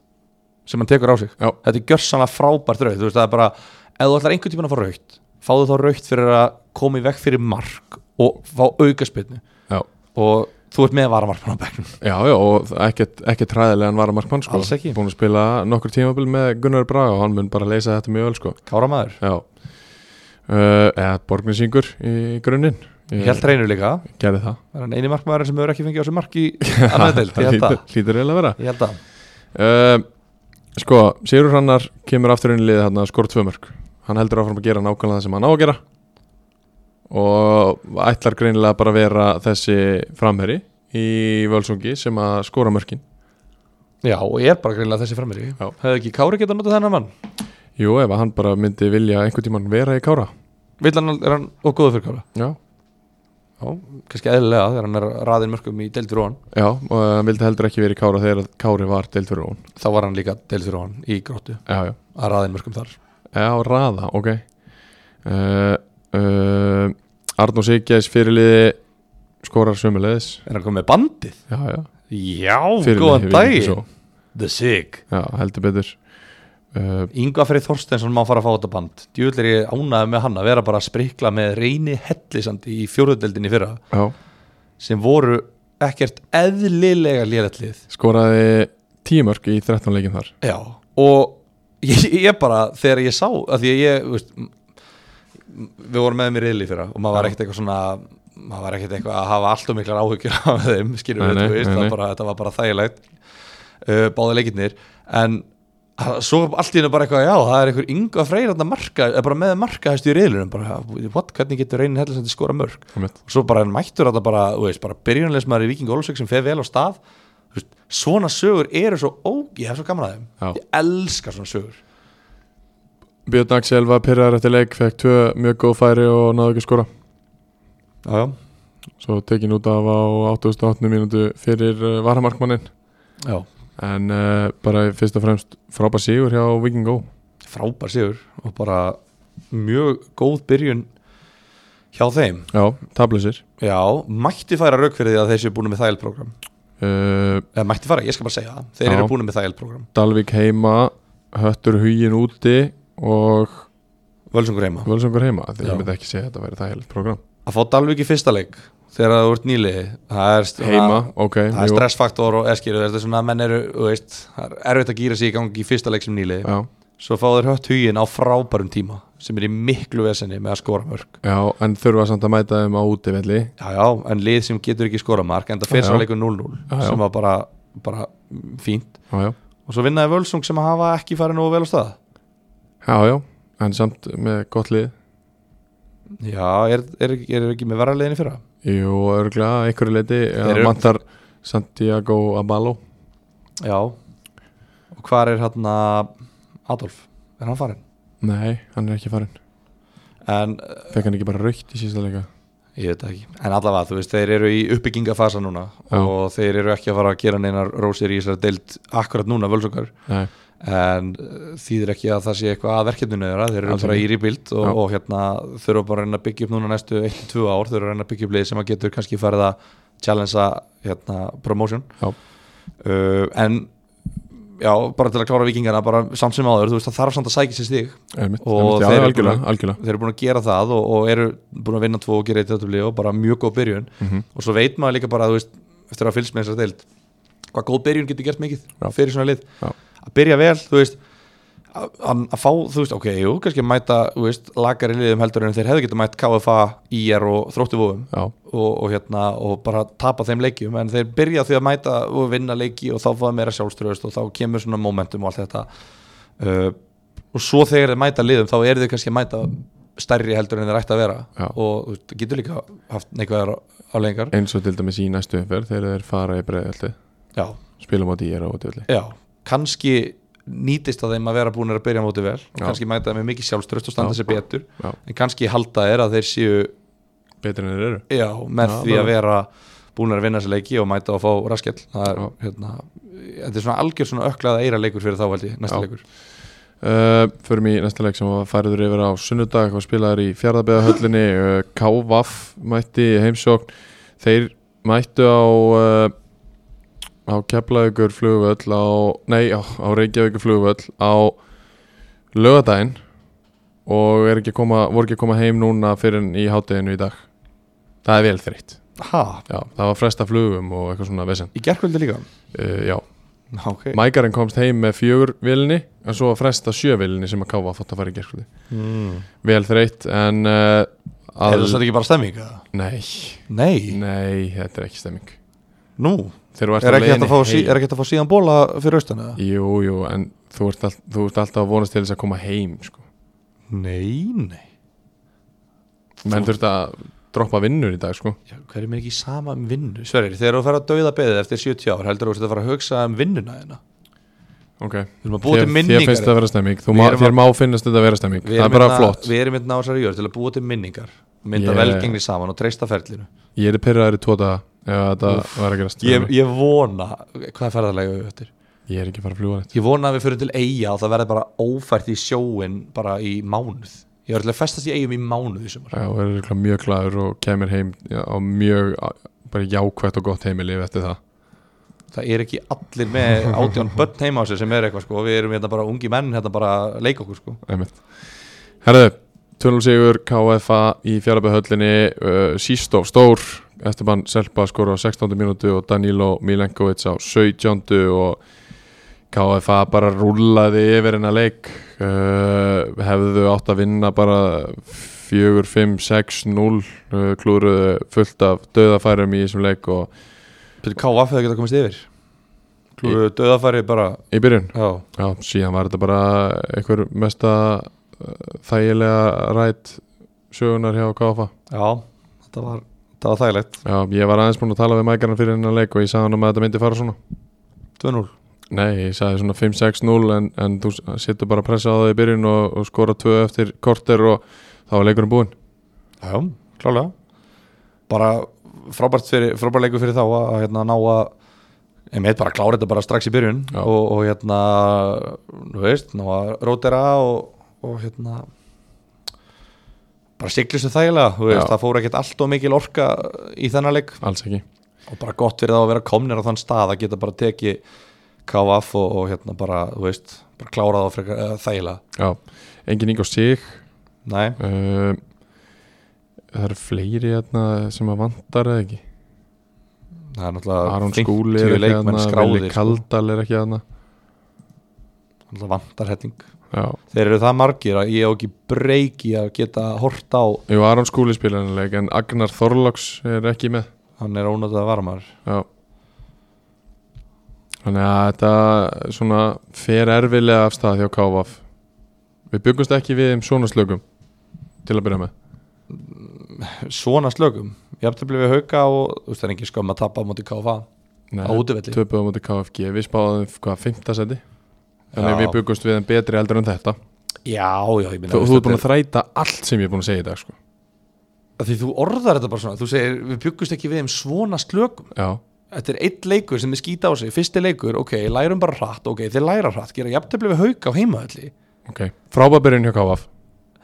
S2: sem hann tekur á sig
S1: já
S2: þetta er gjörsanlega frábært raukt þú veist það er bara, ef þú ætlar einhvern tímann að fá raukt fáðu þá raukt fyrir að koma í vekk fyrir mark og fá aukaspilnu
S1: Já.
S2: og þú ert með varamarkmann á bekknum
S1: Já, já, og ekkert, ekkert træðilegan var að markmann sko.
S2: Alls ekki.
S1: Búin að spila nokkur tímabil með Gunnar Braga og hann mun bara leysa þetta mjög vel sko.
S2: Kára maður,
S1: Já uh, Eða borgnisingur í grunninn Eh,
S2: ég held reynur líka
S1: Gerði það
S2: er hann eini markmaður sem hefur ekki fengið á þessu mark í [LAUGHS] annað deild, ég held
S1: hlýtur,
S2: það
S1: hlýtur eiginlega að vera
S2: ég held það,
S1: uh, Sko, Sigur Hrannar kemur aftur inn í liðið hann að skora tvö mörg Hann heldur áfram að gera nákvæmlega það sem hann á að gera og ætlar greinilega bara að vera þessi framherri í Völsungi sem að skora mörkin
S2: Já, og ég er bara greinlega þessi frammeiri
S1: Já.
S2: Hefði ekki Kári getað notað þennan mann
S1: Jú, ef að hann bara myndi vilja einhvern tímann vera í Kára
S2: Vill hann, er hann og góður fyrir Kára
S1: Já,
S2: Já, kannski eðlilega þegar hann er raðin mörgum í deildur og hann
S1: Já og hann vildi heldur ekki verið í Kára þegar að Kári var deild fyrir hún
S2: Þá var hann líka deildur og hann í gróttu
S1: Já, já,
S2: að raðin mörgum þar
S1: já, raða, ok uh, uh, Arnó Siggjæs fyrirliði skorar sömulegis
S2: Er hann komið með bandið?
S1: Já, já,
S2: Já,
S1: fyrirliði
S2: góðan dag
S1: svo.
S2: The Sig
S1: Já, heldur betur uh,
S2: Inga Freyr Þorstensson má fara að fá þetta band Djúvill er ég ánæði með hann að vera bara að sprikla með reyni hellisandi í fjóruðdeldinni fyrra
S1: Já,
S2: sem voru ekkert eðlilega lélellið
S1: skoraði tíu mörk í 13 leikin þar
S2: Já, og ég, ég bara, þegar ég sá að því að ég, þú veist m- m- við vorum með mér yðli fyrra og maður var ekkert eitthvað svona maður var ekkert eitthvað að hafa allt og miklar áhyggjur af þeim, skilum
S1: Nei,
S2: við,
S1: nei,
S2: þú veist
S1: nei,
S2: það
S1: nei.
S2: var bara, þetta var bara þægilegt uh, báði leikirnir, en að- svo allt í hennu bara eitthvað, já, það er einhver ynga freyra marka, eh, bara með marka hæstu í reyðlunum, bara, what, hvernig getur reynin heldur sem skora mörg
S1: Einmitt.
S2: og svo bara hann mættur þetta bara, þú veist, bara byrjunleismæður í Viking Ólfsvík sem fer vel á stað Þú veist, svona sögur eru svo ó, ég hef svo gaman að þeim,
S1: Já.
S2: ég elska svona sögur
S1: Björn Axel var pyrraðar eftir leik fekk tvö mjög góð færi og náðu ekki að skora
S2: já, já,
S1: svo tekin út af á 88. mínútu fyrir uh, varamarkmannin
S2: já.
S1: en uh, bara fyrst og fremst frábær sigur hjá Viking Go
S2: frábær sigur og bara mjög góð byrjun hjá þeim,
S1: Já, tablusir
S2: já, mætti færa rauk fyrir því að þeir séu búin með þælprogram
S1: uh,
S2: eða mætti færa, ég skal bara segja það, þeir
S1: Já.
S2: eru búin með þælprogram
S1: Dalvik heima Höttur hugin úti og
S2: Völsungur heima,
S1: Völsungur heima því
S2: Já.
S1: ég myndi ekki segja að þetta væri þægilegt program
S2: að fá Dalvík í fyrsta leik þegar þú ert nýli, það er st-
S1: Heima, ok
S2: það er
S1: jú,
S2: stressfaktor og eskilu þetta er svona að menn eru, þú veist það er erfitt að gýra sig í gangi í fyrsta leik sem nýli
S1: já,
S2: svo fá þeir hött hugin á frábærum tíma sem er í miklu vesenni með að skora mörg
S1: já, en þurfa samt að mæta þeim á útivelli
S2: já já, en lið sem getur ekki skora mark en það fyrir
S1: Já.
S2: svo leikur 0-0
S1: Já, já.
S2: sem var bara, bara fínt
S1: Já, já,
S2: og svo vinnaði Völsung sem hafa ekki farið nógu vel á stað
S1: já, já en samt með gott lið
S2: já, er, er, er ekki með verðarliðinni fyrra
S1: Jú, örgulega, einhverju leiti
S2: Þeir eru-
S1: Mantar Santiago Abalo
S2: já og hvar er hann Adolf, er hann farin?
S1: Nei, hann er ekki farinn
S2: en
S1: Fekk hann ekki bara raukt í sísta leika
S2: Ég veit það ekki, en allavega, þú veist, þeir eru í uppbyggingafasa núna
S1: Já.
S2: og þeir eru ekki að fara að gera neinar rósir í þessari deild akkurat núna völsokar
S1: Nei,
S2: en eh, þýðir ekki að það sé eitthvað að verkefninu þeirra, þeir eru
S1: Alls
S2: bara
S1: ekki.
S2: í rebuild og,
S1: Já.
S2: og hérna þurfa bara að reyna að byggja upp núna næstu 1-2 ár, þurfa að reyna að byggja upp lið sem að getur kannski farið að challengea hérna, promotion
S1: Já.
S2: uh, en já, bara til að klára vikingana, bara samt sem áður, þú veist, það þarf samt að sækja sér stig
S1: einmitt,
S2: Og
S1: einmitt, já,
S2: þeir eru
S1: algjörlega,
S2: búin
S1: algjörlega
S2: þeir eru búin að gera það og, og eru búin að vinna tvo og gera eitt aðtöfli og bara mjög góð byrjun
S1: Mhm.
S2: og svo veit maður líka bara, þú veist, eftir að hafa fylgst með þessar deild hvað góð byrjun getur gert mikið
S1: Já.
S2: fyrir svona lið,
S1: Já.
S2: að byrja vel þú veist, að, að að fá þú veist, ok, jú, kannski mæta, þú veist lagari liðum heldur en þeir hefðu getað mætt KFA, IR og þróttivóum
S1: Já,
S2: og, og hérna, og bara tapa þeim leikjum en þeir byrja því að mæta og vinna leiki og þá fá það meira sjálfströðust og þá kemur svona momentum og allt þetta uh, og svo þegar þeir mæta liðum þá eru þeir kannski að mæta stærri heldur en þeir ætti að vera
S1: Já.
S2: og þú veist, getur líka haft neikvæðar álengar
S1: eins og til dæmis í næstu umferð þegar þeir fara í breiðaldi
S2: já,
S1: spilum á dýjar á útivelli
S2: já, kannski nýtist að þeim að vera búinir að byrja móti vel
S1: Já.
S2: kannski mæta þeim með mikið sjálfströðust og standa
S1: Já.
S2: sér betur
S1: Já.
S2: en kannski halda þeir að þeir séu
S1: Betur en þeir eru
S2: já, með
S1: Já,
S2: því
S1: bara-
S2: að vera búinir að vinna þessi leiki og mæta og fá raskell það er,
S1: Já.
S2: hérna, þetta er svona algjör svona öklað eira leikur fyrir þá held ég, næsta
S1: Já.
S2: leikur
S1: uh, Förum í næsta leik sem var færiður yfir á sunnudag og spilaður í fjardabæðahöllinni uh, Kávaf mætti í heimsókn Þeir mættu á uh, á Keflavíkur flugvöll á, nei, á, á Reykjavíkur flugvöll á lögadaginn og er ekki að koma, voru ekki að koma heim núna fyrir en í hátteginu í dag Það er vel þreytt
S2: ha,
S1: Já, það var fresta flugum og eitthvað svona vesen
S2: í gerkvöldi líka
S1: uh, Já,
S2: okay.
S1: Mækarinn komst heim með fjögur vilni en svo var fresta sjö vilni sem að káfa að fótt að fara í gerskvöldi
S2: mm.
S1: Vel þreytt en uh,
S2: Er það satt ekki bara stemming? eða?
S1: Nei,
S2: Nei,
S1: nei, þetta er ekki stemming
S2: nú
S1: Þeir eru á
S2: Er ekki hægt
S1: leiðinni
S2: að fá, sí,
S1: heim.
S2: er ekki hægt að fá síðan bóla fyrir austan eða?
S1: Jú, jú, en þú ert, all, þú ert alltaf að vonast til þess að koma heim sko.
S2: Nei, nei
S1: Menn þurft að droppa vinnur í dag sko.
S2: Já, hver er mér ekki sama um vinnu? Sverir, þegar þú fer að dauða beðið eftir 70 ár, heldur þú að þú fara að hugsa um vinnuna þina?
S1: okay.
S2: Við erum að búa til
S1: Þér finnst þetta
S2: minningar
S1: að vera stemming Þú
S2: Við
S1: má,
S2: erum að-
S1: Þér má finnast þetta að vera stemming
S2: Við
S1: Það er
S2: erum
S1: bara
S2: hérna-
S1: flott
S2: Við erum hérna á þessari jörð til að búa til minningar Mynda
S1: Ég-
S2: velgengni saman og treysta ferlinu
S1: Ég er pyrraður í tvo daga Ef þetta var að gerast
S2: Ég, ég vona, hvað er ferðarlega við öttir?
S1: Ég er ekki að fara að fljúa neitt
S2: Ég vona að við förum til eiga og það verði bara ófært í sjóin bara í mánuð Ég var til að festast í eigum í mánuð í sumar
S1: Já, og er örugglega mjög glaður og kemur heim já, á mjög á- bara jákvætt og gott heimilið eftir það
S2: Það er ekki allir [LAUGHS] með átján börn heima á sér sem er eitthvað sko Við erum hérna bara ungi menn hérna bara að leika okkur sko
S1: Einmitt. Herðu, 12 sigur KFA í fjárabæðhöllinni uh, Sístó stór Esteban Selpa skora á 16. mínútu og Danilo Milenkovic á 17. og KFA bara rúllaði yfir hennar leik uh, hefðu átt að vinna bara 4, 5, 6, 0 uh, klúruðu fullt af döðafærum í þessum leik og
S2: Fyrir KF hefði geta komist yfir Klúru döðafæri bara
S1: í byrjun
S2: Já,
S1: Já, síðan var þetta bara einhver mesta uh, þægilega rætt sögunar hjá KFA
S2: já þetta var, þetta var þægilegt
S1: Já, ég var aðeins búinn að tala við mækarna fyrir hennar leik og ég sagði hann um að þetta myndi fara svona
S2: 2-0
S1: Nei, ég sagði svona 5-6-0 en, en þú setur bara pressa á það í byrjun og, og skora tvö eftir korter og þá var leikurinn búinn
S2: Já, klálega Bara frábært fyrir, frábært leikur fyrir þá að að, hérna, ná að ég meit bara að klára þetta bara strax í byrjun
S1: Já.
S2: og, og hérna, þú veist ná að rótera og, og hérna bara siglu sig þægilega, þú veist,
S1: Já.
S2: það fór ekkert allt og mikil orka í þennan leik
S1: Alls ekki
S2: og bara gott fyrir þá að vera komnir á þann stað að geta bara tekið KF og, og hérna bara, þú veist, bara klára þá frekar uh, þægilega.
S1: Já, engin yng á sig
S2: Nei,
S1: uh, Það eru fleiri hérna sem að vantar eða ekki
S2: það er náttúrulega
S1: Aron Skúli er
S2: 50
S1: ekki
S2: leikmenn
S1: hérna,
S2: skráðir,
S1: Vili
S2: sko.
S1: Kaldal er ekki hérna
S2: náttúrulega vantar helling
S1: Já,
S2: þeir eru það margir að ég á ekki breyki að geta hort á
S1: Jú, Aron Skúli spilar hennar leik en Agnar Þorláks er ekki með
S2: hann er ónátað varmar
S1: Já Þannig að þetta svona fer erfilega af stað hjá Kávaf Við byggumst ekki við um svona slökum til að byrja með
S2: svona slökum, ég hafði blifið hauka og þú veist það er ekki skömm að tappa á móti KFA á útivelli
S1: töpuðum á móti KFG Við spáðum hvað, fymta seti Þannig
S2: Já.
S1: að við byggumst við en betri eldur en þetta
S2: já, já, ég minna
S1: Þú, þú ert búin að þræta allt sem ég er búin að segja í dag sko.
S2: því þú orðar þetta bara svona, þú segir við byggust ekki við um svona slökum
S1: Já,
S2: þetta er eitt leikur sem þið skýta á sig, fyrsti leikur ok, lærum bara hratt, ok, þeir læra hratt gera jafntöfli við hauka á heimaðalli
S1: ok Frábær byrjun hjá KF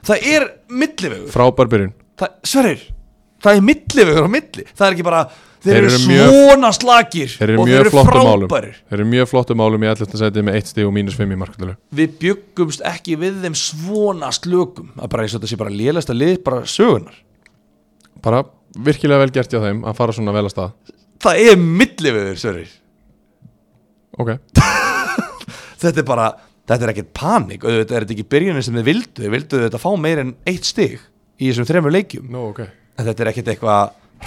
S2: það er millivegur,
S1: Frábær byrjun
S2: það, sverir það er millivegur á milli, það er ekki bara þeir,
S1: Þeir
S2: eru
S1: eru mjög-
S2: svona slakir
S1: Þeir eru
S2: og
S1: mjög
S2: þeir eru
S1: flottum málum
S2: frábærir
S1: Þeir eru mjög flottum málum í allasta seti með 1 stig og mínus 5 í marktölu
S2: við bjöggumst ekki við þeim svona slökum að bara eins og þetta sé bara lélast að lið bara sögunar
S1: bara virkilega vel gert hjá þeim að fara svona vel að stað
S2: það er milli við þeir sörir
S1: [LAUGHS] ok,
S2: þetta er bara, þetta er ekkert panik auðvitað er þetta ekki byrjunin sem þið vildu þið vildu þetta fá meir en eitt stig í þessum þremur leikjum
S1: no, ok,
S2: en þetta er ekkert eitthvað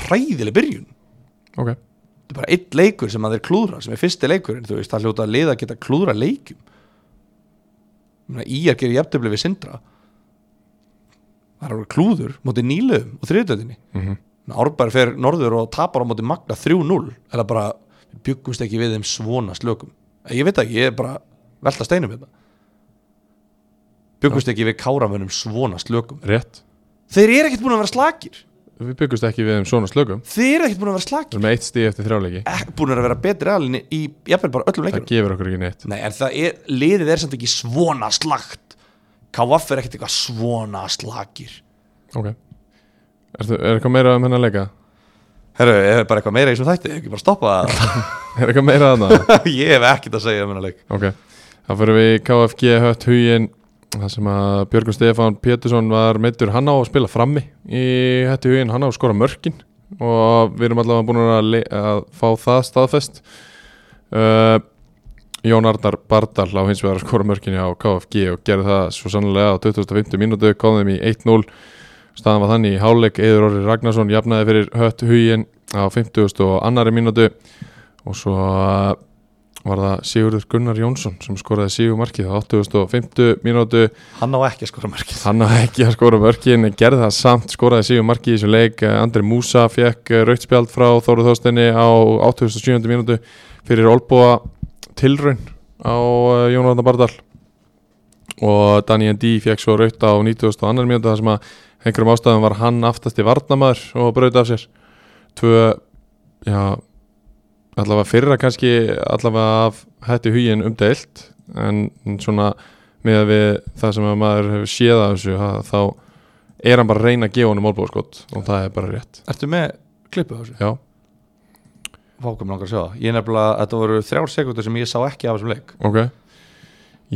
S2: hræðileg byrjun
S1: ok
S2: þetta er bara eitt leikur sem að þeir klúðra sem er fyrsti leikur en þú veist, það hljóta að liða að geta klúðra leikjum Íjar gerir jafntöfli við sindra það eru klúður móti nýluðum og þriðutöldinni mm -hmm. Árbær fer norður og tapar á móti magna 3-0 eða bara við byggumst ekki við þeim svona slökum ég veit ekki, ég er bara velta steinum þetta byggumst ekki við káramönnum svona slökum
S1: rétt,
S2: þeir eru ekkert búin að vera slakir
S1: við byggumst ekki við um svona slökum
S2: þeir eru ekkert búin að vera
S1: við
S2: slakir
S1: erum með 1 stig eftir þrjáleiki
S2: Ek- búin að vera betri aðlinni í jafnvel bara öllum leikunum
S1: það gefur okkur ekki neitt
S2: Nei, en það er, liðið er samt ekki svona slagt KF er ekkert eitthvað svona slagir
S1: ok, er, er eitthvað meira um hennar leika?
S2: Herru, er bara eitthvað meira í þessum þætti, ekki bara stoppa [LAUGHS]
S1: er eitthvað meira að það?
S2: það Ég hef ekkert að segja um hennar leik
S1: ok, þá fyrir við í KFG hött hugin það sem að Björgur Stefán Pétursson var meittur hann á að spila frammi í hætti hugin, hann á að skora mörkin og við erum allavega búin að, le- að fá það staðfest uh, Jón Arnar Bardal á hins vegar að skora mörkinni á KFG og gerði það svo sannlega á 25. mínútu kom þeim í 1-0 staðan var þannig í háleik Eður Orri Ragnarsson jafnaði fyrir hött hugin á 50. og annari mínútu og svo var það Sigurður Gunnar Jónsson sem skoraði Sigurmarkið á 8.50 mínútu
S2: hann á ekki að skora markið
S1: hann hafði ekki að skora mörkin en gerði það samt, skoraði síðan marki í þessum leik Eh, Andri Músa fekk rautspjald frá Þóru Þorsteini á 87. mínútu fyrir Olboa tilraun á eh, Jón Jónvarnar Bardal og Dani Endi fekk svo raut á 92. mínútu þar sem að einhverjum ástæðum var hann aftast í varnamaður og braut af sér tvö, já allavega fyrra kannski allavega af hætti hugin umdeilt en svona með að við það sem að maður hefur séð af þessu ha, þá er hann bara að reyna að gefa honum málbóðskott og það er bara rétt
S2: ertu með klippu á þessu?
S1: já,
S2: fákum langar að sjá það ég er nefnilega, þetta voru þrjár sekundur sem ég sá ekki af þessum leik
S1: ok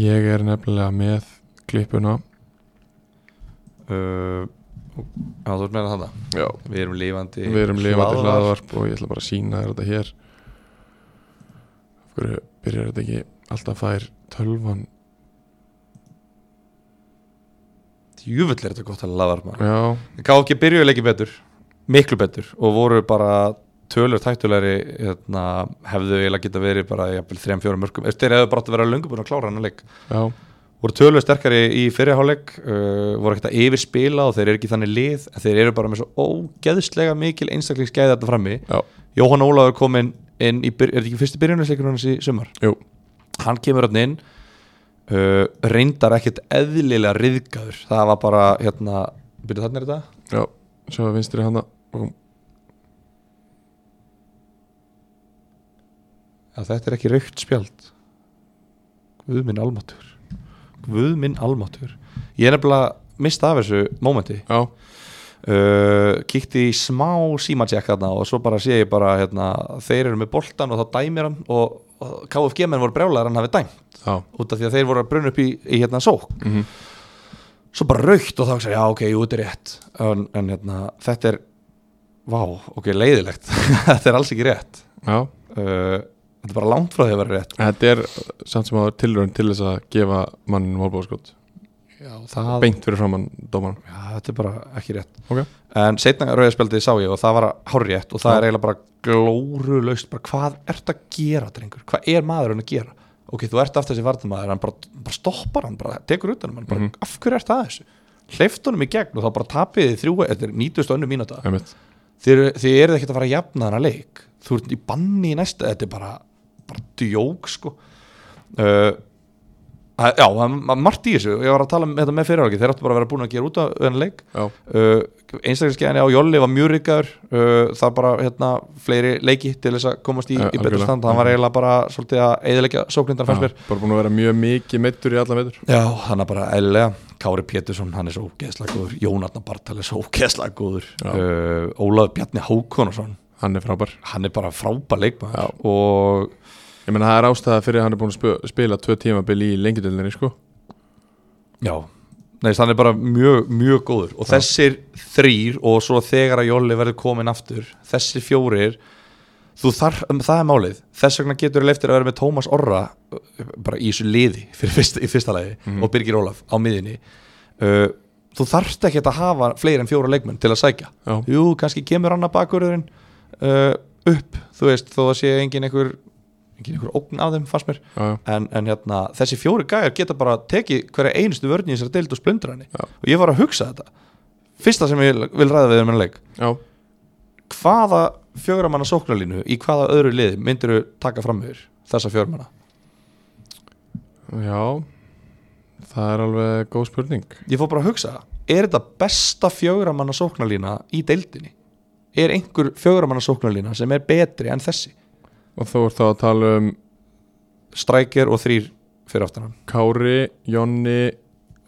S1: ég er nefnilega með klippuna
S2: uh, já, þú ert meina þannig
S1: já.
S2: við erum lífandi
S1: við erum lifandi
S2: hlaðvarp.
S1: hlaðvarp og ég ætla bara að sína þér þetta hér af hverju byrjar þetta ekki alltaf fær tölvan
S2: djúvill er þetta gott að laðar maður
S1: já,
S2: KFG byrjuði leikin betur miklu betur og voru bara tölur tæktulegri hérna, hefðu eiginlega geta verið bara þrejum fjórum mörgum, Þú veist, þeir hefðu bara átt að vera löngu búin að klára hann að leik,
S1: já,
S2: voru tölur sterkari í fyrirháleik, uh, voru ekkert að yfirspila og þeir eru ekki þannig lið, en þeir eru bara með svo ógeðslega mikil einstaklingsgæði þarna frammi,
S1: já,
S2: Jóhann Ólafur kom inn, inn í, byr- er þetta ekki fyrsti byrjunarleikur hans í sumar?
S1: jú
S2: hann kemur hann inn uh, reyndar ekkert eðlilega riðgaður, það var bara hérna, byrjuð þarna er þetta?
S1: já, sjá að vinstri handa Búm.
S2: að þetta er ekki raukt spjald Guð minn almatur Guð minn almatur Ég er nefnilega mista af þessu mómenti
S1: já,
S2: uh, Kíkti í smá símansjekk þarna og svo bara sé ég bara hérna, þeir eru með boltan og þá dæmir hann og, og KFG menn voru brjálæðar hann hafi dæmt
S1: já,
S2: út af því að þeir voru að brunna upp í, í hérna sók
S1: mhm,
S2: svo bara raukt og þá hugsa ég, já ok, jú, þetta er rétt en, en hérna, þetta er vá, ok, leiðilegt [LAUGHS] þetta er alls ekki rétt
S1: já
S2: uh, þetta er bara langt frá því að vera rétt
S1: Þetta er samt sem áður tilraun til þess að gefa manninu málbóðskott
S2: já, það,
S1: beint fyrir framann dómaran
S2: Já, þetta er bara ekki rétt
S1: Ok.
S2: En setna rauðspjaldið sá ég og það var hárrétt og það
S1: Já.
S2: er eiginlega bara glóru laust bara hvað ert að gera drengur hvað er maðurinn að gera ok, þú ert aftur þessi vartamæður hann bara, bara stoppar hann, bara tekur utan um hann bara,
S1: Mhm.
S2: af hverju ert það þessu hleyft honum í gegn og þá bara tapið þið þrjú þetta er 90 önnu mínúta
S1: Einmitt.
S2: þið, eru- þið eruð ekkert að fara að jafna þennan leik þú ert í banni í næsta þetta er bara, bara djók sko uh, að, já, það er margt í þessu ég var að tala um þetta með fyrirhálki þeir áttu bara að vera búin að gera út af þennan leik
S1: Já,
S2: uh, einstaklingsgeðinni á Jolli var mjög ríkaður uh, það bara hérna fleiri leiki til þess að komast í,
S1: Já,
S2: í betur
S1: algjörlega. Mhm.
S2: stand hann var eiginlega bara svolítið að eðilegja sóknindar fannst
S1: Já,
S2: mér
S1: bara búin að vera mjög mikið meittur í alla meitur
S2: Já, hann er bara eðlilega Kári Pétursson, hann er svo ógeðslega góður Jónarnar Bartal er svo ógeðslega góður
S1: Já.
S2: uh, Ólaf Bjarni Hákonarsson
S1: Hann er frábær
S2: hann er bara frábær
S1: Já.
S2: leikmaður og
S1: Ég meina það er ástæða fyrir að hann er búin að sp- spila tvö tímabil í lengjadöldinni sko
S2: já Nei, hann er bara mjög, mjög góður og
S1: Já.
S2: þessir þrýr og svo þegar að Jolli verður komin aftur þessir fjórir þú þar, um, það er málið þess vegna getur leiftir að vera með Tómas Orra uh, bara í þessu liði fyrir fyrsta, í fyrsta lagi
S1: Mhm.
S2: og Birgir Ólaf á miðinni uh, þú þarft ekki að hafa fleiri en fjóra leikmenn til að sækja
S1: Já,
S2: jú, kannski kemur annar bakurðurinn uh, upp, þú veist, þó að sé engin einhver, engin einhver ógn af þeim fannst mér
S1: já, já,
S2: en, en hérna, þessi fjóri gæjar geta bara tekið hverja einustu vörn í þessari deild og splundra henni
S1: Já.
S2: og ég var að hugsa þetta fyrsta sem ég vil ræða við um enn leik
S1: já,
S2: hvaða fjögra manna sóknarlínu í hvaða öðru liði myndir þú taka fram yfir þessa fjögra manna
S1: já Það er alveg góð spurning
S2: ég fór bara að hugsa, er þetta besta fjögra manna sóknarlína í deildinni er einhver fjögra manna sóknarlína sem er betri en þessi
S1: Og þú ert þá að tala um
S2: strækir og þrýr fyrir aftan hann
S1: Kári, Jonni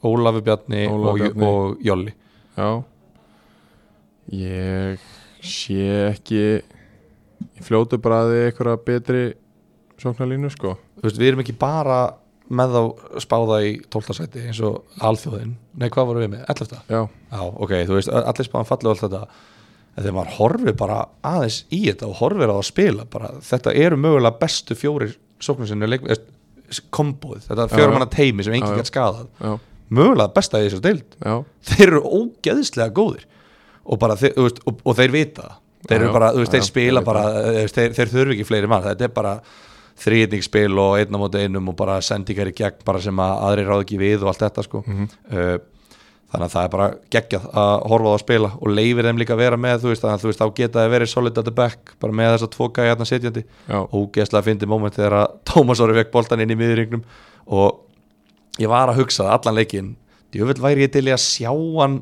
S2: Ólafi Bjarni,
S1: Ólafur
S2: og,
S1: Bjarni.
S2: og Jolli
S1: Já Ég sé ekki í fljótu bræði einhverja betri sóknarlínu sko
S2: Þú veist, við erum ekki bara með þá spáða í 12. sæti eins og alþjóðin, nei hvað vorum við með 11.
S1: Já,
S2: Já, ok, þú veist, allir spáðan fallið og allt þetta en þegar maður horfir bara aðeins í þetta og horfir á að spila bara, þetta eru mögulega bestu fjórir sóknarsinnu leik, komboð, þetta
S1: Já,
S2: fjórum
S1: já.
S2: hana teimi sem
S1: Já,
S2: enginn
S1: já.
S2: gætt skadað
S1: já,
S2: mögulega besta í þessu deild
S1: já
S2: þeir eru ógeðslega góðir og, bara, þeir, þú veist, og, og þeir vita það. þeir
S1: Já,
S2: eru
S1: já,
S2: bara, þú veist,
S1: já,
S2: þeir
S1: já, þeir
S2: spila
S1: vita
S2: bara þú veist, þeir, þeir þurfi ekki fleiri mann, þetta er bara þriðningsspil og einn á móti einum og bara sendingar í gegn bara sem að aðri ráð ekki við og allt þetta sko
S1: Mhm.
S2: uh, þannig að það er bara geggjað að horfa á að spila og leifir þeim líka að vera með þú veist, þannig að þú veist, þá geta þeir verið solid at the back bara með þess að tvo gæja hérna setjandi
S1: Já,
S2: ógeðslega fyndi moment þegar að Tómas Orri fekk boltan inn í miðurringnum og ég var að hugsa það allan leikin djöfull væri ég til í að sjá hann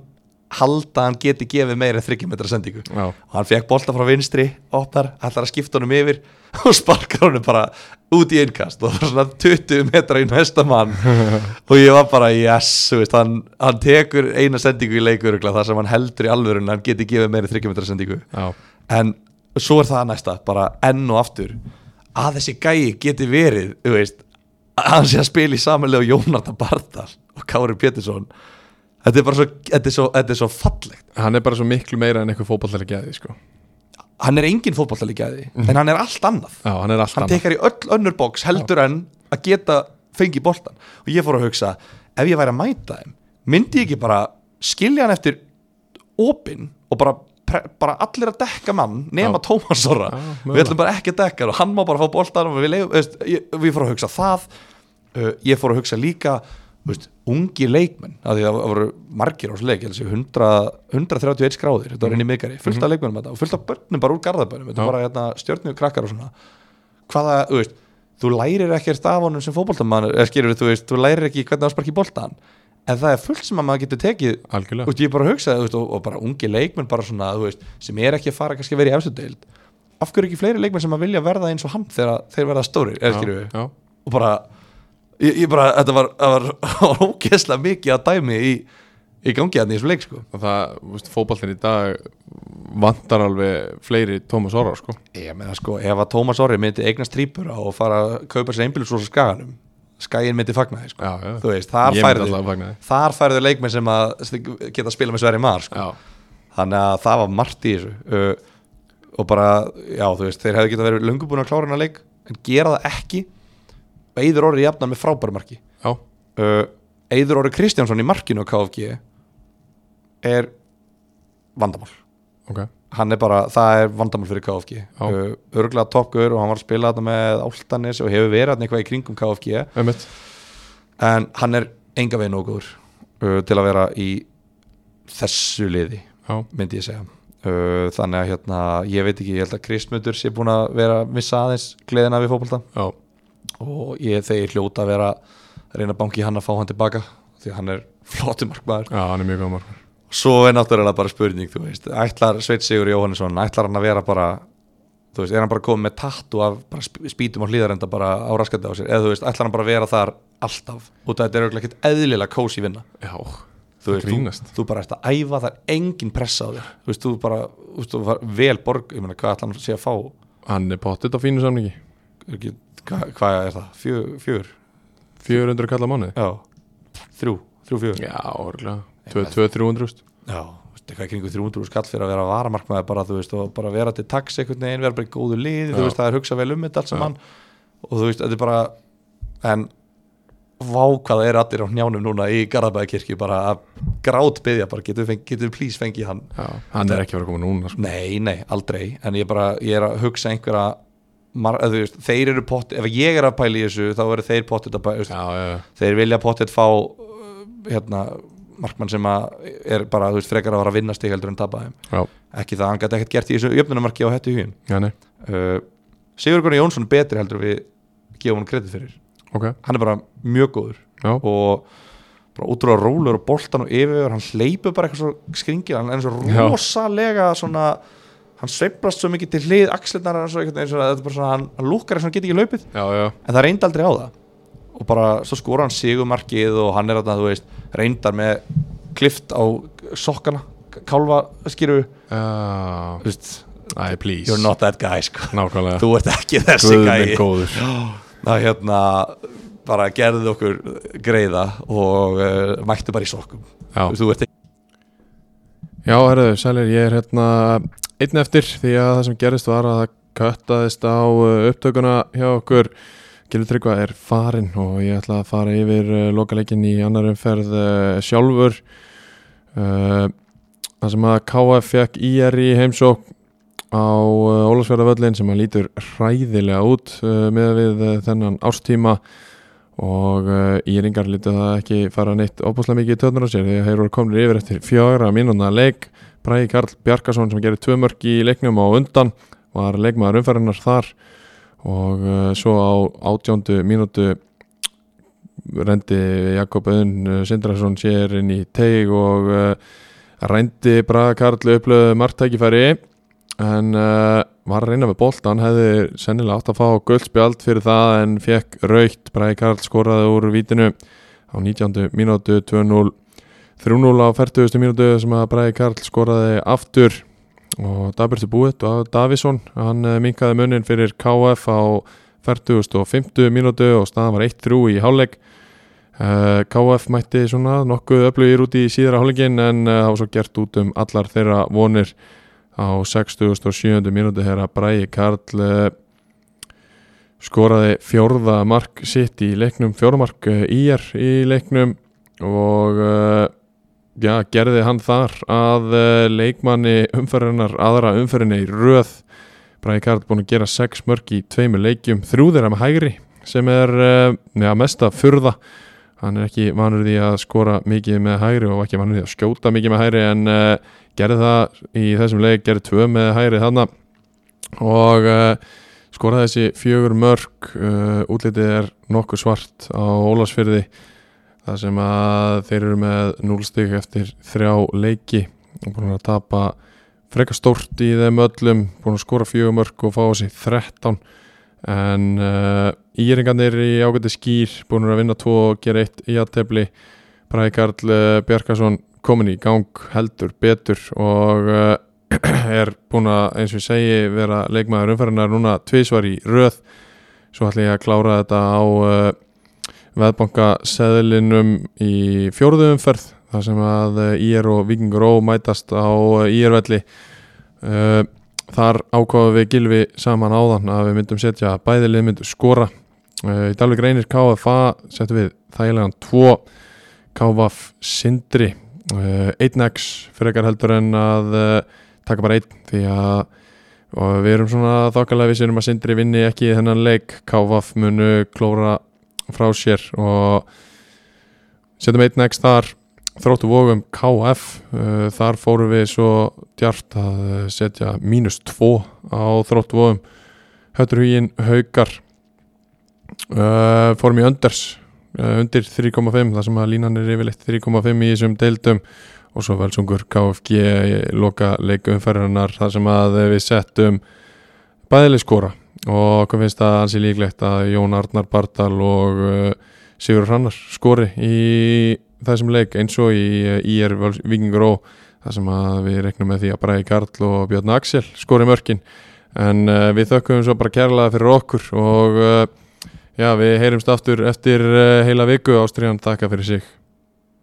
S2: halda að hann geti gefið meira en 30 metra sendingu
S1: já,
S2: og hann fekk bolta frá vinstri opnar, ætlar að skipta honum yfir [LAUGHS] og sparkar honum bara út í innkast og það var svona 20 metra í næsta
S1: [LAUGHS]
S2: mann og ég var bara yes, þú veist, hann, hann tekur eina sendingu í leikur það sem hann heldur í alvörun hann geti gefið meiri 30 metra sendingu
S1: já,
S2: en svo er það næsta bara enn og aftur að þessi gæi geti verið þú veist, að hann sé að spila í samanlega Jónarda Bardal og Kári Pétursson þetta er bara svo, þetta er svo, þetta er svo fallegt
S1: hann er bara svo miklu meira en eitthvað fótballtæli gæði sko.
S2: hann er engin fótballtæligæði en hann er allt annað
S1: Já, hann er allt
S2: hann
S1: annað
S2: tekar í öll önnur bóks heldur en að geta fengið boltan og ég fór að hugsa ef ég væri að mæta þeim myndi ég ekki bara skilja hann eftir opinn og bara, pre- bara allir að dekka mann nema
S1: Já.
S2: Tómas Orra
S1: Já,
S2: við
S1: mögulega.
S2: ætlum bara ekki að dekka hann og hann má bara fá boltan og við, leifum, veist, ég, við fór að hugsa það uh, ég fór að hugsa líka veist, ungi leikmenn af því að það voru margir á þessu leik ég held að séu 100 131 gráðir, þetta var inn í miðgari fullt af leikmennum þetta og fullt af börnum bara úr garðabörnum þetta
S1: Mhm. Já.
S2: var bara hérna, stjörnum krakkar og svona hvaða, þú veist, þú lærir ekkert af honum sem fótboltamann, eða skilur þú veist, þú lærir ekki hvernig að sparki boltan en það er fullt sem að maður getur tekið þú
S1: Algjörlega,
S2: veist, ég bara hugsaði, þú veist, og, og bara ungi leikmenn bara svona, þú veist, sem er ekki að fara kannski að vera í efstudeild, af hverju ekki fleiri leikmenn sem að vilja verða eins og hann þegar þeir verða stórir, eða skilur
S1: já,
S2: og bara, ég, ég bara þetta var, það var, það var [LAUGHS] ógeðslega mikið að dæmi í, í gangi hann í þessum leik, sko.
S1: og það, þú veist, fótballtæli í dag vantar alveg fleiri Tómas Orra sko.
S2: Ég meina sko, ef að Tómas Orri myndi eignast trípura og fara að kaupa sér einbílisús á skaganum, skaginn myndi fagna þig sko.
S1: Já, já,
S2: Þú veist, þar
S1: ég myndi alltaf
S2: færðu,
S1: að fagna þig
S2: þar færðu leikmenn sem að geta að spila með Sverri Mar sko.
S1: Já,
S2: Þannig að það var margt í þessu uh, og bara, já þú veist, þeir hefðu getað verið löngu búin að klára hennar leik en gera það ekki og Eður Orri jafnar með frábæru marki.
S1: já,
S2: Uh, Eður Orri Kristjánsson í markinu á KFG er vandamál
S1: ok,
S2: hann er bara, það er vandamál fyrir KFG
S1: Já.
S2: uh, örgulega toppgur og hann var að spila þetta með Áltanes og hefur verið hann eitthvað í kringum KFG
S1: einmitt
S2: en hann er enga veginn og góður uh, til að vera í þessu liði,
S1: Já,
S2: myndi ég segja uh, þannig að hérna, ég veit ekki ég held að Kristmundur sé búin að vera missa aðeins gleðina við fótbolta
S1: já,
S2: og ég þegar hljóta að vera að reyna að banki hann að fá hann tilbaka því að hann er flottum markmaður
S1: já, hann er mjög góð margur
S2: Svo er náttúrulega bara spurning, þú veist Ætlar Sveit Sigur Jóhannesson, ætlar hann að vera bara Þú veist, er hann bara komið með tattu af bara sp- spýtum og hlýðarenda bara á raskandi á sér eða þú veist, ætlar hann bara að vera þar alltaf út af þetta er auðvitað ekkert eðlilega kósi vinna
S1: Já,
S2: þú,
S1: það
S2: veist,
S1: grínast
S2: þú, þú bara ert að æfa, það er engin pressa á þér þú veist, þú bara, þú veist, þú var vel borg ég meina, hvað ætlar hann sé að fá
S1: Hann er pottitt á fínu samningi
S2: Er ekki, hva, hvað er það, fjör, fjör
S1: 400 kalla á mánuði
S2: já, þrjú, þrjú fjör
S1: Já, orðlega 2-300
S2: Já, veist, eitthvað í kringu 300 skall fyrir að vera varamarkmaður bara, þú veist, og bara vera til taks einhvern veginn, vera bara í góðu liði, þú
S1: Já.
S2: veist, það er hugsa vel um þetta
S1: Já.
S2: allt saman og þú veist, þetta er bara en vá hvað það er allir á njánum núna í Garðabæðakirkju bara að grát byggja, bara getur við, fengi, getur við please fengið hann
S1: Já, hann er ekki að vera að koma núna sko.
S2: Nei, nei, aldrei, en ég bara ég er að hugsa einhverja mar, að, þú veist, þeir eru pott, ef ég er að pæla í þessu þá eru þeir pottet að pæla,
S1: Já, já, já,
S2: þeir vilja pottet fá uh, hérna, markmann sem að er bara, þú veist, frekar að vera að vinna stig heldur en tapa þeim,
S1: já,
S2: ekki það, hann gæti ekkert gert í þessu jöfnumarki á hættu hugin
S1: já, nei,
S2: uh, Sigur Gunnar Jónsson er betri heldur en við gefum hann kredit fyrir
S1: ok,
S2: hann er bara mjög góður
S1: já,
S2: og bara útrúlega rólur og boltan og yfirvegur, hann hleypur bara eitthvað svo skringil, hann er eins og
S1: Já.
S2: rosalega svona, hann sveiflast svo mikið til hlið axlirnar og svo eitthvað eins og þetta er bara svona, hann, hann lúkkar eins og hann geti ekki hlaupið
S1: já, já,
S2: en það reyndi aldrei á það og bara svo skora hann sigumarkið og hann er þarna, þú veist, reyndar með klift á sokkana kálva skýru
S1: já
S2: veist,
S1: Æ, please
S2: you're not that guy sko.
S1: Nákvæmlega
S2: þú ert ekki þessi
S1: Guð minn
S2: gæi
S1: góður
S2: það hérna bara gerði okkur greiða og uh, mættu bara í sokkum
S1: Já,
S2: þú ert ekki
S1: já herðu, sælir, ég er hérna einn eftir því að það sem gerist var að það köttaðist á uh, upptökuna hjá okkur Gilvi Tryggva er farinn og ég ætla að fara yfir uh, lokaleikin í annar umferð uh, sjálfur uh, Það sem að KF fekk IR í heimsók á uh, Ólasverðavöllin sem að lítur hræðilega út uh, með við uh, þennan ástíma og uh, Íringar lítið það ekki fara neitt opaslega mikið í töðnur á sér þegar þeir eru komnir yfir eftir fjögra mínúna leik Bræði Karl Bjarkason sem gerir tvö mörg í leiknum á undan var leikmaður umfærinar þar og uh, svo á átjóndu mínútu rendi Jakob Öðun Sindrason sér inn í teig og uh, rændi Braga Karl upplöðu margtækifæri en uh, var að reyna með boltan hefði sennilega átt að fá guldspjald fyrir það en fekk raukt Braga Karl skoraði úr vítinu á 19. mínútu 2-0 3-0 á 40. mínútu sem að Braga Karl skoraði aftur og Dabirti Búitt og Davison hann minkaði munin fyrir KF á 40. og 50. mínútu og staðan var 1-3 í hálfleik Eh, KF mætti svona nokkuð öflugir út í síðara hálfleikin en eh, það var svo gert út um allar þeirra vonir á 60. og 70. mínútu þegar að Bræi Karl eh, skoraði fjórða mark sitt í leiknum, fjórmark íjar í leiknum og eh, já, gerði hann þar að eh, leikmanni umferðinar aðra umferðinni í röð Bræði Karl búin að gera sex mörg í tveimur leikjum, þrjúðir með hægri sem er eh, já, mesta furða hann er ekki vanur því að skora mikið með hægri og var ekki vanur því að skjóta mikið með hægri en uh, gerði það í þessum leik, gerði tvö með hægri þarna og uh, skoraði þessi fjögur mörg uh, útlitið er nokkuð svart á Ólasfyrði þar sem að þeir eru með 0 stygg eftir þrjá leiki og búin að tapa frekar stórt í þeim öllum búin að skora fjögur mörg og fá þessi 13 en uh, íringarnir í ágæti skýr búin að vinna tvo og gera eitt í aðtefli Bræði Karl uh, Bjarkason komin í gang heldur betur og uh, [CLEARS THROAT] er búin að eins og ég segi vera leikmaður umferðinar núna tvísvar í röð svo ætla ég að klára þetta á uh, veðbankaseðlinum í fjórðu umferð þar sem að uh, IR og Vikingur Ó mætast á uh, IR-velli uh, Þar ákvaðum við Gilvi saman áðan að við myndum setja að bæði lið myndu skora. Eh, Í Dalvik reynir KFA setjum við þægilegan 2 KFF Sindri 1x Eh, frekar heldur en að eh, taka bara 1 því að og við erum svona þokkalega við sérum að Sindri vinni ekki í þennan leik KFF munu klóra frá sér og setjum 1x þar þróttu vógum KF uh, þar fórum við svo djart að uh, setja mínus 2 á þróttu vógum höttur hugin haukar uh, fórum í önders uh, undir 3,5 þar sem að línan er yfirleitt 3,5 í þessum deildum og svo velsungur KFG í loka leikumferðarnar þar sem að við settum bæðileg skora og hvað finnst það ansi líklegt að Jón Arnar Bardal og uh, Sigur Hrannar skori í þessum leik eins og í eh, IR Völs- Víkingur Ó þar sem að við reknum með því að Bræði Karl og Björn Axel skori mörkin en uh, við þökkum svo bara kærlega fyrir okkur eh, og uh, já, við heyrumst aftur eftir uh, heila viku ástriðan þakka fyrir sig